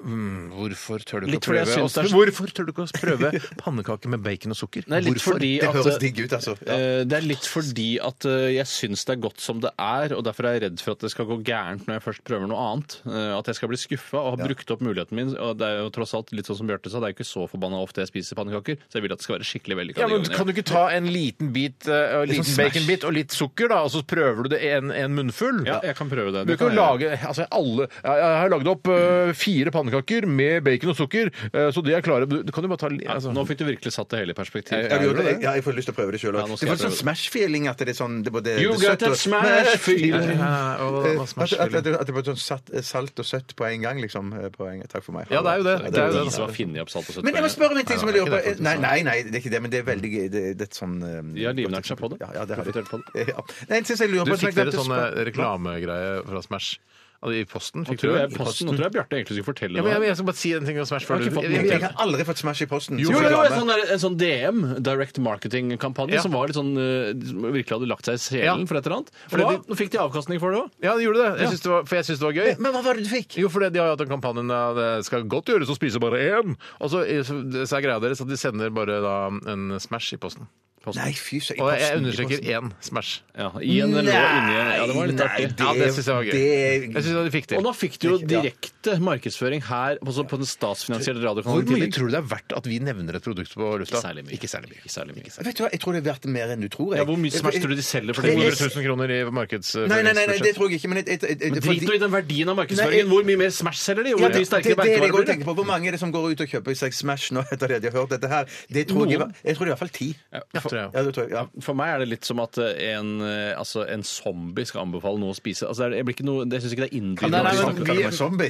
Speaker 4: Hvorfor tør du
Speaker 6: Litt
Speaker 4: ikke å
Speaker 6: fordi jeg
Speaker 4: prøve
Speaker 6: synes det er
Speaker 4: å-
Speaker 6: så-
Speaker 4: Hvorfor tør du ikke å prøve pannekaker med bacon og sukker?
Speaker 6: Nei, litt
Speaker 4: Hvorfor?
Speaker 6: fordi
Speaker 5: Det
Speaker 6: at
Speaker 5: høres digg ut, altså. Ja.
Speaker 6: eh, Det er litt fordi at eh, jeg syns det er godt som det er, og derfor er jeg redd for at det skal gå gærent når jeg først prøver noe annet. Eh, At jeg skal bli skuffa og ha brukt opp muligheten min. Og det er jo tross alt litt sånn som Bjarte sa, det er jo ikke så forbanna ofte jeg spiser pannekaker, så jeg vil at det skal være skikkelig vellykka.
Speaker 4: Ja,
Speaker 6: de
Speaker 4: men
Speaker 6: gangene jeg-
Speaker 4: Kan du ikke ta en liten bit eh, og en liten
Speaker 5: smash.
Speaker 4: baconbit og litt sukker, da, og så prøver du det en, en munnfull?
Speaker 6: Ja, jeg kan prøve det.
Speaker 4: Du
Speaker 6: Det
Speaker 4: kan
Speaker 6: kan
Speaker 4: jo lage, altså alle, jeg jeg har lagd opp eh, fire pannekaker med bacon og sukker, eh, så de er klare. Du, du kan jo bare ta li-
Speaker 6: Ja,
Speaker 4: altså.
Speaker 6: Nå fikk du virkelig satt det hele i perspektiv.
Speaker 5: Ja, gjorde det? Ja, jeg får lyst til å prøve det sjøl
Speaker 6: Ja,
Speaker 5: òg.
Speaker 6: nå
Speaker 5: Det får
Speaker 6: skal jeg
Speaker 5: sånn
Speaker 6: prøve det.
Speaker 5: smash-feeling at det er sånn det er både det
Speaker 6: You got
Speaker 5: søtte
Speaker 6: that
Speaker 5: og-
Speaker 6: smash feeling.
Speaker 4: Ja, og hva
Speaker 5: Eh, At,
Speaker 4: smash
Speaker 5: at, at
Speaker 4: vil du?
Speaker 5: det at det var sånn satt, salt og søtt på en gang, liksom. eh, På en, takk for meg.
Speaker 4: Ja, det er jo det.
Speaker 6: Det altså. er jo
Speaker 4: det.
Speaker 6: de som har funnet opp salt og søtt.
Speaker 5: Men jeg må spørre om en ting som jeg lurer på.
Speaker 4: det,
Speaker 5: Nei, nei, nei, det er ikke det, men det er veldig gøy. Det, det er et sånn eh,
Speaker 6: De har livnært seg på det.
Speaker 5: Ja, ja, det har de.
Speaker 6: Profitert på
Speaker 5: Ja. Nei, en ting som jeg lurer
Speaker 4: Du
Speaker 5: på som jeg
Speaker 4: fikk dere
Speaker 5: glemte å
Speaker 4: sånn
Speaker 5: spørre-
Speaker 4: reklamegreie fra Smash Altså, i posten?
Speaker 6: Nå
Speaker 4: Fikk du
Speaker 6: tror jeg,
Speaker 4: det?
Speaker 6: posten, nå tror jeg Bjarte egentlig skulle fortelle
Speaker 4: Ja, men jeg,
Speaker 6: noe.
Speaker 4: jeg skal bare si en ting om Smash før
Speaker 6: Jeg har
Speaker 4: du
Speaker 6: ikke fått
Speaker 4: jeg-
Speaker 6: noe.
Speaker 4: jeg-
Speaker 5: Jeg har aldri fått Smash i posten.
Speaker 6: Jo,
Speaker 5: Så
Speaker 6: jo, jo,
Speaker 5: reklame.
Speaker 6: en sånn, der, en sånn DM, Direct Marketing-kampanje,
Speaker 4: Ja.
Speaker 6: som var litt sånn, eh, som virkelig hadde lagt seg i sjelen
Speaker 4: Ja.
Speaker 6: for et eller annet. Og
Speaker 4: Fordi
Speaker 6: da,
Speaker 4: de-
Speaker 6: nå fikk de avkastning for det òg.
Speaker 4: Ja, det gjorde det. Jeg synes det var, for jeg syns det var gøy.
Speaker 5: Men hva var det du fikk?
Speaker 4: Jo, for det, de har jo hatt en kampanje der det skal godt gjøres å spise bare én. Og så, så er greia deres at de sender bare da en Smash i posten.
Speaker 5: Nei, fy søren. i
Speaker 4: Og jeg, jeg
Speaker 5: posten, i
Speaker 4: understreker
Speaker 5: posten.
Speaker 4: én Smash.
Speaker 6: Ja, I en
Speaker 5: Nei,
Speaker 6: eller inni Ja, det var litt
Speaker 5: nei,
Speaker 6: artig.
Speaker 5: det-
Speaker 4: Ja, det syns jeg var gøy.
Speaker 5: det-
Speaker 4: Jeg syns de fikk
Speaker 6: Og
Speaker 4: til.
Speaker 6: da fikk du jo direkte markedsføring her, altså på den statsfinansierte
Speaker 4: Hvor
Speaker 6: radiokanalen. i
Speaker 4: mye
Speaker 6: tillegg.
Speaker 4: tror du det er verdt at vi nevner et produkt på lufta?
Speaker 6: Særlig mye.
Speaker 4: Ikke særlig mye.
Speaker 6: Ikke særlig mye.
Speaker 5: Vet du hva, jeg tror det er verdt mer enn du tror. jeg.
Speaker 6: Ja, hvor mye Smash tror du de selger for det?
Speaker 4: 200 000 kroner i markedsføringsbudsjett.
Speaker 5: Nei, nei, nei, nei, det tror jeg ikke. Men, jeg- jeg- jeg-
Speaker 6: Men
Speaker 5: fordi-
Speaker 6: Drit nå i den verdien av
Speaker 5: Nei, jeg-
Speaker 6: markedsføringen. Hvor mye mer Smash selger de? Hvor
Speaker 5: Ja,
Speaker 6: mye
Speaker 5: det,
Speaker 6: sterkere
Speaker 5: det er det jeg
Speaker 6: merkevarer
Speaker 5: går og
Speaker 6: blir det?
Speaker 5: tenker på. Hvor mange er det som går ut og kjøper seg Smash nå etter at de har hørt dette her? Det tror jeg,
Speaker 6: Noen.
Speaker 5: jeg tror det er i hvert fall ti.
Speaker 4: Ja, tror jeg.
Speaker 5: Ja, det tror jeg, ja.
Speaker 6: For meg er det litt som at eh, en, eh, altså, en zombie skal anbefale noe å spise. Altså, det er, jeg blir ikke noe, jeg syns ikke det
Speaker 4: Nei,
Speaker 6: er innbydende.
Speaker 4: nei,
Speaker 6: å
Speaker 4: men
Speaker 5: Snakker
Speaker 6: snakke-
Speaker 5: vi om en zombie?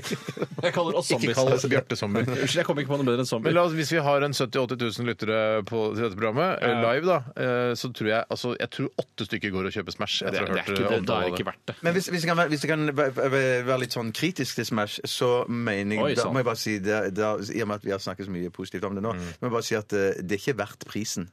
Speaker 6: Jeg kaller oss
Speaker 4: Ikke
Speaker 6: zombies.
Speaker 4: kall oss Bjarte Sommer.
Speaker 6: Unnskyld, jeg kom ikke på noe bedre enn zombie.
Speaker 4: Men la oss, hvis vi har en 70 000-80 000 lyttere på, til dette programmet, eh, live, da, eh, så tror jeg altså, jeg tror åtte stykker går og kjøper Smash.
Speaker 6: det,
Speaker 4: etter å ha
Speaker 6: det er
Speaker 4: hørt,
Speaker 6: ikke,
Speaker 4: eh,
Speaker 6: det, da
Speaker 4: omtale av
Speaker 6: er det ikke verdt det.
Speaker 5: Men hvis, hvis jeg kan, være, hvis jeg kan være, være- være litt sånn kritisk til Smash, så mener jeg
Speaker 6: Oi, sånn.
Speaker 5: Da
Speaker 6: sant.
Speaker 5: må jeg bare si det, da, I og med at vi har snakket så mye positivt om det
Speaker 6: Mm.
Speaker 5: nå, må jeg bare si at eh, det er ikke verdt prisen.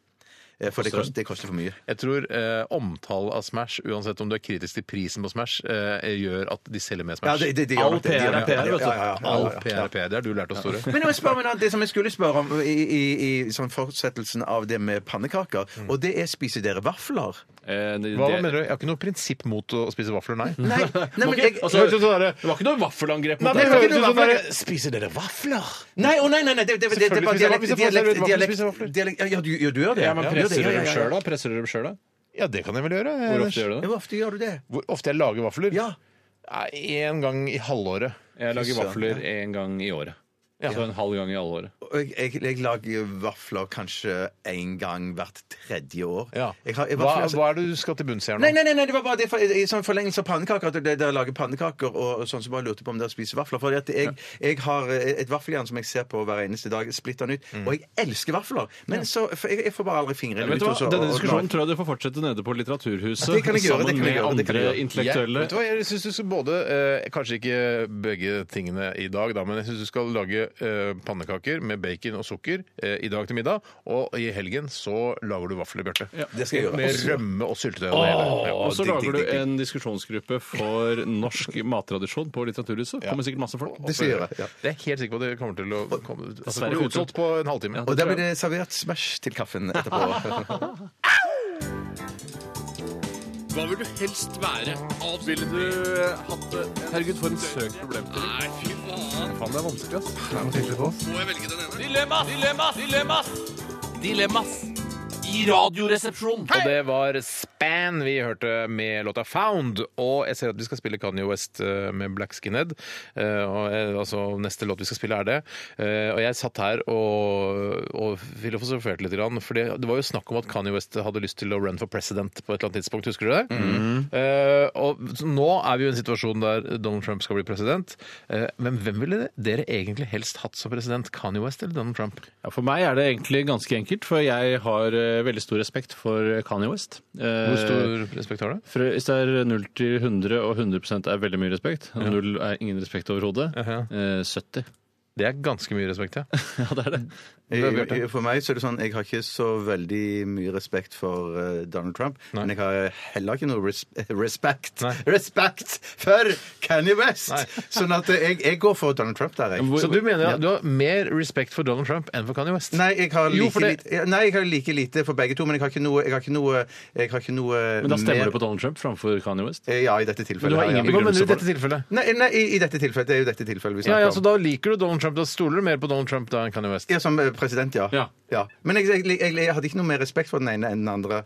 Speaker 5: Eh, For det koster, det koster for mye.
Speaker 4: Jeg tror eh, omtale av Smash, uansett om du er kritisk til prisen på Smash, eh, gjør at de selger mer
Speaker 5: Ja,
Speaker 4: Smash.
Speaker 5: det, det, det gjør
Speaker 6: All
Speaker 5: nok det, det
Speaker 6: PR
Speaker 5: gjør
Speaker 6: er
Speaker 5: nok det.
Speaker 6: PR, vet du.
Speaker 5: Ja, ja, ja, ja, ja,
Speaker 4: All
Speaker 5: ja.
Speaker 4: PR er PR. Det har du lært oss, Tore.
Speaker 5: Men jeg må spørre meg, da, det som jeg skulle spørre om i, i, i sånn fortsettelsen av det med pannekaker,
Speaker 6: Mm.
Speaker 5: og det er spiser dere vafler?
Speaker 6: Eh, det-
Speaker 4: Hva
Speaker 6: det-
Speaker 4: mener du? Jeg har ikke noe prinsipp mot å spise vafler, nei.
Speaker 5: Nei, nei, men
Speaker 6: Ok,
Speaker 5: jeg,
Speaker 6: altså,
Speaker 4: Hørte du sånn derre-
Speaker 6: det var ikke noe vaffelangrep mot
Speaker 4: Nei, det
Speaker 6: deg.
Speaker 4: høres ut
Speaker 5: noe
Speaker 4: som
Speaker 5: vafler.
Speaker 4: bare Spiser dere vafler?
Speaker 5: nei, å, nei, nei, nei, det, det, det, det, det er bare
Speaker 4: Selvfølgelig spiser jeg
Speaker 5: dialekt.
Speaker 4: vafler.
Speaker 5: dialekt,
Speaker 4: Vafler
Speaker 5: dialekt,
Speaker 4: spiser vafler.
Speaker 5: dialekt ja, du, ja, du gjør det.
Speaker 6: Ja, men
Speaker 5: du gjør det,
Speaker 6: presser
Speaker 5: ja,
Speaker 6: du
Speaker 5: ja,
Speaker 6: dem
Speaker 5: ja,
Speaker 6: sjøl,
Speaker 5: ja.
Speaker 6: da? Presser du dem selv, da?
Speaker 4: Ja, det kan jeg vel gjøre.
Speaker 6: Hvor ofte gjør du
Speaker 5: Ja,
Speaker 6: det?
Speaker 5: Hvor ofte gjør du det?
Speaker 4: Hvor ofte jeg lager vafler?
Speaker 5: Ja.
Speaker 4: Nei, En gang i halvåret.
Speaker 6: Jeg lager
Speaker 5: Søren,
Speaker 6: vafler én gang i året. Så en halv gang i alle året.
Speaker 5: Og Jeg, jeg, jeg lager vafler kanskje én gang hvert tredje år.
Speaker 4: Ja.
Speaker 5: Jeg har, jeg,
Speaker 4: hva,
Speaker 5: vafler, altså,
Speaker 4: hva er det du skal til bunns i her nå?
Speaker 5: Nei, nei, nei, nei, det var bare det for, i i sånn forlengelse av pannekaker. At dere lager pannekaker og, og sånn, så bare lurte jeg på om dere spiser vafler. For jeg, jeg har eh, et vaffeljern som jeg ser på hver eneste dag, splitter nytt.
Speaker 4: Mm.
Speaker 5: Og jeg elsker vafler! Men så for jeg, jeg får bare aldri fingrene
Speaker 6: Vet
Speaker 5: ut.
Speaker 6: du hva?
Speaker 5: og så-
Speaker 6: Denne
Speaker 5: og- og-
Speaker 6: diskusjonen tror jeg dere får fortsette nede på Litteraturhuset
Speaker 5: Ja, det kan jeg gjøre, det
Speaker 6: sammen
Speaker 5: kan jeg
Speaker 6: med
Speaker 5: gjøre, det kan jeg
Speaker 6: andre
Speaker 5: gjøre.
Speaker 4: Jeg,
Speaker 6: intellektuelle.
Speaker 4: vet du hva, jeg syns du skal både eh, Kanskje ikke begge tingene i dag, da, men jeg syns du skal lage eh, pannekaker med bacon og sukker eh, i dag til middag. Og i helgen så lager du vafler, Bjarte.
Speaker 5: Det skal jeg gjøre.
Speaker 4: Med rømme og syltetøy og det hele. Ja.
Speaker 6: Og så
Speaker 5: digg,
Speaker 6: lager
Speaker 5: digg,
Speaker 6: du
Speaker 5: digg, digg.
Speaker 6: en diskusjonsgruppe for norsk mattradisjon på Litteraturhuset. Kommer sikkert masse folk.
Speaker 5: Det skal jeg gjøre. Ja.
Speaker 4: Det er jeg helt sikker på at det kommer til å komme, altså,
Speaker 6: Sverre
Speaker 4: kommer
Speaker 6: Utholdt.
Speaker 4: utsolgt på en halvtime.
Speaker 5: Og der blir det servert Smash til kaffen etterpå.
Speaker 7: Hva vil du helst være? Ville du eh, hatt det? Herregud, for en søk problemstilling. Nei, fy faen.
Speaker 4: Faen, det er vanskelig, ass.
Speaker 7: Må jeg velge den ene? Dilemmas! Dilemmas! Dilemmas! Dilemmas i i Radioresepsjonen.
Speaker 4: Og det var Span vi hørte med låta Found. Og jeg ser at vi skal spille Kanye West eh, med Black Skinhead. Eh, og, eh, altså, neste låt vi skal spille, er det. Eh, og jeg satt her og, og filosoferte litt. Grann, for det, det var jo snakk om at Kanye West hadde lyst til å run for president på et eller annet tidspunkt. Husker du det? Eh, og så nå er vi jo i en situasjon der Donald Trump skal bli president. Eh, men hvem ville dere egentlig helst hatt som president? Kanye West eller Donald Trump?
Speaker 6: Ja, for meg er det egentlig ganske enkelt, for jeg har eh, veldig stor respekt for Kanye West. Eh,
Speaker 4: Hvor stor respekt har du?
Speaker 6: For Hvis det er 0 til 100, og 100 er veldig mye respekt, og 0 er ingen respekt overhodet,
Speaker 4: Aha.
Speaker 6: eh, 70.
Speaker 4: Det er ganske mye respekt, ja.
Speaker 6: Ja, det er det.
Speaker 5: Jeg- Eh, For meg så er det sånn, jeg har ikke så veldig mye respekt for eh, Donald Trump, men jeg har heller ikke noe res respekt
Speaker 4: Nei.
Speaker 5: Respekt for Kanye West! Sånn at jeg, jeg går for Donald Trump der, jeg.
Speaker 4: Så du mener at du har mer respekt for Donald Trump enn for Kanye West?
Speaker 5: Nei, jeg har like,
Speaker 4: Jo, for det-
Speaker 5: lite, ja, nei, jeg har like lite for begge to, men jeg har ikke noe, jeg har ikke noe, jeg har ikke noe
Speaker 6: Men da
Speaker 5: mer-
Speaker 6: stemmer du på Donald Trump framfor Kanye West?
Speaker 5: Eh, Ja, i dette tilfellet.
Speaker 6: har
Speaker 5: ja, ja.
Speaker 6: ingen
Speaker 4: Hva mener du
Speaker 6: begrunnelse
Speaker 4: i
Speaker 6: for
Speaker 4: dette tilfellet?
Speaker 5: Nei, nei, i i dette tilfellet. Det er jo dette tilfellet vi
Speaker 4: Ja,
Speaker 5: snakker
Speaker 4: ja,
Speaker 5: om.
Speaker 4: så Da liker du Donald Trump. Da stoler du mer på Donald Trump da enn Kanye West.
Speaker 5: Ja, som eh, president, ja.
Speaker 6: Ja.
Speaker 5: Men jeg, jeg, jeg, jeg hadde ikke noe mer respekt for den ene enn den andre.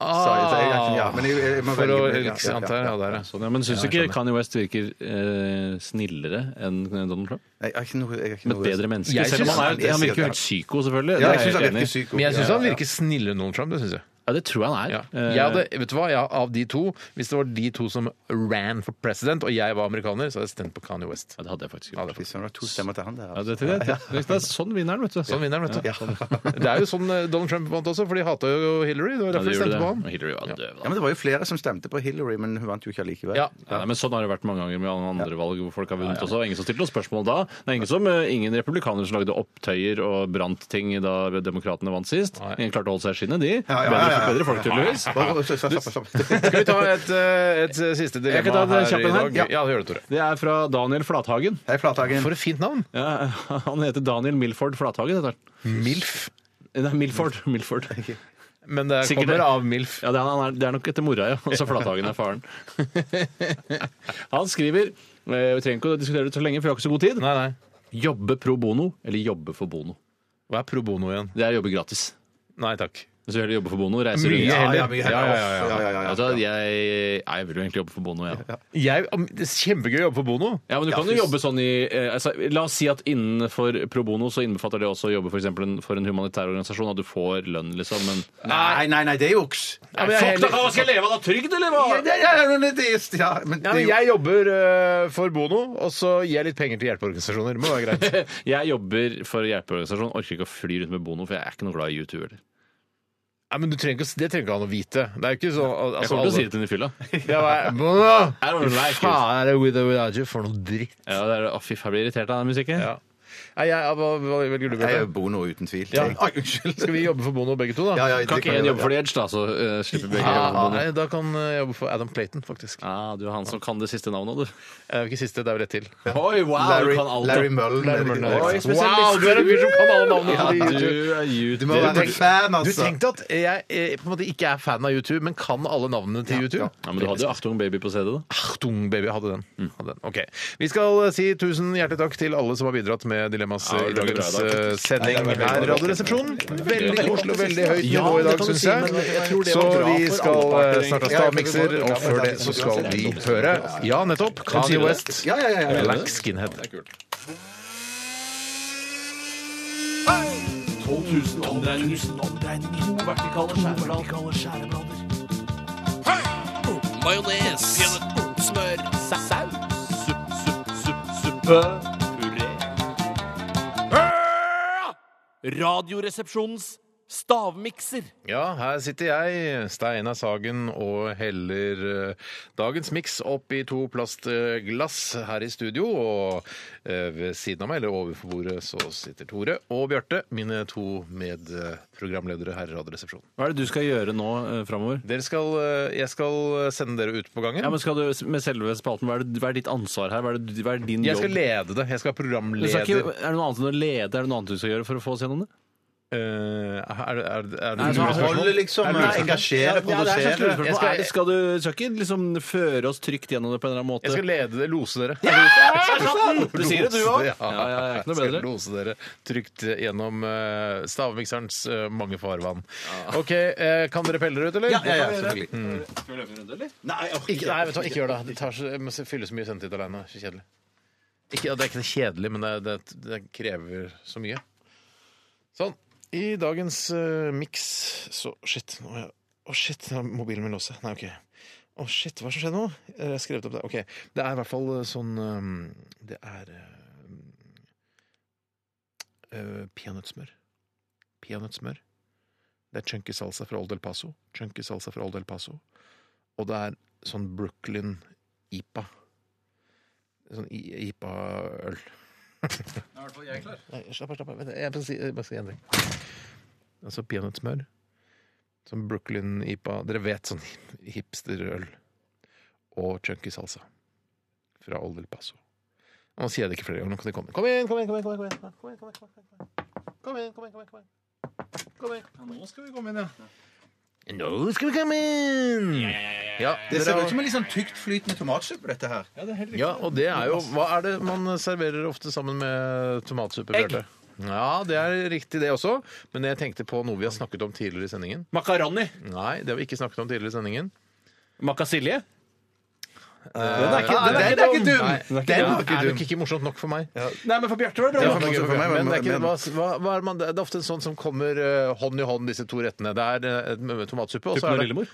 Speaker 4: Ah,
Speaker 5: sa jeg, så jeg, jeg, ja, men jeg, jeg, må
Speaker 4: for å
Speaker 5: velge- ja, ja,
Speaker 4: anta
Speaker 5: ja.
Speaker 4: ja, der, ja.
Speaker 6: Sånn, ja, men syns du ikke Kanye West virker eh, snillere enn Donald Trump?
Speaker 5: Jeg har ikke noe, jeg har ikke
Speaker 6: Med
Speaker 5: noe
Speaker 6: et bedre menneske?
Speaker 4: Jeg
Speaker 6: Selv om
Speaker 4: synes
Speaker 6: han, er,
Speaker 5: han er
Speaker 6: han virker
Speaker 5: sikkert-
Speaker 6: jo helt psyko, selvfølgelig.
Speaker 5: Ja,
Speaker 6: Det
Speaker 5: jeg
Speaker 6: er
Speaker 5: syns han
Speaker 6: helt
Speaker 5: virker
Speaker 6: enig i.
Speaker 5: psyko.
Speaker 4: Men jeg syns
Speaker 5: Ja,
Speaker 4: han
Speaker 5: ja.
Speaker 4: virker snillere enn Donald Trump. det synes jeg.
Speaker 6: Ja, det tror jeg han
Speaker 4: Ja.
Speaker 6: er. Eh,
Speaker 4: Jeg hadde, vet du hva, jeg, Av de to, hvis det var de to som ran for president, og jeg var amerikaner, så hadde jeg stemt på Kanye West.
Speaker 6: Ja, det hadde jeg faktisk
Speaker 4: Ja,
Speaker 6: gjort.
Speaker 4: det er
Speaker 5: Hvis han har to stemmer til han der.
Speaker 6: Ja,
Speaker 5: altså.
Speaker 6: det, det, det, det, er sånn vinneren, vet du.
Speaker 4: Sånn vinner han, vet du.
Speaker 5: Ja.
Speaker 4: Det er jo sånn eh, Donald Trump vant også, for de hata jo Hillary. Det var
Speaker 6: Ja,
Speaker 4: derfor
Speaker 6: det
Speaker 4: de
Speaker 6: gjorde
Speaker 4: stemte på
Speaker 6: det.
Speaker 4: han.
Speaker 6: Men Hillary var døv,
Speaker 5: Ja,
Speaker 6: da.
Speaker 5: men det var jo flere som stemte på Hillary, men hun vant jo ikke allikevel.
Speaker 4: Ja.
Speaker 6: Ja, men Sånn har det vært mange ganger med andre valg hvor folk har vunnet også. Det var Ingen som stilte noen spørsmål da. Det er ingen, som, eh, ingen republikanere som lagde opptøyer og brant ting da demokratene vant sist. Ingen klarte å holde seg i skinnet, de.
Speaker 5: ja,
Speaker 6: Bedre,
Speaker 5: ja, ja.
Speaker 6: bedre folk, tydeligvis.
Speaker 5: Bare- stopp, stopp, stopp, stopp.
Speaker 4: Skal vi ta et, eh, et siste
Speaker 6: Jeg kan ta
Speaker 4: dilemma
Speaker 6: det
Speaker 4: her i
Speaker 6: kjapt en her.
Speaker 4: dag? Ja, gjør det, Tore.
Speaker 6: Det er fra Daniel Flathagen.
Speaker 5: Hei, Flathagen.
Speaker 4: For et fint navn.
Speaker 6: Ja, han heter Daniel Milford Flathagen. Heter han.
Speaker 4: MILF.
Speaker 6: Nei, Milford. Milford.
Speaker 4: Men det
Speaker 6: Sikkert
Speaker 4: kommer
Speaker 6: det.
Speaker 4: av MILF.
Speaker 6: Ja, det, er, han er, det er nok etter mora, ja. Altså Flathagen er faren. Han skriver eh, Vi trenger ikke å diskutere det så lenge, for vi har ikke så god tid.
Speaker 4: Nei, nei.
Speaker 6: Jobbe pro bono eller jobbe for bono?
Speaker 4: Hva er pro bono igjen?
Speaker 6: Det er jobbe gratis.
Speaker 4: Nei takk.
Speaker 6: Hvis du heller jobber for bono, reiser
Speaker 4: Mye
Speaker 6: rundt.
Speaker 4: heller.
Speaker 5: ja, mye heller.
Speaker 6: Ja, ja, ja,
Speaker 5: Ja, ja, ja, ja.
Speaker 6: Altså, jeg, nei, jeg vil jo egentlig jobbe for bono, jeg. Ja.
Speaker 4: Jeg, om- det er kjempegøy å jobbe på Bono.
Speaker 6: ja, men du kan jo jobbe sånn i eh, altså, La oss si at innenfor pro bono så innbefatter det også å jobbe for, eksempel, en- for en humanitær organisasjon, at du får lønn, liksom, men
Speaker 5: Nei, nei, nei, det er juks.
Speaker 4: men jeg heller-
Speaker 6: hva skal jeg leve av da? Trygd, eller
Speaker 5: Ja, det- ja, ja, men det er- ja, men det
Speaker 4: Ja,
Speaker 5: er
Speaker 4: men
Speaker 5: jo-
Speaker 4: jeg jobber eh, for Bono, og så gir jeg litt penger til hjelpeorganisasjoner. Det må være greit.
Speaker 6: Jeg jobber for hjelpeorganisasjon, orker ikke å fly rundt med bono, for jeg er ikke noe glad i U2 heller.
Speaker 4: Nei, men du trenger ikke, å- Det trenger ikke han å vite. Det er jo ikke så al-
Speaker 6: Jeg
Speaker 4: altså,
Speaker 6: kommer til å si
Speaker 4: alle-
Speaker 6: det til den i fylla.
Speaker 4: Ja, hva er- Bono!
Speaker 6: I don't
Speaker 4: Fy
Speaker 6: like
Speaker 4: Faen, er det With or Without You for noe dritt?
Speaker 6: Ja, det er, å, fy, faen, jeg blir irritert av den musikken.
Speaker 4: Ja. Nei, jeg, hva, hva velger du,
Speaker 5: Jeg er jo
Speaker 4: Bjørte?
Speaker 5: Bono, uten tvil.
Speaker 4: Ja.
Speaker 5: Ai, unnskyld.
Speaker 4: Skal vi jobbe for Bono begge to, da?
Speaker 5: Ja, ja, det
Speaker 6: Kan ikke
Speaker 5: jeg
Speaker 6: én
Speaker 5: gjøre.
Speaker 6: jobbe for The Edge, da, så eh, slipper begge å
Speaker 4: Ja,
Speaker 6: jobbe for bono.
Speaker 4: nei, da kan jeg jobbe for Adam Clayton, faktisk.
Speaker 6: Ah, du er han som kan det siste navnet, du.
Speaker 4: Det er jo ikke siste, det er vel ett til.
Speaker 6: Oi, wow,
Speaker 5: Larry,
Speaker 6: du kan alt.
Speaker 5: Larry
Speaker 6: da.
Speaker 5: Mullen.
Speaker 4: Larry
Speaker 5: er det
Speaker 4: Mullen
Speaker 5: ikke?
Speaker 4: er
Speaker 5: Oi,
Speaker 4: det. Wow, du er en fyr som kan alle navnene på de
Speaker 6: Ja,
Speaker 4: YouTube.
Speaker 6: du er
Speaker 5: Du
Speaker 6: YouTube.
Speaker 5: må være en fan,
Speaker 4: Du
Speaker 5: altså.
Speaker 4: tenkte at jeg eh, på en måte ikke er fan av YouTube, men kan alle navnene til YouTube?
Speaker 6: Ja, Mm. men du hadde jo Achtung Baby på CD, da.
Speaker 4: Achtung, baby. Hadde den. Hadde den. Ok. Vi skal eh, si tusen hjertelig takk til alle som har bidratt med Dilemmas eh,
Speaker 6: Ja,
Speaker 4: i
Speaker 6: det var
Speaker 4: dagens
Speaker 6: bra i dag.
Speaker 4: eh, sending her i Radioresepsjonen. Veldig koselig og veldig høyt
Speaker 6: Ja,
Speaker 4: nivå i
Speaker 6: det
Speaker 4: dag,
Speaker 6: kan du
Speaker 4: syns
Speaker 6: si, men
Speaker 4: jeg.
Speaker 6: jeg tror det
Speaker 4: Så
Speaker 6: var bra
Speaker 4: vi
Speaker 6: for alle
Speaker 4: skal
Speaker 6: parter,
Speaker 4: eh, snart
Speaker 6: egentlig.
Speaker 4: ta stavmikser, og før det så skal vi høre Ja, nettopp. Kanye West.
Speaker 5: Ja, ja, ja, ja.
Speaker 4: Black skinhead.
Speaker 7: 12 000 omdreininger. 1000 omdreininger. To vertikale skjæreblader. Hei! Majones. Smør. Saus. Supp, supp, supp, suppe. Puré. Ah! Radioresepsjonens stavmikser.
Speaker 4: Ja, her sitter jeg, Steinar Sagen, og heller eh, dagens miks opp i to plastglass her i studio. Og eh, ved siden av meg, eller overfor bordet, så sitter Tore og Bjarte, mine to medprogramledere her i Radioresepsjonen.
Speaker 6: Hva er det du skal gjøre nå eh, framover?
Speaker 4: Dere skal, eh, jeg skal sende dere ut på gangen.
Speaker 6: Ja, men skal du med selve spalten, hva er, det, hva er ditt ansvar her? Hva er, det, hva er din
Speaker 4: jeg skal
Speaker 6: jobb?
Speaker 4: lede det. Jeg skal være
Speaker 6: Du skal
Speaker 4: programleder.
Speaker 6: ikke, er det noe annet enn å lede? Er det noe annet du skal gjøre for å få oss gjennom det?
Speaker 4: Eh, er, det- er, det- er det
Speaker 6: Nei,
Speaker 5: Du
Speaker 6: så han
Speaker 4: lurespørsmål?
Speaker 5: holder liksom,
Speaker 4: Er det lurespørsmål?
Speaker 5: engasjere,
Speaker 6: Ja, det er sånn
Speaker 5: provosere.
Speaker 6: lurespørsmål.
Speaker 4: Jeg skal-
Speaker 6: Er det- Skal du skal ikke liksom føre oss trygt gjennom det på en eller annen måte?
Speaker 4: Jeg skal lede det, lose dere.
Speaker 6: Du sier det, du også.
Speaker 4: Ja,
Speaker 6: Ja, ja, ja,
Speaker 4: jeg
Speaker 6: ikke noe bedre.
Speaker 4: skal lose dere trygt gjennom eh, stavmikserens eh, mange farvann. OK, eh, kan dere pelle dere ut, eller?
Speaker 5: Ja, ja, ja, selvfølgelig. Mm.
Speaker 4: Nei, ikke, nei, vet du hva, ikke gjør det. Det tar så, jeg må fylle så mye sendetid alene. Så kjedelig. Ikke, det er ikke kjedelig, men det, det, det krever så mye. Sånn. I dagens uh, miks så Shit, nå må jeg Å, shit, nå er mobilen min låst. Nei, OK. Å, shit, hva er det som skjedde nå? Eh, Jeg skrev det opp der. OK. Det er i hvert fall eh, sånn um, Det er eh, eh, Peanøttsmør. Peanøttsmør. Det er chunky salsa fra Old El Paso. Chunky salsa fra Old El Paso. Og det er sånn Brooklyn-IPA. Sånn i- IPA-øl. Nei, Slapp av, slapp av. Vent, Jeg bare si- jeg bare skal endre. Altså peanøttsmør. Sånn Brooklyn-IPA. Dere vet sånn hipsterøl. Og chunky salsa. Fra Old El Paso. Nå sier jeg det ikke flere ganger. Nå kan de komme. Kom inn, kom inn, kom inn! Kom inn, kom inn, kom inn, kom inn, kom inn, kom inn, kom inn, kom inn. Kom inn.
Speaker 6: Nå skal vi komme inn, ja.
Speaker 4: Nå skal vi komme inn! Ja,
Speaker 5: Det
Speaker 4: dere
Speaker 5: ser
Speaker 4: har-
Speaker 5: ut som en litt sånn tykt flytende tomatsuppe, dette her.
Speaker 4: Ja, og det er jo Hva er det man serverer ofte sammen med tomatsuppe? Bjarte? Ja, det er riktig det også, men jeg tenkte på noe vi har snakket om tidligere i sendingen.
Speaker 6: Makaroni.
Speaker 4: Nei, det har vi ikke snakket om tidligere i sendingen.
Speaker 6: Macasilje.
Speaker 5: Den er ikke, den er ikke,
Speaker 4: dum! Nei,
Speaker 5: dum!
Speaker 4: den
Speaker 5: Den
Speaker 4: er
Speaker 5: var ikke
Speaker 4: nok
Speaker 5: dum.
Speaker 4: ikke morsomt nok for meg.
Speaker 6: Nei, men for Bjarte var det
Speaker 4: Det
Speaker 6: bra.
Speaker 4: er, for meg,
Speaker 5: morsomt for meg,
Speaker 4: men det, er ikke,
Speaker 5: men-
Speaker 4: hva, hva, hva er man, det er ofte en sånn som kommer eh, hånd i hånd, disse to rettene. Det er eh, tomatsuppe, og så er det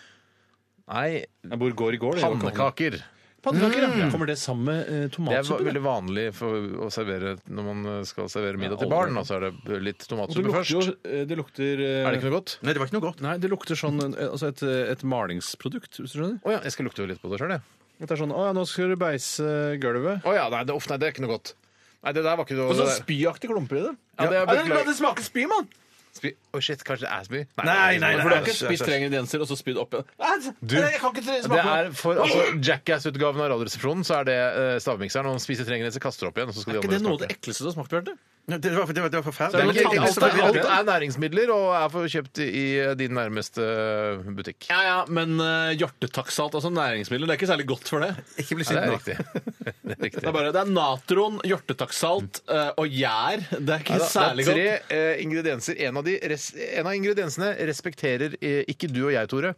Speaker 4: Nei,
Speaker 6: Jeg bor går i går. det er jo ikke hånd.
Speaker 4: pannekaker.
Speaker 6: Pannekaker, ja. Kommer det sammen med eh,
Speaker 4: Det er va-
Speaker 6: tomatsuppe?
Speaker 4: veldig vanlig for å servere når man skal servere middag til
Speaker 6: Ja,
Speaker 4: barn.
Speaker 6: aldri.
Speaker 4: Da, så er det litt
Speaker 6: Og det
Speaker 4: tomatsuppe
Speaker 6: lukter jo
Speaker 4: først.
Speaker 6: eh, Det lukter eh,
Speaker 4: Er det ikke noe godt?
Speaker 5: Nei, det var ikke noe godt.
Speaker 6: Nei, det lukter sånn eh, altså et, et malingsprodukt, hvis du skjønner.
Speaker 4: Å ja, jeg skal lukte jo litt på det sjøl, jeg.
Speaker 6: At det er sånn Å ja, nå skal du beise gulvet.
Speaker 4: Å ja, nei, det, uff, nei, det er ikke noe godt. Nei, det der var ikke noe
Speaker 6: Og sånn
Speaker 4: det der-
Speaker 6: spyaktig klumper i det.
Speaker 4: Ja, det er
Speaker 6: Nei,
Speaker 4: beklager-
Speaker 6: det smaker spy, mann!
Speaker 4: Spy- Å shit, kanskje det er spy?
Speaker 5: Nei, nei,
Speaker 6: For du har ikke
Speaker 5: æsj, æsj,
Speaker 6: spist tre ingredienser og så spydd oppi
Speaker 4: Du,
Speaker 6: altså. Jeg kan ikke smake
Speaker 4: Det
Speaker 6: på
Speaker 4: er for altså, Jackass-utgaven av Radioresepsjonen, så er det eh, stavmikseren. Og han spiser trenger så kaster det opp igjen. Og så skal
Speaker 6: Er
Speaker 4: de
Speaker 6: ikke det noe av
Speaker 4: andre
Speaker 6: det
Speaker 4: smake.
Speaker 6: ekleste du har smakt, Bjarte?
Speaker 5: Nei, Det var, det var, det var
Speaker 4: Det er
Speaker 5: forferdelig.
Speaker 4: ikke,
Speaker 5: Det- det-
Speaker 4: alt,
Speaker 5: det-
Speaker 4: er,
Speaker 5: det-
Speaker 4: alt
Speaker 5: det-
Speaker 4: er næringsmidler og er for kjøpt i eh, din nærmeste eh, butikk.
Speaker 6: Ja ja, men uh, hjortetakksalt, altså næringsmidler, det er ikke særlig godt for det.
Speaker 5: Ikke bli
Speaker 4: Ja, det
Speaker 5: sint
Speaker 4: er
Speaker 5: nå.
Speaker 4: riktig. Det er
Speaker 6: Det
Speaker 4: riktig.
Speaker 6: er bare, det er natron, hjortetakksalt eh, og gjær. Det er
Speaker 4: Ja,
Speaker 6: ikke
Speaker 4: da,
Speaker 6: særlig
Speaker 4: det er tre
Speaker 6: godt.
Speaker 4: eh, ingredienser. En av, de, res, en av ingrediensene respekterer eh, ikke du og jeg, Tore.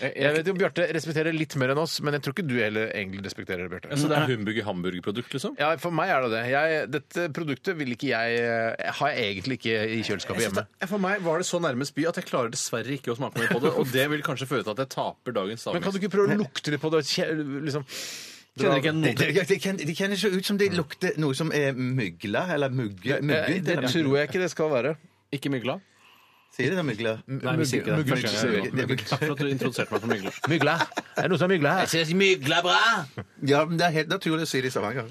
Speaker 4: Jeg vet jo Bjarte respekterer litt mer enn oss, men jeg tror ikke du heller egentlig respekterer det, Bjarte.
Speaker 6: Så det er humbug i hamburgerprodukt, liksom?
Speaker 4: Ja, for meg er det det. Jeg, dette produktet vil ikke jeg eh, Har jeg egentlig ikke i kjøleskapet hjemme.
Speaker 6: For meg var det så nærme spy at jeg klarer dessverre ikke å smake mer på det. Og det vil kanskje føre til at jeg taper dagens
Speaker 4: Men kan
Speaker 6: stavmiks.
Speaker 4: du ikke prøve å lukte litt på det? Kje- Liksom.
Speaker 6: Kjenner ikke
Speaker 5: Det,
Speaker 6: noe
Speaker 5: det, det, kjen- det kjennes jo ut som det lukter noe som er mygla, eller mugge,
Speaker 4: Eh,
Speaker 5: mugge.
Speaker 4: Det tror jeg ikke det skal være.
Speaker 6: Ikke mygla?
Speaker 5: Sier det da, mygla?
Speaker 6: Nei, vi sier ikke det.
Speaker 4: Mugge-
Speaker 6: Første gang jeg
Speaker 4: mugge-
Speaker 6: gjør det. Takk for at du introduserte meg for mygla.
Speaker 4: Mygla. Det er noe som er mygla her.
Speaker 6: synes mygla bra!
Speaker 5: Ja, men det er helt naturlig å si det i Stavanger.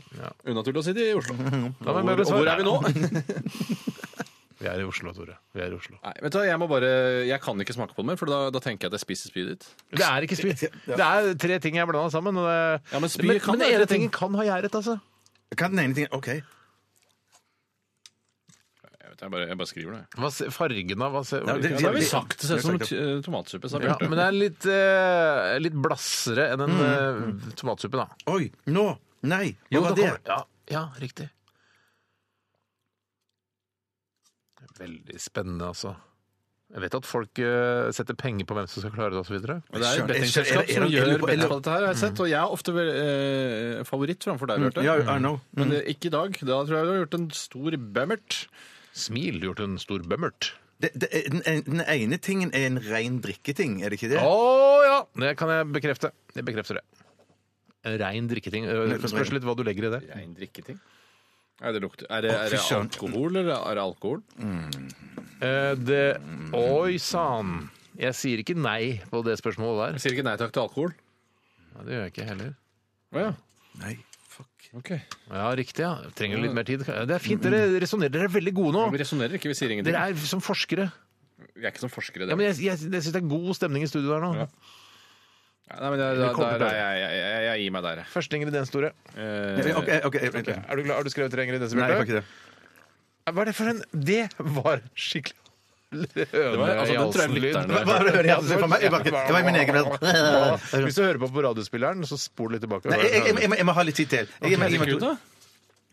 Speaker 6: Unaturlig å si det i Oslo.
Speaker 4: men
Speaker 6: og,
Speaker 4: bare
Speaker 6: hvor, og hvor
Speaker 4: svar.
Speaker 6: er vi nå?
Speaker 4: Vi er i Oslo, Tore. Vi er i Oslo.
Speaker 6: Nei, vet du, hva, jeg, må bare, jeg kan ikke smake på det mer, for da, da tenker jeg at jeg spiser spyet ditt.
Speaker 4: Det er ikke spy. Det er tre ting jeg blanda sammen. Og det...
Speaker 6: Ja, men spy
Speaker 4: men,
Speaker 6: kan
Speaker 4: men
Speaker 6: være
Speaker 4: den ene
Speaker 6: ting.
Speaker 4: tingen kan ha gjerdet, altså.
Speaker 5: Kan den ene tingen OK.
Speaker 6: Jeg, vet, jeg, bare, jeg bare skriver det. jeg.
Speaker 4: Hva, se- fargen av hva, se-
Speaker 5: Ja, det-
Speaker 6: Ja, da har vi
Speaker 5: det-
Speaker 6: sagt det ser ut som
Speaker 5: det-
Speaker 6: t- eh, tomatsuppe. sa
Speaker 4: Ja,
Speaker 6: Bjarte.
Speaker 4: men det er litt, eh, litt blassere enn en eh, tomatsuppe, da.
Speaker 5: Oi, nå! Nei, hva var
Speaker 4: da
Speaker 5: det?
Speaker 4: kommer- Ja, ja, riktig. Veldig spennende, altså. Jeg vet at folk eh, setter penger på hvem som skal klare det osv.
Speaker 6: Og Det er et
Speaker 5: Skjønner.
Speaker 6: bettingselskap
Speaker 5: Er- er- er-
Speaker 6: som
Speaker 5: er-
Speaker 6: gjør
Speaker 5: er- er-
Speaker 6: betting på dette her, har jeg sett. Og jeg er ofte vel, eh, favoritt framfor deg, Bjarte.
Speaker 5: Ja, I know.
Speaker 6: Men det, ikke i dag. Da tror jeg du har gjort en stor bemmert.
Speaker 4: Smil gjort en stor bømmert.
Speaker 5: Det, det, den, den ene tingen er en ren drikketing, er det ikke det?
Speaker 4: Å ja! Det kan jeg bekrefte. Jeg bekrefter det. En Rein drikketing. Eh, Det spørs litt hva du legger i det.
Speaker 6: Rein drikketing. Er det, lukter- er det,
Speaker 5: Å,
Speaker 6: er
Speaker 5: fy
Speaker 6: det
Speaker 5: søren.
Speaker 6: alkohol, eller er det alkohol?
Speaker 4: Eh, det Oi sann! Jeg sier ikke nei på det spørsmålet
Speaker 6: Jeg
Speaker 4: der.
Speaker 6: sier ikke nei takk til alkohol.
Speaker 4: Ja, det gjør jeg ikke heller.
Speaker 6: Å ja.
Speaker 5: Nei, fuck.
Speaker 6: Ok.
Speaker 4: Ja, riktig. ja. Trenger litt mer tid. Det er fint. Dere resonnerer. Dere er veldig gode nå.
Speaker 6: Vi resonnerer ikke, vi sier ingenting.
Speaker 4: Dere er som forskere.
Speaker 6: Vi er ikke som forskere.
Speaker 4: Ja,
Speaker 6: Det.
Speaker 4: men jeg, jeg, jeg syns det er god stemning i studio der nå.
Speaker 6: Ja. Nei, men jeg,
Speaker 4: Vi kommer
Speaker 6: der,
Speaker 4: til å
Speaker 6: der, jeg, jeg, jeg, jeg gir meg der, jeg.
Speaker 4: Første ingrediens, Tore.
Speaker 6: Eh,
Speaker 5: OK. ok, ok.
Speaker 4: Er du glad? Har du skrevet tre ingredienser?
Speaker 5: Nei, det
Speaker 4: Bjarte?
Speaker 5: var ikke det.
Speaker 4: Hva er det for en Det var skikkelig
Speaker 6: Det var, altså, den tror jeg lytterne
Speaker 5: Hva var det jeg hørte? Jeg hadde for meg- jeg var ikke- jeg var i min egen verden.
Speaker 4: Hvis du hører på på radiospilleren, så spol litt tilbake.
Speaker 5: Nei, jeg, jeg, jeg, må- jeg må ha litt tid til. Jeg, jeg, jeg, jeg,
Speaker 6: da?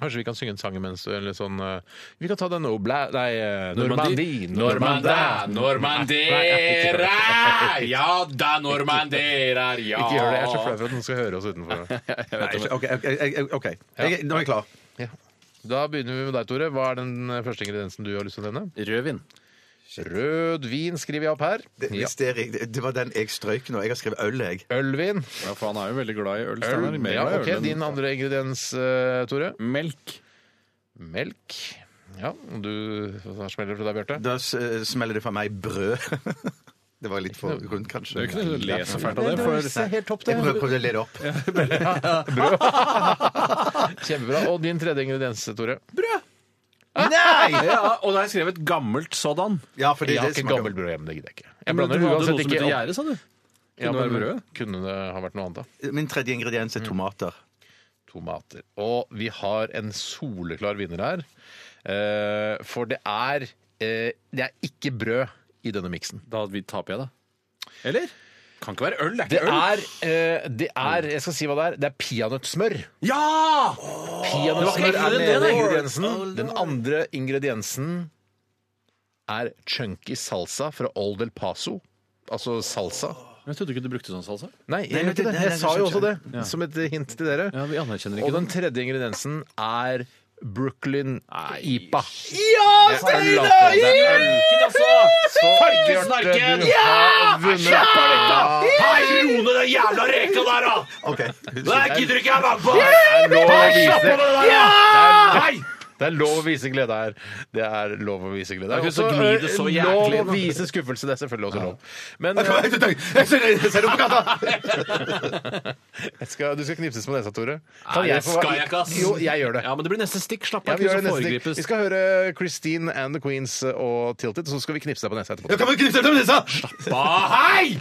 Speaker 4: Kanskje vi kan synge en sang imens? Eller sånn eh, Vi kan ta den Obla... Nei, eh,
Speaker 6: Normandie.
Speaker 4: Normandie.
Speaker 6: Normanda, normandera! Ja da, normanderer, ja!
Speaker 4: Ikke gjør det. Jeg er så flau for at noen skal høre oss utenfor.
Speaker 5: Nei, ikke- OK. ok, jeg- ok. Jeg, nå er jeg klar.
Speaker 4: Da begynner vi med deg, Tore. Hva er den eh, første ingrediensen du har lyst til å nevne?
Speaker 6: Rødvin.
Speaker 4: Rød vin skriver jeg opp her.
Speaker 5: Det,
Speaker 4: Ja.
Speaker 5: hvis det, er riktig- det var den jeg strøyk nå. Jeg har skrevet øl, jeg.
Speaker 4: Ølvin.
Speaker 6: Ja, for han er jo veldig glad i øl.
Speaker 4: Øl.
Speaker 6: Steinar. Mer
Speaker 4: Ja,
Speaker 6: glad i
Speaker 4: ok,
Speaker 6: øl enn-
Speaker 4: Din andre ingrediens, eh, Tore.
Speaker 6: Melk.
Speaker 4: Melk. Ja, du hva smeller det fra deg, Bjarte.
Speaker 5: Da s- eh, smeller det for meg brød. Det var litt for rundt, kanskje.
Speaker 6: Det er jo ikke noe å le så fælt av det.
Speaker 4: er helt topp,
Speaker 5: Jeg prøver prøver å le det opp.
Speaker 4: Kjempebra. Og din tredje ingrediens, Tore.
Speaker 5: Nei!
Speaker 6: Ja, og da har jeg skrevet gammelt sådan.
Speaker 5: Ja, fordi
Speaker 4: Jeg har
Speaker 5: det
Speaker 4: ikke
Speaker 5: smaker-
Speaker 4: gammelt brød hjemme, det gidder jeg ikke. Jeg
Speaker 6: Men
Speaker 4: blander
Speaker 6: du hadde
Speaker 4: uansett
Speaker 6: noe som
Speaker 4: ikke
Speaker 6: heter
Speaker 4: opp.
Speaker 6: gjære, sa du?
Speaker 4: Ja,
Speaker 6: Kunne det
Speaker 4: men
Speaker 6: være brød?
Speaker 4: Kunne det ha vært noe annet, da?
Speaker 5: Min tredje ingrediens
Speaker 6: Mm.
Speaker 5: er tomater.
Speaker 4: tomater. Og vi har en soleklar vinner her. Eh, for det er, eh, det er ikke brød i denne miksen.
Speaker 6: Da vi- taper jeg, da. Eller? Kan ikke være øl, det er
Speaker 4: Det
Speaker 6: ikke øl.
Speaker 4: er, eh, det er Jeg skal si hva det er. Det er peanøttsmør.
Speaker 6: Ja!
Speaker 4: Peanøttsmør
Speaker 6: det var
Speaker 4: er
Speaker 6: ikke
Speaker 4: den
Speaker 6: det,
Speaker 4: ene
Speaker 6: det.
Speaker 4: ingrediensen. Den andre ingrediensen er chunky salsa fra Old El Paso. Altså salsa.
Speaker 6: Jeg trodde ikke du brukte sånn salsa.
Speaker 4: Nei, jeg
Speaker 5: men
Speaker 4: gjør ikke
Speaker 5: det-
Speaker 4: det.
Speaker 5: nei,
Speaker 4: Jeg
Speaker 5: det er
Speaker 4: sa jo
Speaker 5: kanskje
Speaker 4: også det som et hint til dere.
Speaker 6: Ja, vi anerkjenner ikke
Speaker 4: Og den
Speaker 6: den.
Speaker 4: tredje ingrediensen er Brooklyn IPA.
Speaker 6: Ja,
Speaker 4: Det er øl, altså. Det er øl.
Speaker 6: altså!
Speaker 4: Så
Speaker 6: Fargesnarken!
Speaker 4: Bjarte, du har vunnet.
Speaker 6: Rone, den jævla reka der, da!
Speaker 5: OK.
Speaker 6: Jeg gidder ikke jeg være med på!
Speaker 4: Det er lov å vise-
Speaker 6: Slapp av med det der, da!
Speaker 4: Det er-
Speaker 6: Nei!
Speaker 4: Det er lov å vise glede her. Det er lov å vise glede.
Speaker 6: Det er ikke så
Speaker 4: Også,
Speaker 6: gni det så
Speaker 4: eh,
Speaker 6: jæklig
Speaker 4: Lov å
Speaker 6: nå.
Speaker 4: vise skuffelse. Det er selvfølgelig også lov. Men eh,
Speaker 5: Ser du på gata?
Speaker 4: jeg skal, du skal knipses på nesa, Tore.
Speaker 6: Nei, det skal jeg ikke, ass.
Speaker 4: Jo, jeg gjør det.
Speaker 6: Ja, men det blir neste stikk. Slapp
Speaker 4: Ja,
Speaker 6: av,
Speaker 4: vi,
Speaker 6: ikke
Speaker 4: gjør det neste
Speaker 6: så
Speaker 4: stikk.
Speaker 6: foregripes.
Speaker 4: vi skal høre Christine and the Queens og Tilted, så skal vi knipse deg på nesa etterpå.
Speaker 5: Jeg kan bare knipse dem, Lisa!
Speaker 6: Ba, hei!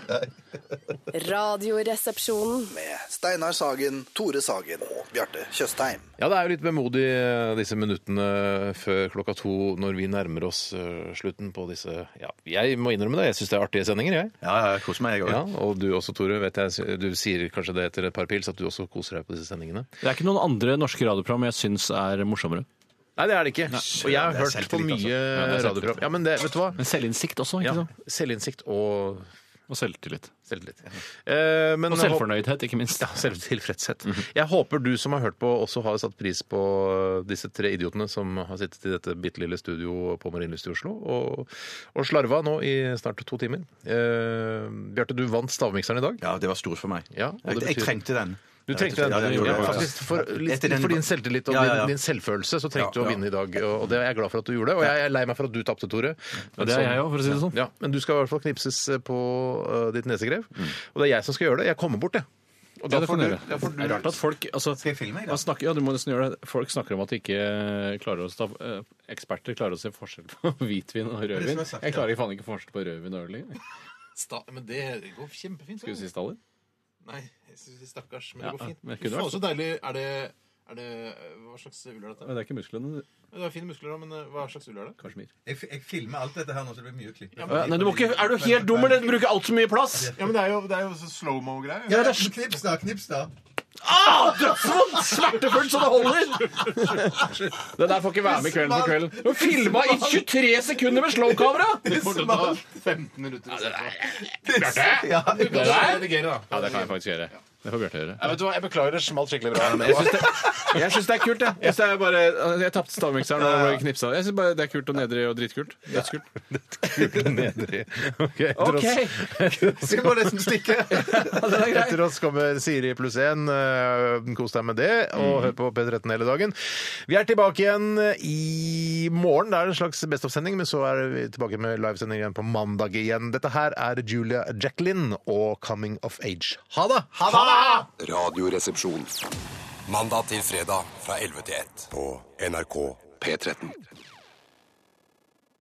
Speaker 2: Radioresepsjonen.
Speaker 9: med Steinar Sagen, Tore Sagen og Bjarte Tjøstheim.
Speaker 4: Ja, det er jo litt vemodig eh, disse minuttene før klokka to når vi nærmer oss eh, slutten på disse Ja, jeg må innrømme det, jeg syns det er artige sendinger, jeg.
Speaker 5: Ja, ja, jeg koser meg, jeg
Speaker 4: Ja,
Speaker 5: òg.
Speaker 4: og du også, Tore. Vet jeg, du sier kanskje det etter et par pils at du også koser deg på disse sendingene?
Speaker 6: Det er ikke noen andre norske radioprogram jeg syns er morsommere.
Speaker 4: Nei, det er det ikke. Og jeg har
Speaker 5: det er
Speaker 4: hørt på
Speaker 5: selvtillit,
Speaker 4: mye
Speaker 5: altså.
Speaker 6: Ja, det er selvtillit.
Speaker 4: radioprogram. Ja, men det, vet du hva?
Speaker 6: Men selvinnsikt også, ikke
Speaker 4: Ja,
Speaker 6: sant?
Speaker 4: selvinnsikt og
Speaker 6: Og selvtillit.
Speaker 4: selvtillit. Eh, men
Speaker 6: Og
Speaker 4: jeg håper-
Speaker 6: selvfornøydhet, ikke minst.
Speaker 4: Ja, selvtilfredshet. Jeg håper du som har hørt på, også har satt pris på disse tre idiotene som har sittet i dette bitte lille studio på Marienlyst i Oslo og, og slarva nå i snart to timer. Eh, Bjarte, du vant stavmikseren i dag.
Speaker 5: Ja, det var stort for meg.
Speaker 4: Ja, og
Speaker 5: jeg,
Speaker 4: det
Speaker 5: jeg
Speaker 4: betyr-
Speaker 5: trengte den.
Speaker 4: Du trengte den.
Speaker 5: Ja, jeg gjorde det,
Speaker 4: Ja,
Speaker 5: faktisk.
Speaker 4: faktisk, for, litt,
Speaker 5: Etter den-
Speaker 4: for din selvtillit og
Speaker 5: Ja, ja, ja.
Speaker 4: Din, din selvfølelse så trengte
Speaker 5: Ja,
Speaker 4: du å
Speaker 5: ja.
Speaker 4: vinne i dag. Og og det er jeg glad for at du gjorde. Og jeg er lei meg for at du tapte, Tore. Men
Speaker 6: det er
Speaker 4: sånn-
Speaker 6: jeg også, for å si det sånn.
Speaker 4: Ja, men du skal i hvert fall knipses eh, på øh, ditt nesegrev.
Speaker 5: Mm.
Speaker 4: Og det er jeg som skal gjøre det. Jeg kommer bort, jeg. Og
Speaker 6: Ja, det kan du gjøre.
Speaker 4: da får
Speaker 6: Det er rart at folk altså,
Speaker 5: Skal jeg filme i dag?
Speaker 6: man snakker, ja, du må nesten gjøre det. Folk snakker om at de ikke klarer å sta- eh, eksperter klarer å se forskjell på hvitvin og
Speaker 5: det som
Speaker 6: rødvin.
Speaker 5: er sagt,
Speaker 6: Jeg klarer faen ikke forskjell på rødvin og øl. lenger.
Speaker 7: Sta men det går kjempefint.
Speaker 6: Skal du si staller?
Speaker 7: Nei, jeg synes stakkars, men
Speaker 6: Ja,
Speaker 7: det går fint.
Speaker 6: men det
Speaker 7: Fy
Speaker 6: kunne
Speaker 7: faen,
Speaker 6: vært
Speaker 7: så deilig. Er det, er det Hva slags ull er dette?
Speaker 6: Men det er ikke musklene.
Speaker 7: Det er fine muskler, da, men eh, hva slags ull er det?
Speaker 6: Kasjmir.
Speaker 5: Jeg, jeg filmer alt dette her nå, så det blir mye klipp. Ja,
Speaker 6: Nei, du må ikke, er du helt dum eller bruker altfor mye plass?
Speaker 7: Ja, men Det er jo, det er jo sånn slow-mo-greier.
Speaker 5: Knips, da. Knips, da.
Speaker 6: Ah, Dødsvondt! Smertefullt så det holder! Det der får ikke være med Kvelden på kvelden. Du filma i 23 sekunder med slowkamera!
Speaker 7: Det får ta 15 minutter. å se på.
Speaker 5: Ja,
Speaker 7: Det er redigere, da.
Speaker 6: Ja, det kan jeg faktisk gjøre. Det får Bjarte gjøre.
Speaker 4: Jeg, vet du hva, jeg beklager, det smalt skikkelig bra.
Speaker 6: Jeg syns det, jeg synes det er kult, jeg. Jeg, synes det er bare, jeg tapte stavmikseren og ble knipsa. Jeg syns bare det er kult og nedrig og dritkult. Dødskult.
Speaker 4: Nedrig. Ok, etter oss-
Speaker 5: skal bare nesten stikke.
Speaker 4: Etter oss kommer Siri pluss én. eh, Kos deg med det, og hør på P13 hele dagen. Vi er tilbake igjen eh, i morgen. Det er en slags Best of-sending, men så er vi tilbake med livesending igjen på mandag igjen. Dette her er Julia Jacqueline og Coming of Age. Ha det!
Speaker 8: Radioresepsjon. Mandag til fredag fra 11 til 1 på NRK P13.